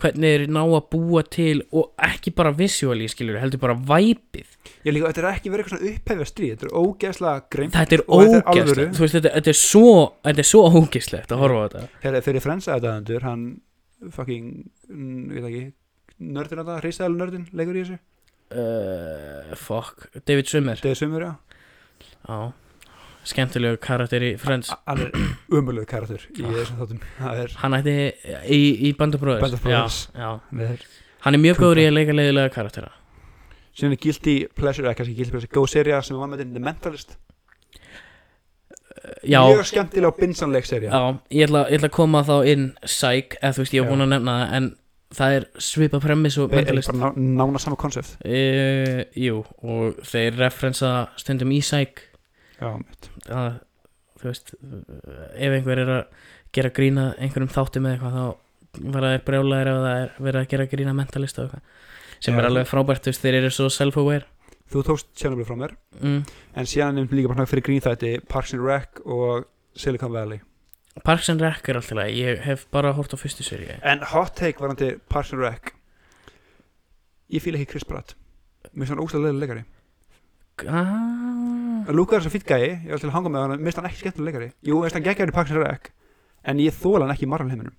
Speaker 1: hvernig þeir ná að búa til og ekki bara visuáli skilur heldur bara væpið
Speaker 2: Ég líka, þetta er ekki verið eitthvað svona upphefja stríð Þetta er ógæslega greim
Speaker 1: þetta er
Speaker 2: Og þetta er alvöru.
Speaker 1: ógeðslegt þú veist þetta, þetta er svo þetta er svo ógeðslegt að horfa á þetta
Speaker 2: Þegar fyrir Friends aðdæðendur hann fucking, mm, ég veit ekki nördin að það, hristaðal nördin, leikur í þessu
Speaker 1: uh, fuck, David Summer
Speaker 2: Deðið sumur, já,
Speaker 1: já skemmtilegu karakter í Friends
Speaker 2: A- hann er umöluð karakter í þessum þáttum það er
Speaker 1: hann ætti í, í Band of Brothers
Speaker 2: Band of Brothers.
Speaker 1: já, já.
Speaker 2: með þeir
Speaker 1: hann er mjög
Speaker 2: Pumpa.
Speaker 1: góður í að leika leiðilega karaktera
Speaker 2: síðan er Guilty Pleasure, eða kannski Guilty Pleasure góð seria sem við varum með þetta, The Mentalist
Speaker 1: já,
Speaker 2: mjög skemmtilega og binsanleg seria
Speaker 1: Já, ég ætla, ég ætla að koma þá inn Psych, eða þú veist, ég var
Speaker 2: Já.
Speaker 1: búin að nefna það En það er svipa premiss og
Speaker 2: Þeir eru
Speaker 1: mentalist
Speaker 2: bara ná- nána sama konsept
Speaker 1: uh, Jú, og þeir referensa stundum í Psych
Speaker 2: já, mitt
Speaker 1: að, Þú veist, eh, ef einhver er að gera grína einhverjum þáttum eða eitthvað Þá verða þeir brjálæðir ef það er verið að gera grína mentalist og eitthvað Sem
Speaker 2: Já.
Speaker 1: er alveg frábært, þú veist, þeir eru svo self-aware
Speaker 2: þú tókst Chernobyl frá mér
Speaker 1: mm.
Speaker 2: en síðan er líka bara svona fyrir grín þætti Parks and Rec og Silicon Valley
Speaker 1: Parks and Rec er alltaf leið, ég hef bara hort á fyrstu seríu
Speaker 2: en hot take varandi Parks and Rec ég fíla ekki Chris Pratt mér finnst hann ógstæðlega leikari
Speaker 1: ah,
Speaker 2: Luka er svo fýtt gæi, ég var til að hanga með hann mér finnst hann ekki skemmtilega leikari jú, mér finnst hann geggjari Parks and Rec en ég þóla hann ekki í Marvel heiminum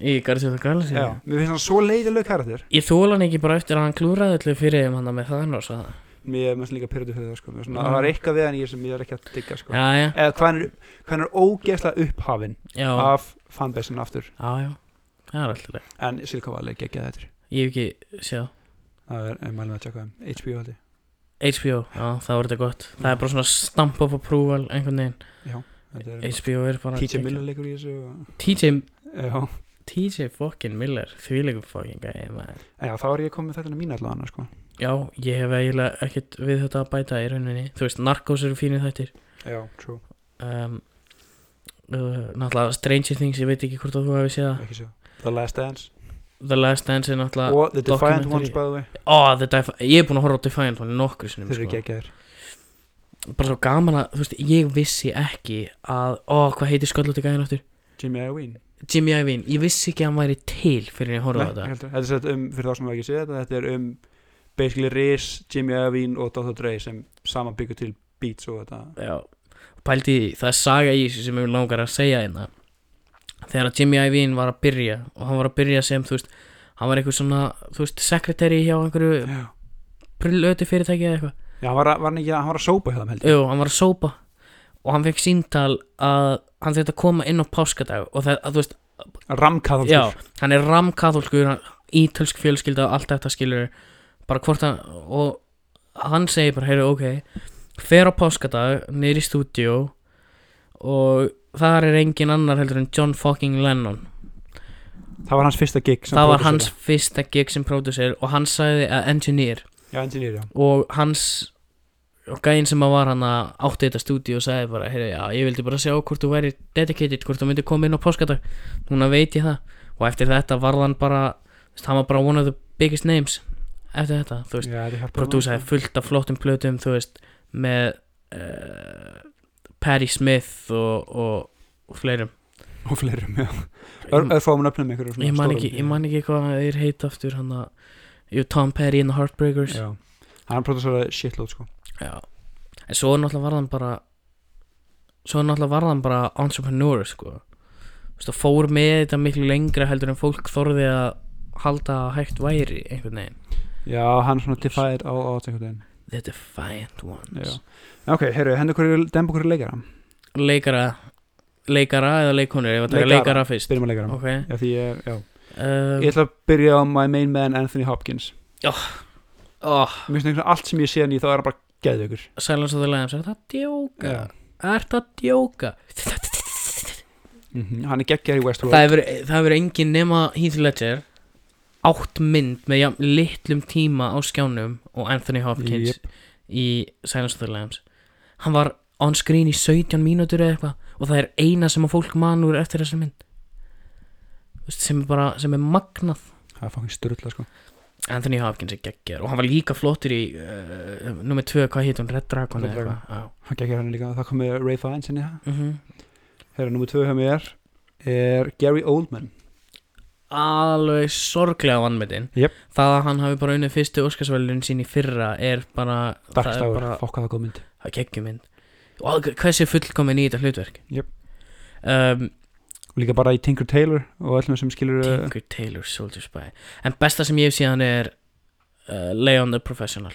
Speaker 1: Í Garðsjóð og Garðsjóð
Speaker 2: Já, mér finnst hann svo leiðilegu karakter
Speaker 1: Ég þóla hann ekki bara eftir að hann klúraði allir fyrir um hann með Thanos og það.
Speaker 2: Mér finnst líka pyrrðu fyrir það sko Mér finnst svona,
Speaker 1: Mm.
Speaker 2: Það var eitthvað við hann í sem ég er ekki að digga sko
Speaker 1: Já, já,
Speaker 2: Eða hvað hann er, hvað hann er ógeðslega upphafinn
Speaker 1: já,
Speaker 2: af fanbæsinn aftur
Speaker 1: já, já, það er alltaf leið.
Speaker 2: En Silicon Valley geggjaði þetta
Speaker 1: Ég hef ekki séð það.
Speaker 2: Það er en mælum að tjekka um HBO haldi
Speaker 1: HBO, já, það voru þetta gott. Það er bara svona stamp of approval einhvern veginn.
Speaker 2: Já, þetta er
Speaker 1: HBO er bara...
Speaker 2: TJ Miller leikur í þessu og-
Speaker 1: TJ,
Speaker 2: Já,
Speaker 1: TJ fucking Miller, því líka fucking gæði maður.
Speaker 2: En já þá er ég komið þetta mín allavega sko
Speaker 1: Já, ég hef eiginlega ekkert við þetta að bæta í rauninni. Þú veist, Narcos eru fínir þættir.
Speaker 2: Já, true,
Speaker 1: Um, uh, náttúrulega Stranger Things, ég veit ekki hvort að þú hefði séð það.
Speaker 2: ekki svo The Last Dance
Speaker 1: The Last Dance er náttúrulega...
Speaker 2: Og The
Speaker 1: Ah.
Speaker 2: Defiant
Speaker 1: documentary.
Speaker 2: Ones by the way
Speaker 1: Ó, The Defiant, ég er búin að horfa á Defiant One nokkru sinnum sko.
Speaker 2: Þeir eru geggjaðir
Speaker 1: Bara svo gaman að, þú veist, ég vissi ekki að, ó, hvað heitir sköllóti gæðin áttur?
Speaker 2: Jimmy Iovine
Speaker 1: Jimmy Iovine, ég vissi ekki að hann væri til fyrir ég horfa á
Speaker 2: Nei,
Speaker 1: þetta
Speaker 2: heldur. Þetta er sett um, fyrir þá sem við ekki séð þetta Þetta er um basically Riz, Jimmy Iovine og Dr. Dre sem saman byggur til Beats og þetta
Speaker 1: Já, pældi í- það er saga í þessu sem ég langar að segja hérna þegar að Jimmy Iovine var að byrja og hann var að byrja sem þú veist hann var einhver svona þú veist sekretæri hjá einhverju
Speaker 2: já,
Speaker 1: prulötu fyrirtæki eða eitthvað
Speaker 2: já hann, var að, var hann, ekki, að- hann var að sópa hjá þeim held ég
Speaker 1: Jú, hann var að sópa og hann fekk síntal að hann þurfti að koma inn á páskadag og það, að, þú veist,
Speaker 2: ramkaðalskur
Speaker 1: já, hann er ramkathólskur hann- ítölsk fjölskylda og allt þetta skilur bara hvort hann og hann segir bara, heyrðu, ok fer á páskadag, niður í stúdíó og þar er engin annar heldur en John fucking Lennon
Speaker 2: það var hans fyrsta gig sem
Speaker 1: það var
Speaker 2: pródúsera.
Speaker 1: hans fyrsta gig sem pródusir og hann sagði að engineer
Speaker 2: já, engineer, já.
Speaker 1: og hans og gæinn sem að var hann að átti þetta stúdíu og sagði bara, heyrðu, já, ég vildi bara sjá hvort þú væri dedicated, hvort þú myndi koma inn á páskadag núna veit ég það og eftir þetta varð hann bara, þú veist, hann var bara one of the biggest names eftir þetta, þú veist,
Speaker 2: já þetta hjálpaði
Speaker 1: prodúsaði
Speaker 2: honum.
Speaker 1: fullt af flottum plötum, þú veist, með uh, Patti Smith og, og, og fleirum
Speaker 2: og fleirum, já
Speaker 1: Ég-
Speaker 2: örfáum nöfnum ykkur
Speaker 1: ég man ekki, ég man ekki hvað þeir heita aftur hann að, jú, Tom Perry and the Heartbreakers
Speaker 2: já hann pródúseraði shitload sko
Speaker 1: Já, en svo náttúrulega var hann bara svo náttúrulega var hann bara entrepreneur sko Þú veist, og fór með þetta miklu lengra heldur en fólk þorði að halda að hægt væri einhvern veginn
Speaker 2: já, hann svona defied all odds einhvern veginn
Speaker 1: The Defiant Ones
Speaker 2: Já. Ok, heyrðu, hendur hverju, demba hverju leikara
Speaker 1: Leikara Leikara eða leikonur, ég var að taka
Speaker 2: Leikara.
Speaker 1: leikara fyrst
Speaker 2: Byrjum að leikara
Speaker 1: Ok
Speaker 2: Já, því ég, já Ég
Speaker 1: uh,
Speaker 2: ætla að byrja á my main man Anthony Hopkins
Speaker 1: oh,
Speaker 2: Mér finnst einhvern veginn allt sem ég sé hann í þá er hann bara geðveikur
Speaker 1: Silence of the Lambs, er þetta að djóka?
Speaker 2: Já.
Speaker 1: Er þetta að djóka?
Speaker 2: mm Hann er geggjær í Westworld
Speaker 1: Það hefur, það hefur engin nema Heath Ledger átt mynd með jafn litlum tíma á skjánum og Anthony Hopkins
Speaker 2: Jep.
Speaker 1: í Silence of the Lambs hann var on screen í 17 mínútur eða eitthvað og það er eina sem að fólk manur eftir þessa mynd Þú veist, sem er bara, sem er magnað
Speaker 2: Það er fangin styrla sko
Speaker 1: Anthony Hopkins er geggjör og hann var líka flottur í uh, nummer 2, hvað heit hún, Red Dragon
Speaker 2: Red
Speaker 1: eða
Speaker 2: Dragon. Mhm.
Speaker 1: eitthvað
Speaker 2: Hann geggjær hann líka Það kom með Ray Fiennes inn í það
Speaker 1: mm -hmm.
Speaker 2: Heyrðu, nummer tvö hjá mér Er Gary Oldman
Speaker 1: alveg sorglega vannmetinn
Speaker 2: Jep.
Speaker 1: það að hann hafi bara unnið fyrstu Óskarsvælun sín í fyrra er bara það er
Speaker 2: Darkstower
Speaker 1: bara
Speaker 2: Fokk að það góð mynd
Speaker 1: það geggjum minn og hversi fullkomin í þetta hlutverk
Speaker 2: Jep.
Speaker 1: um,
Speaker 2: Og líka bara í Tinker Tailor Og öllum sem skilur uh,
Speaker 1: Tinker Tailor Soldier Spy en besta sem ég hef síðan er uh, Leon the Professional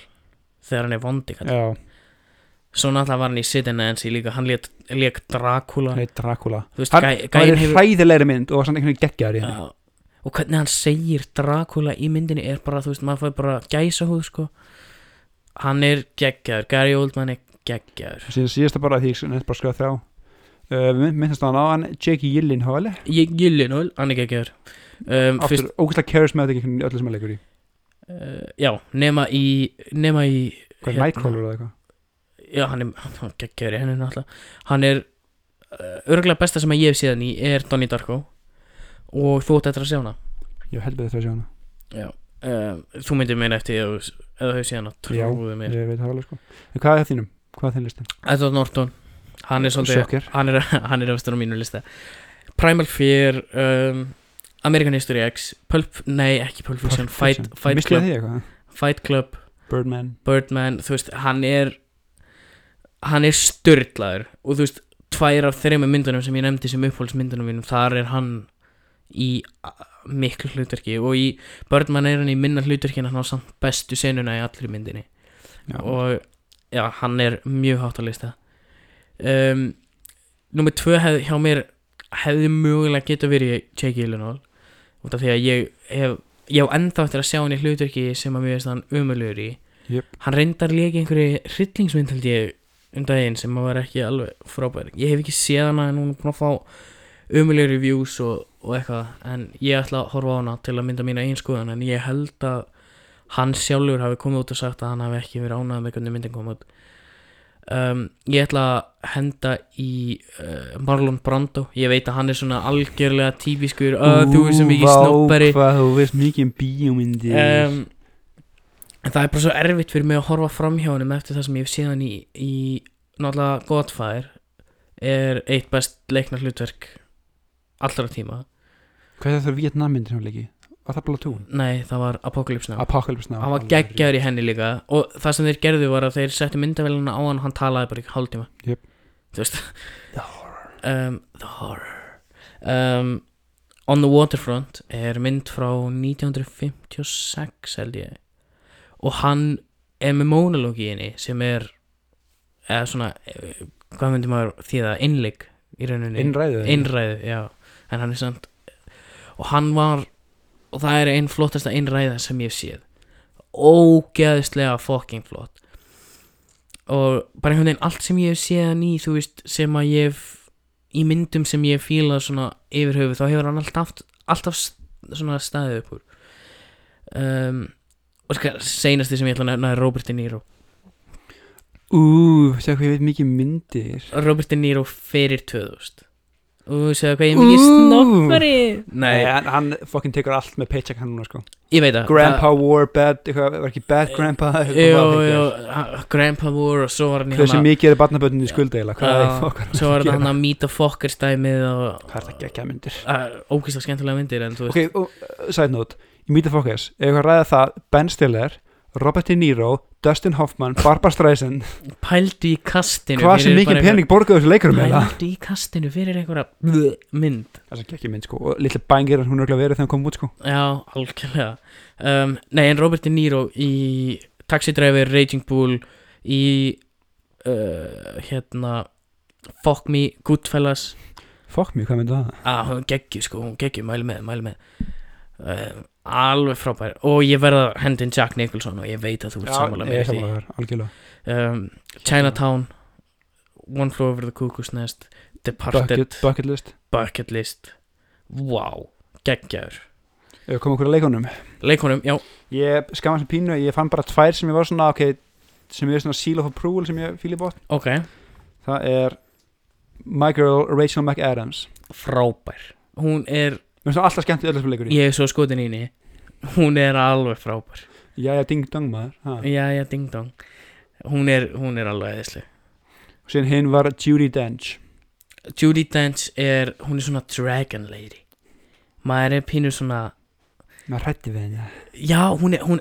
Speaker 1: þegar hann er vondi kall
Speaker 2: Já,
Speaker 1: svo náttúrulega var hann í Sid and Nancy líka hann lék, lék Dracula
Speaker 2: hann er Dracula
Speaker 1: þú veist,
Speaker 2: Hann-
Speaker 1: gæ,
Speaker 2: Það
Speaker 1: gæin
Speaker 2: er
Speaker 1: hefur
Speaker 2: hræðilegri mynd Og var samt einhvern veginn geggjær í henni
Speaker 1: Já. og hvernig hann segir Dracula í myndinni er bara, þú veist, maður fær bara gæsa húð, sko hann er geggjaður, Gary Oldman er geggjaður
Speaker 2: Síðan síðasta bara því Nefnt bara skrifa þrjá uh, mynd- Myndast hann á hann Jake Gyllenhaal
Speaker 1: ég gilli nól, hann er geggjaður um,
Speaker 2: Aftur
Speaker 1: fyrst,
Speaker 2: fyrst... ógæslega charismatic í öllu sem hann leikur í
Speaker 1: uh, já, nema í nema í,
Speaker 2: Hvað er
Speaker 1: Hérna.
Speaker 2: Nightcrawler eða eitthvað?
Speaker 1: já, hann er hann er geggjaður í henni náttúrulega hann er, uh, örgulega besta sem að ég hef síðan í er Donnie Darko og þú átt eftir að sjá hana
Speaker 2: Ég held betur að sjá hana
Speaker 1: já, um, þú myndir meina eftir ef þú- ef þú hefur síðan að
Speaker 2: Já,
Speaker 1: trúðu mér
Speaker 2: Ég veit það alveg sko En hvað er þínum? Hvað er þín listin?
Speaker 1: Edward Norton hann er svolítið
Speaker 2: Sjokker.
Speaker 1: hann er, hann er efstur á mínu lista Primal Fear um, American History X Pulp, nei ekki Pulp Fiction, Fight, Fight,
Speaker 2: Mistið
Speaker 1: Club,
Speaker 2: þið eitthvað?
Speaker 1: Fight Club
Speaker 2: Birdman
Speaker 1: Birdman, þú veist, hann er hann er styrlaður og þú veist, tvær af þreima myndunum sem ég nefndi sem upphólsmyndunum mínum, þar er hann í a- miklu hlutverki og í Birdman er hann í minna hlutverki en hann á samt bestu senuna í allri myndinni
Speaker 2: Já.
Speaker 1: og já, hann er mjög hátt á lista um, Númer tvö hef, hjá mér hefði mögulega geta verið Jake Gyllenhaal út af því að ég hef ég á ennþá eftir að sjá hann í hlutverki sem að mér veist hann umulugur í
Speaker 2: Jöp.
Speaker 1: hann reyndar líka einhverju hryllingsmynd held ég um daginn sem að var ekki alveg frábær ég hef ekki séð hana en hún er búin að fá umulugur reviews og, og eitthvað en ég ætla að horfa á hana til að mynda mína eigin skoðan en ég held að hann sjálfur hafi komið út og sagt að hann hafi ekki verið ánægð með hvernig myndin kom út um, ég ætla að henda í uh, Marlon Brando ég veit að hann er svona algjörlega típiskur uh, þú er sem ekki snoppari
Speaker 2: Vá, hvað þú veist mikið um bíómyndi
Speaker 1: um, en það er bara svo erfitt fyrir mig að horfa fram hjá honum eftir það sem ég hef séð hann í, í náttúrulega Godfather er eitt best leiknar hlutverk allra tíma
Speaker 2: Hvað er það það Vietnammyndi sem hann leiki? Var það bara tún?
Speaker 1: nei það var Apocalypse Now
Speaker 2: Apocalypse Now
Speaker 1: hann var geggjaður í henni líka og það sem þeir gerðu var að þeir settu myndavélina á hann og hann talaði bara í hálftíma
Speaker 2: Jöp.
Speaker 1: þú veist um, The Horror um, On the Waterfront er mynd frá 1956 held ég og hann er með monolog í henni sem er eða svona, eh, hvað myndi maður þýða innleik í rauninni
Speaker 2: Innræðu
Speaker 1: innræðu, já en hann er samt og hann var, og það er einn flottasta innræða sem ég hef séð ógeðislega fucking flott og bara einhvern veginn allt sem ég hef séð hann í, þú veist, sem að ég hef í myndum sem ég hef fílað svona yfir höfuð, þá hefur hann alltaf alltaf s- svona staðið upp úr um, og skal, seinasti sem ég ætla að nefna er Robert De Niro
Speaker 2: Ú, segja hvað ég veit mikið um myndir
Speaker 1: Robert De Niro fyrir 2000 og segja hvað ég er mikið snokkari nei,
Speaker 2: hann, hann fucking tekur allt með paycheck hann núna sko
Speaker 1: Ég veit að
Speaker 2: Grandpa wore bad, eitthvað, var ekki bad grandpa
Speaker 1: það-
Speaker 2: eitthvað
Speaker 1: Jú,
Speaker 2: var það
Speaker 1: jú,
Speaker 2: ekki?
Speaker 1: ha- Grandpa War og svo var hann í
Speaker 2: Hversu
Speaker 1: hana
Speaker 2: mikið eru barnaböndin í skuld eila Hvað er
Speaker 1: Já,
Speaker 2: fokkar
Speaker 1: Svo var hann að mýta fokkar stæmið og
Speaker 2: Hvað er það ekki að myndir
Speaker 1: að- Ógeðslega skemmtilega myndir en þú veist
Speaker 2: Ok, og, uh, side note Í Meet the Fockers, ef eitthvað ræða það Ben Stiller, Robert De Niro Dustin Hoffman, Barbra Streisand
Speaker 1: Pældu í kastinu
Speaker 2: Hvað sem
Speaker 1: fyrir
Speaker 2: mikið um
Speaker 1: bara
Speaker 2: pening borgaðu þessu leikurum
Speaker 1: eitthvað-
Speaker 2: eða
Speaker 1: Pældu í kastinu fyrir einhverja blö, mynd
Speaker 2: Það sem ekki mynd sko Og litli bængir hún er ekki verið þegar hann kom út sko
Speaker 1: Já, algjörlega um, Nei, en Robert De Niro í Taxi Driver, Raging Bull í uh, hérna Fuck Me, Goodfellas
Speaker 2: Fokk mjög, hvað myndi það?
Speaker 1: að hún geggjur sko, hún geggjur, mæli með, mæli með um, alveg frábær og ég verða hendin Jack Nicholson og ég veit að þú ert samanlega
Speaker 2: ég
Speaker 1: með
Speaker 2: er
Speaker 1: því
Speaker 2: sammála þér, algjörlega
Speaker 1: um, Chinatown One Floor Over the Cuckoo's Nest Departed,
Speaker 2: Bucket, bucket list
Speaker 1: Bucket, List Wow, geggjaður
Speaker 2: Ef kom okkur að leikunum
Speaker 1: leikonum, já,
Speaker 2: Ég skamast sem pínu, ég fann bara tvær sem ég var svona, ok, sem ég er svona seal of approval sem ég fíl í bótt.
Speaker 1: ok
Speaker 2: Það er My Girl Rachel McAdams.
Speaker 1: frábær, hún er
Speaker 2: Mér finnst það alltaf skemmt í öllu sem leikur í.
Speaker 1: ég er svo skotin í henni hún er alveg frábær
Speaker 2: Jæja, ding dong maður. Ha.
Speaker 1: já, já, ding dong hún er, hún er alveg eðisleg
Speaker 2: Og síðan hinn var Judy Dench.
Speaker 1: Judy Dench er, hún er svona dragon lady maður er pínur svona
Speaker 2: Maður hrætti við henni.
Speaker 1: já, hún er hún,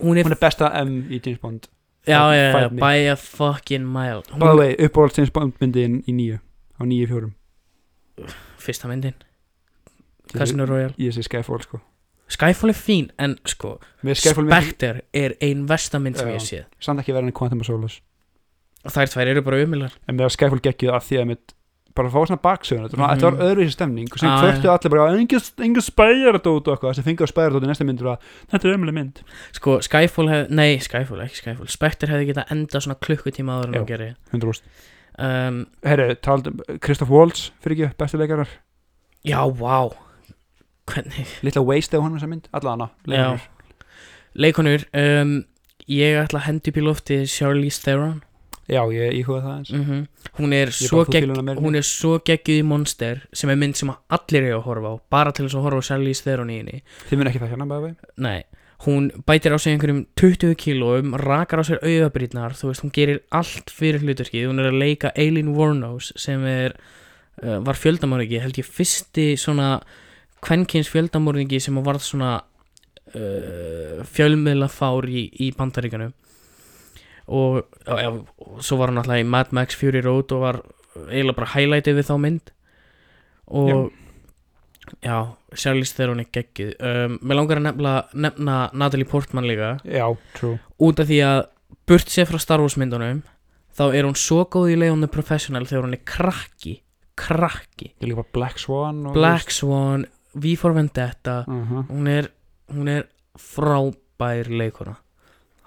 Speaker 1: hún er,
Speaker 2: Hún er besta M í James Bond.
Speaker 1: já, já, já,
Speaker 2: fight me.
Speaker 1: by a fucking mile
Speaker 2: By the
Speaker 1: hún,
Speaker 2: way, uppáhalds James Bond myndin í nýju. Á nýju fjórum.
Speaker 1: fyrsta myndin Casino Royale
Speaker 2: Ég sé Skyfall sko.
Speaker 1: Skyfall er fín, en sko
Speaker 2: Mér er Skyfall mynd,
Speaker 1: Spectre er ein versta mynd sem
Speaker 2: Já.
Speaker 1: ég hef séð
Speaker 2: samt ekki verið enn Quantum of Solace.
Speaker 1: og þær tvær eru bara umilar
Speaker 2: En mér er Skyfall geggjuð af því að mitt bara að fá svona baksöðun, þetta var-
Speaker 1: Mhm.
Speaker 2: þetta var öðruvísi stemning og sem
Speaker 1: Ah,
Speaker 2: kvörtu
Speaker 1: já.
Speaker 2: allir bara engin spæjaradót og eitthvað, sem fengur spæjaradót í næsta mynd var, þetta er ömuleg mynd
Speaker 1: sko, Skyfall hefði, nei, Skyfall, ekki Skyfall Spectre hefði getað enda svona klukkutíma áður en hún
Speaker 2: Já.
Speaker 1: gerir
Speaker 2: 100%.
Speaker 1: um,
Speaker 2: Herru, taldum, Kristoff Waltz fyrir ekki, besti leikarar,
Speaker 1: já, wow hvernig
Speaker 2: litla waste á honum þessa mynd, alla hana, leikarar
Speaker 1: leikonur, um, ég ætla að hendi upp í lofti Charlize Theron
Speaker 2: Já, ég íhuga það eins
Speaker 1: mm hún er
Speaker 2: Ég
Speaker 1: svo
Speaker 2: bara, þú
Speaker 1: gegg
Speaker 2: fílar hana meira en
Speaker 1: hún er svo geggjuð í Monster sem er mynd sem að allir eru að horfa á bara til þess að horfa á Charlize Theron í henni
Speaker 2: Þið mun ekki það hérna, bæði
Speaker 1: nei, hún bætir á sig einhverjum 20 kílóum, rakar á sér auðabrýtnar þú veist, hún gerir allt fyrir hluturkið hún er að leika Eileen Warnos sem er, uh, var fjöldamorðingi held ég fyrsti svona kvenkins fjöldamorðingi sem að varð svona uh, fjölmiðla fár í, í bandaríkanum og, og, ja, og svo var hann alltaf í Mad Max Fury Road og var eiginlega bara highlightið við þá mynd og
Speaker 2: Já.
Speaker 1: já, Charlize Theron er geggið um, mér langar að nefna, nefna Natalie Portman líka
Speaker 2: Já, true
Speaker 1: út af því að burt sér frá Star Wars myndunum þá er hún svo góð í leiðunni professional þegar hún er krakki krakki,
Speaker 2: Ég líka bara Black Swan og,
Speaker 1: Black Swan V for Vendetta
Speaker 2: uh -huh.
Speaker 1: hún er, hún er frábær leikona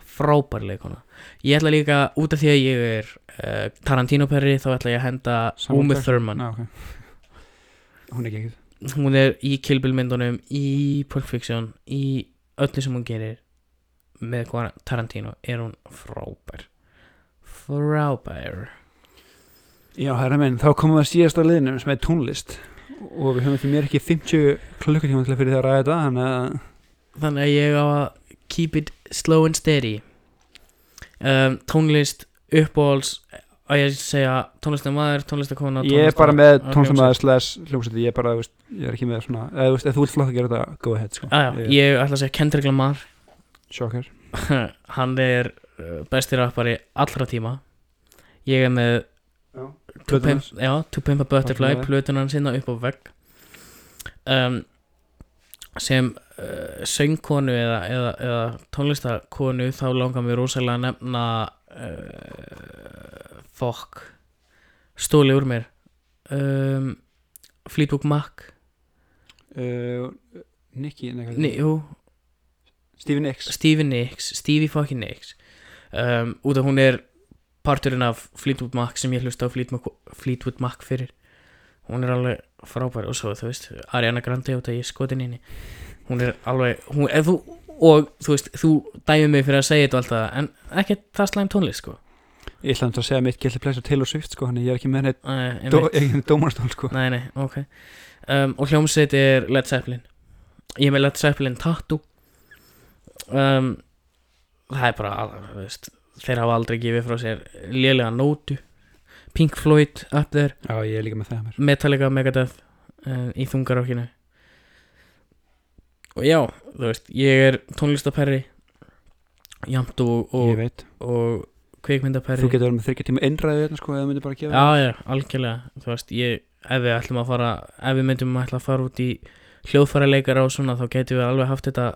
Speaker 1: frábær leikona ég ætla líka, út af því að ég er uh, Tarantino perri, þá ætla ég að henda
Speaker 2: Samuel
Speaker 1: Uma
Speaker 2: Jackson.
Speaker 1: Thurman
Speaker 2: okay. Hún er geggjuð
Speaker 1: hún er í Kill Bill myndunum í Pulp Fiction, í öllu sem hún gerir með hvað Tarantino er hún frábær frábær
Speaker 2: Já, herra minn, þá komum við að síðast á liðnum sem er tónlist og við höfum því mér ekki 50 klukkutíma til að fyrir það að ræða þetta þannig að
Speaker 1: þannig að ég á að keep it slow and steady um, tónlist uppáhalds að ég segja tónlistamæður, tónlistakona
Speaker 2: ég er bara með
Speaker 1: tónlistar-
Speaker 2: tónlistamæður slash hljómsæti, ég er bara, þú veist, ég er ekki með svona eða þú veist, ef þú vilt flokka gera þetta, go ahead sko.
Speaker 1: Ah, já,
Speaker 2: Ég-
Speaker 1: ég ætla að segja Kendrick Lamar
Speaker 2: Shocker,
Speaker 1: hann er uh, besti rappari allra tíma ég er með
Speaker 2: Já.
Speaker 1: To
Speaker 2: Plötuna
Speaker 1: Pimp, já, to pimp a Butterfly
Speaker 2: Butterfly.
Speaker 1: plötuna hann sinna upp á vegg um, sem uh, söngkonu eða, eða, eða tónlistakonu þá langar mér rosalega að nefna uh, fokk stóli úr mér um, Fleetwood Mac
Speaker 2: uh, Nicky, nei, hvað
Speaker 1: Ni,
Speaker 2: heitir hann?
Speaker 1: jú,
Speaker 2: Stevie Nicks
Speaker 1: Stevie Nicks Stevie fucking Nicks um, út af hún er parturinn af Fleetwood Mac sem ég hlusta á Fleetwood Mac, Fleetwood Mac fyrir hún er alveg frábær og svo þú veist Ariana Grande út af ég skotin inni hún er alveg hún, ef þú, og þú veist þú dæmið mig fyrir að segja þetta og allt það en ekki það slæm tónlist sko
Speaker 2: Ég ætla að segja mitt gildi plessu Taylor Swift sko, hann ég er ekki með henni
Speaker 1: Nei,
Speaker 2: dó,
Speaker 1: einmitt.
Speaker 2: ég er ekki með dómarstól sko
Speaker 1: nei, nei, ok um, og hljómsveit er Led Zeppelin ég er með Led Zeppelin tattoo um, það er bara al- þú veist, þeir hafa aldrei gefið frá sér lélega nótu Pink Floyd up there,
Speaker 2: Já, ég er líka með það mér
Speaker 1: Metallica Megadeth um, í þungarokkinu og já, þú veist ég er tónlistaperri jamt og,
Speaker 2: Ég
Speaker 1: og,
Speaker 2: veit,
Speaker 1: og
Speaker 2: þú
Speaker 1: kvikmyndaperri
Speaker 2: getur verið með þryggja tíma innræðið þetta sko, eða myndir bara gefa
Speaker 1: Já, já, algjörlega Þú veist, ég, ef við ætlum að fara ef við myndum ætla að fara út í hljóðfæra leikara og svona, þá getum við alveg haft þetta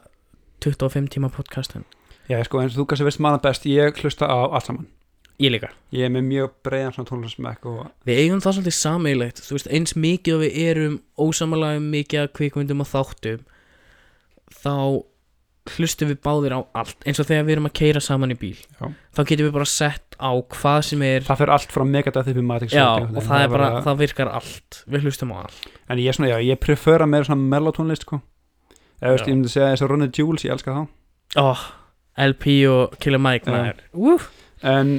Speaker 1: 25 tíma podcast en
Speaker 2: Já, sko, eins og þú kannski veist manna best, ég hlusta á allt saman
Speaker 1: ég líka
Speaker 2: Ég er með mjög breiðan svona tónlismekk og
Speaker 1: Við eigum það svolítið sameigilegt Þú veist, eins mikið og við erum ósamalega um mikið að kvikmyndum og þáttum þá hlustum við báðir á allt eins og þegar við erum að keira saman í bíl
Speaker 2: Já.
Speaker 1: þá getum við bara sett á hvað sem er
Speaker 2: það fer allt frá Megadeth upp í Matrix
Speaker 1: Já, og
Speaker 2: einhvern veginn.
Speaker 1: það er bara,
Speaker 2: bara-
Speaker 1: það virkar allt Við hlustum á allt
Speaker 2: En ég er svona, já, ég prefera meira svona mellotónlist sko Eða veist,
Speaker 1: Já.
Speaker 2: ég myndi segja þess að Ronny Jules, ég elska þá
Speaker 1: oh, LP og Killer Mike
Speaker 2: Já.
Speaker 1: maður. Woof.
Speaker 2: En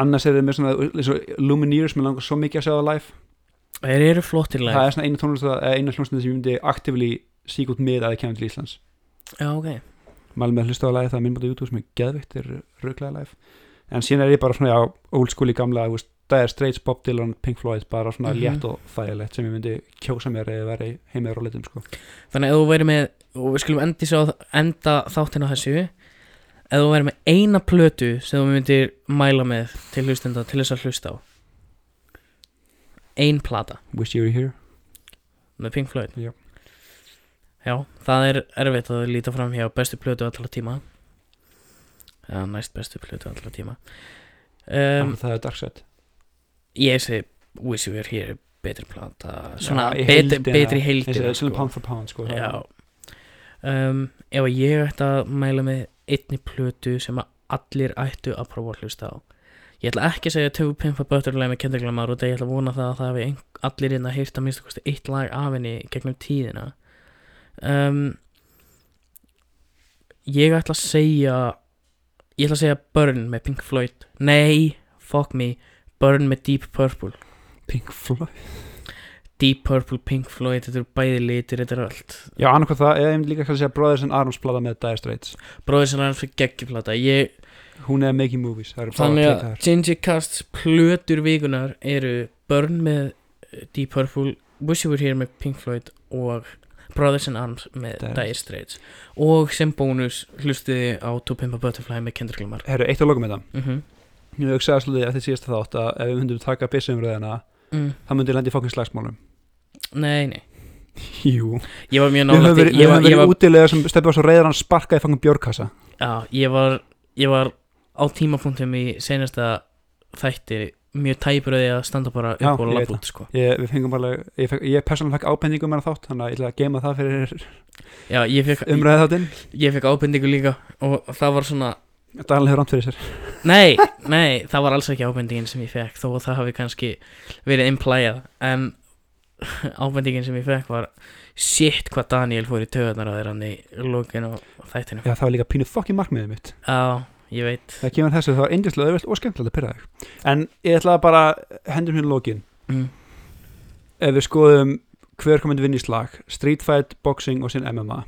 Speaker 2: annars er það með svona eins og Lumineers, mér langar svo mikið að sjá það live
Speaker 1: Þeir eru flottir
Speaker 2: Það
Speaker 1: live
Speaker 2: er svona eina tónlist, eða eina hljómsnið sem ég myndi aktífli sík út með að það kemur til Íslands
Speaker 1: Já, ok
Speaker 2: Mælum með að hlusta á lagið það er minnbæta YouTube sem er geðvitt, er röglega live En síðan er ég bara svona, já, old school í gamla þú veist, Dire Straits, Bob Dylan, Pink Floyd bara svona
Speaker 1: Mhm.
Speaker 2: létt og þægilegt sem ég myndi kjósa mér eða veri heimið rólitum sko.
Speaker 1: Þannig að ef þú verið með og við skulum endi, svo, enda þáttin á þessu ef þú verið með eina plötu sem þú myndir mæla með til hlustenda til þess að hlusta á Ein plata
Speaker 2: Wish You Were Here
Speaker 1: með Pink Floyd
Speaker 2: Já.
Speaker 1: Já, það er erfitt að líta fram hjá bestu plötu allra tíma eða næst bestu plötu allra tíma um,
Speaker 2: Það er Dark Side
Speaker 1: Ég segi Wish You Were Here er betri plata svona
Speaker 2: í
Speaker 1: betri,
Speaker 2: heildina.
Speaker 1: betri
Speaker 2: Eins og
Speaker 1: heildina
Speaker 2: svona pound for pound sko, það-
Speaker 1: Já um, Ef að ég ætti að mæla með einni plötu sem að allir ættu að prófa að hlusta á Ég ætla ekki að segja Töfu Pimpa Butterfly með Kendrick Lamar út af ég ætla að vona það að það hafi ein- allir inn að heyrta minnst kosti eitt lag af henni gegnum tíðina um, Ég ætla að segja Ég ætla að segja Burn með Pink Floyd Nei, fuck me Burn með Deep Purple
Speaker 2: Pink Floyd
Speaker 1: Deep Purple, Pink Floyd, þetta eru bæði litir, þetta eru allt
Speaker 2: Já, annarkvæð það, eða ég myndi líka kannski að segja Brothers and Arms plata með Dire Straits
Speaker 1: Bróðir sem hann fyrir geggjuplata Ég,
Speaker 2: Hún er making movies, það eru bara
Speaker 1: Þannig að
Speaker 2: klikkar
Speaker 1: Ginger Casts plötur vikunar eru Burn með eh, Deep Purple Wish You Were Here með Pink Floyd og Brothers in Arms með
Speaker 2: Dire
Speaker 1: Dire Straits og sem bónus hlustiði á To Pimp a Butterfly með Kendrick Lamar
Speaker 2: Herru, eitt að loka með það
Speaker 1: mm
Speaker 2: Ég hugsaði svolítið eftir síðasta þátt að ef við myndum taka byssumröðina
Speaker 1: mm,
Speaker 2: það myndi lendi í fokkins slagsmálum
Speaker 1: Nei, nei,
Speaker 2: Jú
Speaker 1: ég var mjög
Speaker 2: Við höfum
Speaker 1: nálægt
Speaker 2: verið,
Speaker 1: í-
Speaker 2: við
Speaker 1: ég,
Speaker 2: höfum
Speaker 1: var- ég,
Speaker 2: verið
Speaker 1: var-
Speaker 2: útilega sem stefið á svo reyðar hann sparka í fangum björkassa
Speaker 1: já, ég var ég var á tímapunktum í senasta þætti mjög tæpur að ég að standa bara upp
Speaker 2: Já,
Speaker 1: og
Speaker 2: ég veit
Speaker 1: labba út sko.
Speaker 2: Ég, við fengum alveg, ég, fekk, ég persónum fekk ábendingum meðan þátt, þannig að ég ætla að geima það fyrir
Speaker 1: Já, ég fekk,
Speaker 2: umræðið þáttinn.
Speaker 1: ég fekk ábendingu líka og það var svona
Speaker 2: Dalin hefur rámt fyrir sér.
Speaker 1: Nei, nei, það var alls ekki ábendingin sem ég fekk þó að það hafi kannski verið implæjað en ábendingin sem ég fekk var shit hvað Daniel fór í töðunar að þér hann í lókin og þættinu
Speaker 2: Já, það var líka pínu fokkin markmiðið mitt.
Speaker 1: Já, ég veit
Speaker 2: Það kemur þessu, það var indislega auðvelt og skemmtilega að pyrra þig. En ég ætla að bara hendum hérna lókin.
Speaker 1: mm.
Speaker 2: Ef við skoðum hver komandi vinn í slag, street fight, boxing og sín MMA.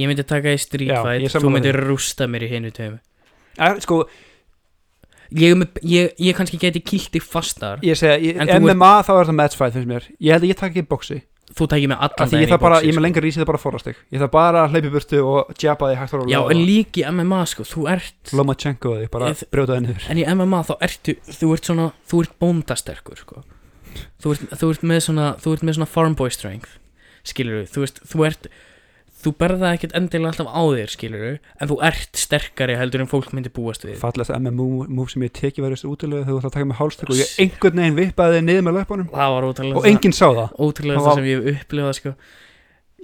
Speaker 1: Ég myndi taka í street
Speaker 2: Já, ég
Speaker 1: fight,
Speaker 2: sammála
Speaker 1: þú myndir rústa mér í hinu töðum
Speaker 2: Er, sko,
Speaker 1: ég, er með- ég, ég kannski geti kýlt þig fastar
Speaker 2: ég segja, ég,
Speaker 1: En þú
Speaker 2: MMA þá er það match fight finnst mér. Ég held að ég taka ekki boxi.
Speaker 1: þú tækir mig allan
Speaker 2: Af því ég þarf bara, ég er
Speaker 1: sko.
Speaker 2: með lengar rísið það bara forrastig Ég þarf bara að hleypi burtu og jabba þig hægt
Speaker 1: Já,
Speaker 2: og rólega
Speaker 1: en
Speaker 2: og
Speaker 1: líki MMA sko, þú ert
Speaker 2: Lomachenko þig, bara
Speaker 1: Ég-
Speaker 2: brjóta það niður
Speaker 1: En í MMA þá ertu, þú ert svona, þú ert bóndasterkur sko Þú ert, þú ert með svona, þú ert með svona farm boy strength Skilur þú, veist, þú ert, þú berða ekkert endilega alltaf á þér skilur En þú ert sterkari heldur en fólk myndi búast við
Speaker 2: Fallast MMO move sem ég teki verið þessu útilegu þegar þú ætlar að taka með hálstöku og ég einhvern veginn vippaði þig niður með löpunum
Speaker 1: Það var ótrúlega
Speaker 2: og enginn sá það
Speaker 1: ótrúlega það
Speaker 2: Það var-
Speaker 1: sem ég hef upplifað sko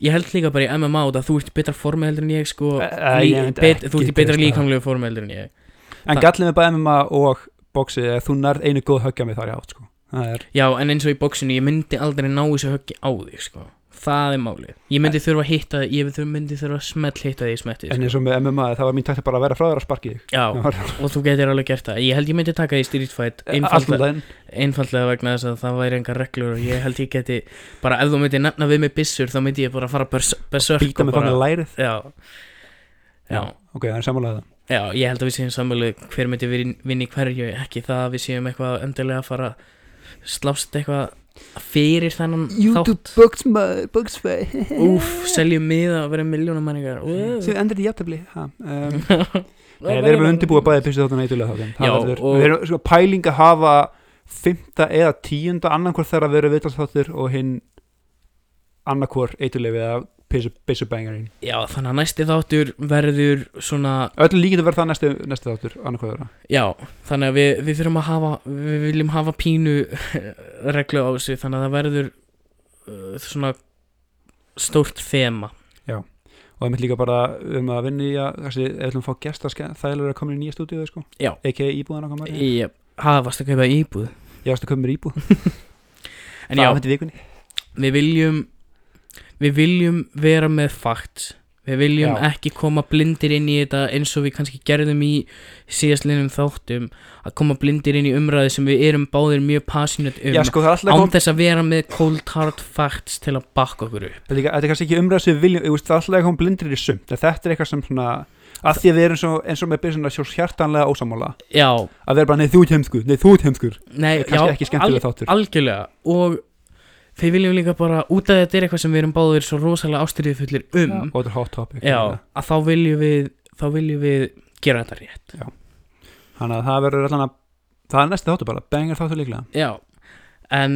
Speaker 1: Ég held líka bara í MMA út að þú ert í betra formi heldur en ég sko
Speaker 2: Æ, æ,
Speaker 1: lí,
Speaker 2: ég myndi
Speaker 1: bet, Þú ert í
Speaker 2: ekki sko.
Speaker 1: betra
Speaker 2: treysta það.
Speaker 1: líkamlegu formi heldur en ég
Speaker 2: En gallið með bæði MMA og boxið er að þú nærð einu góð höggja mig þar í átt sko. Það er,
Speaker 1: Já, en eins og í bóksinu, ég myndi aldrei ná þessu höggi á þig, sko Það er málið Ég myndi þurfa að hitta þig, ég þurfa- myndi þurfa að smell hitta þig í smettið
Speaker 2: en
Speaker 1: sko.
Speaker 2: eins og með MMA það var mín tætti bara að vera frá þér að sparki þig
Speaker 1: Já,
Speaker 2: Það var-
Speaker 1: og þú getur alveg gert það Ég held ég myndi taka því Street Fight
Speaker 2: Allan
Speaker 1: einfaldlega,
Speaker 2: um daginn
Speaker 1: einfaldlega vegna þess að það væri engar reglur og ég held ég geti bara ef þú myndi nefna við mig byssur þá myndi ég bara fara bers- berserk
Speaker 2: Býta
Speaker 1: og
Speaker 2: mig fram í
Speaker 1: bara,
Speaker 2: lærið
Speaker 1: já, já,
Speaker 2: Ok, það er samanlega það
Speaker 1: já, ég held að við séum sammálu hver myndi vin- vinna í hverju ekki það að við séum eitthvað endilega að fara að slást eitthvað fyrir þennan þátt
Speaker 2: box maður, box maður
Speaker 1: Úf, seljum miða að vera miljónum manningar
Speaker 2: Sem endur í jafntefli ha, um, Nei, við erum að undirbúa bæði pissið þáttan eitthulega þáttan
Speaker 1: Já,
Speaker 2: Það verður-
Speaker 1: og-
Speaker 2: Við erum sko, pæling að hafa fymta eða tíunda annarkvort þegar að vera vitast þáttir og hinn annarkvort eitthulega við að pissu bangarinn
Speaker 1: Já, þannig að næsti þáttur verður svona
Speaker 2: Öllu líkið að vera það næsti, næsti þáttur annarkvort þeirra
Speaker 1: Já, þannig að við, við þurfum að hafa Við viljum hafa pínu reglu á þessu Þannig að það verður uh, svona stórt þema
Speaker 2: og einmitt líka bara um að vinna í að þessi, ef við ætlum að fá gesta þægilega að koma í nýja stúdíu sko.
Speaker 1: Já.
Speaker 2: ekki íbúðan okkar maður
Speaker 1: Ég hafast að kaupa íbúð
Speaker 2: ég varst að koma mér íbúð
Speaker 1: En já,
Speaker 2: þetta vikunni
Speaker 1: við viljum Við viljum vera með fakt Við viljum
Speaker 2: Já.
Speaker 1: ekki koma blindir inn í þetta eins og við kannski gerðum í síðastlinum þáttum að koma blindir inn í umræði sem við erum báðir mjög passionate um
Speaker 2: já sko það er alltaf
Speaker 1: án
Speaker 2: kom,
Speaker 1: þess að vera með cold hard facts til að bakka okkur upp
Speaker 2: líka, þetta er kannski ekki umræð sem við viljum þú veist, það er alltaf að koma blindir í sumt en þetta er eitthvað sem svona að því að við erum svo, eins og með byrjum svo hjartanlega ósamála
Speaker 1: já,
Speaker 2: að vera bara neð þú ert heimskur, neð þú ert heimskur
Speaker 1: nei,
Speaker 2: kannski
Speaker 1: já,
Speaker 2: ekki skemmtilega þáttur
Speaker 1: algjörlega og við viljum líka bara út af þetta er eitthvað sem við erum báðir svo rosalega ástyrðið fullir um
Speaker 2: og þetta er hot topic
Speaker 1: já, að þá viljum við þá viljum við gera þetta rétt
Speaker 2: þannig að það verður allan að það er næsti þáttur bara, bengar þáttur líklega
Speaker 1: Já, en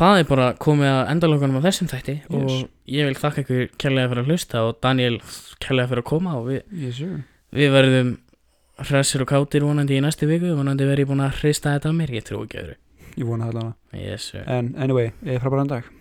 Speaker 1: það er bara komið að endalokanum á þessum þætti og
Speaker 2: Yes.
Speaker 1: ég vil þakka ykkur kærlega fyrir að hlusta og Daniel kærlega fyrir að koma og við,
Speaker 2: yes, sir.
Speaker 1: við verðum hressir og kátir vonandi í næstu viku vonandi verði ég búin að hrista þetta af mér, ég trúi ekki öðru
Speaker 2: ég vona það allan
Speaker 1: yes, sir.
Speaker 2: en anyway, ég fara bara en dag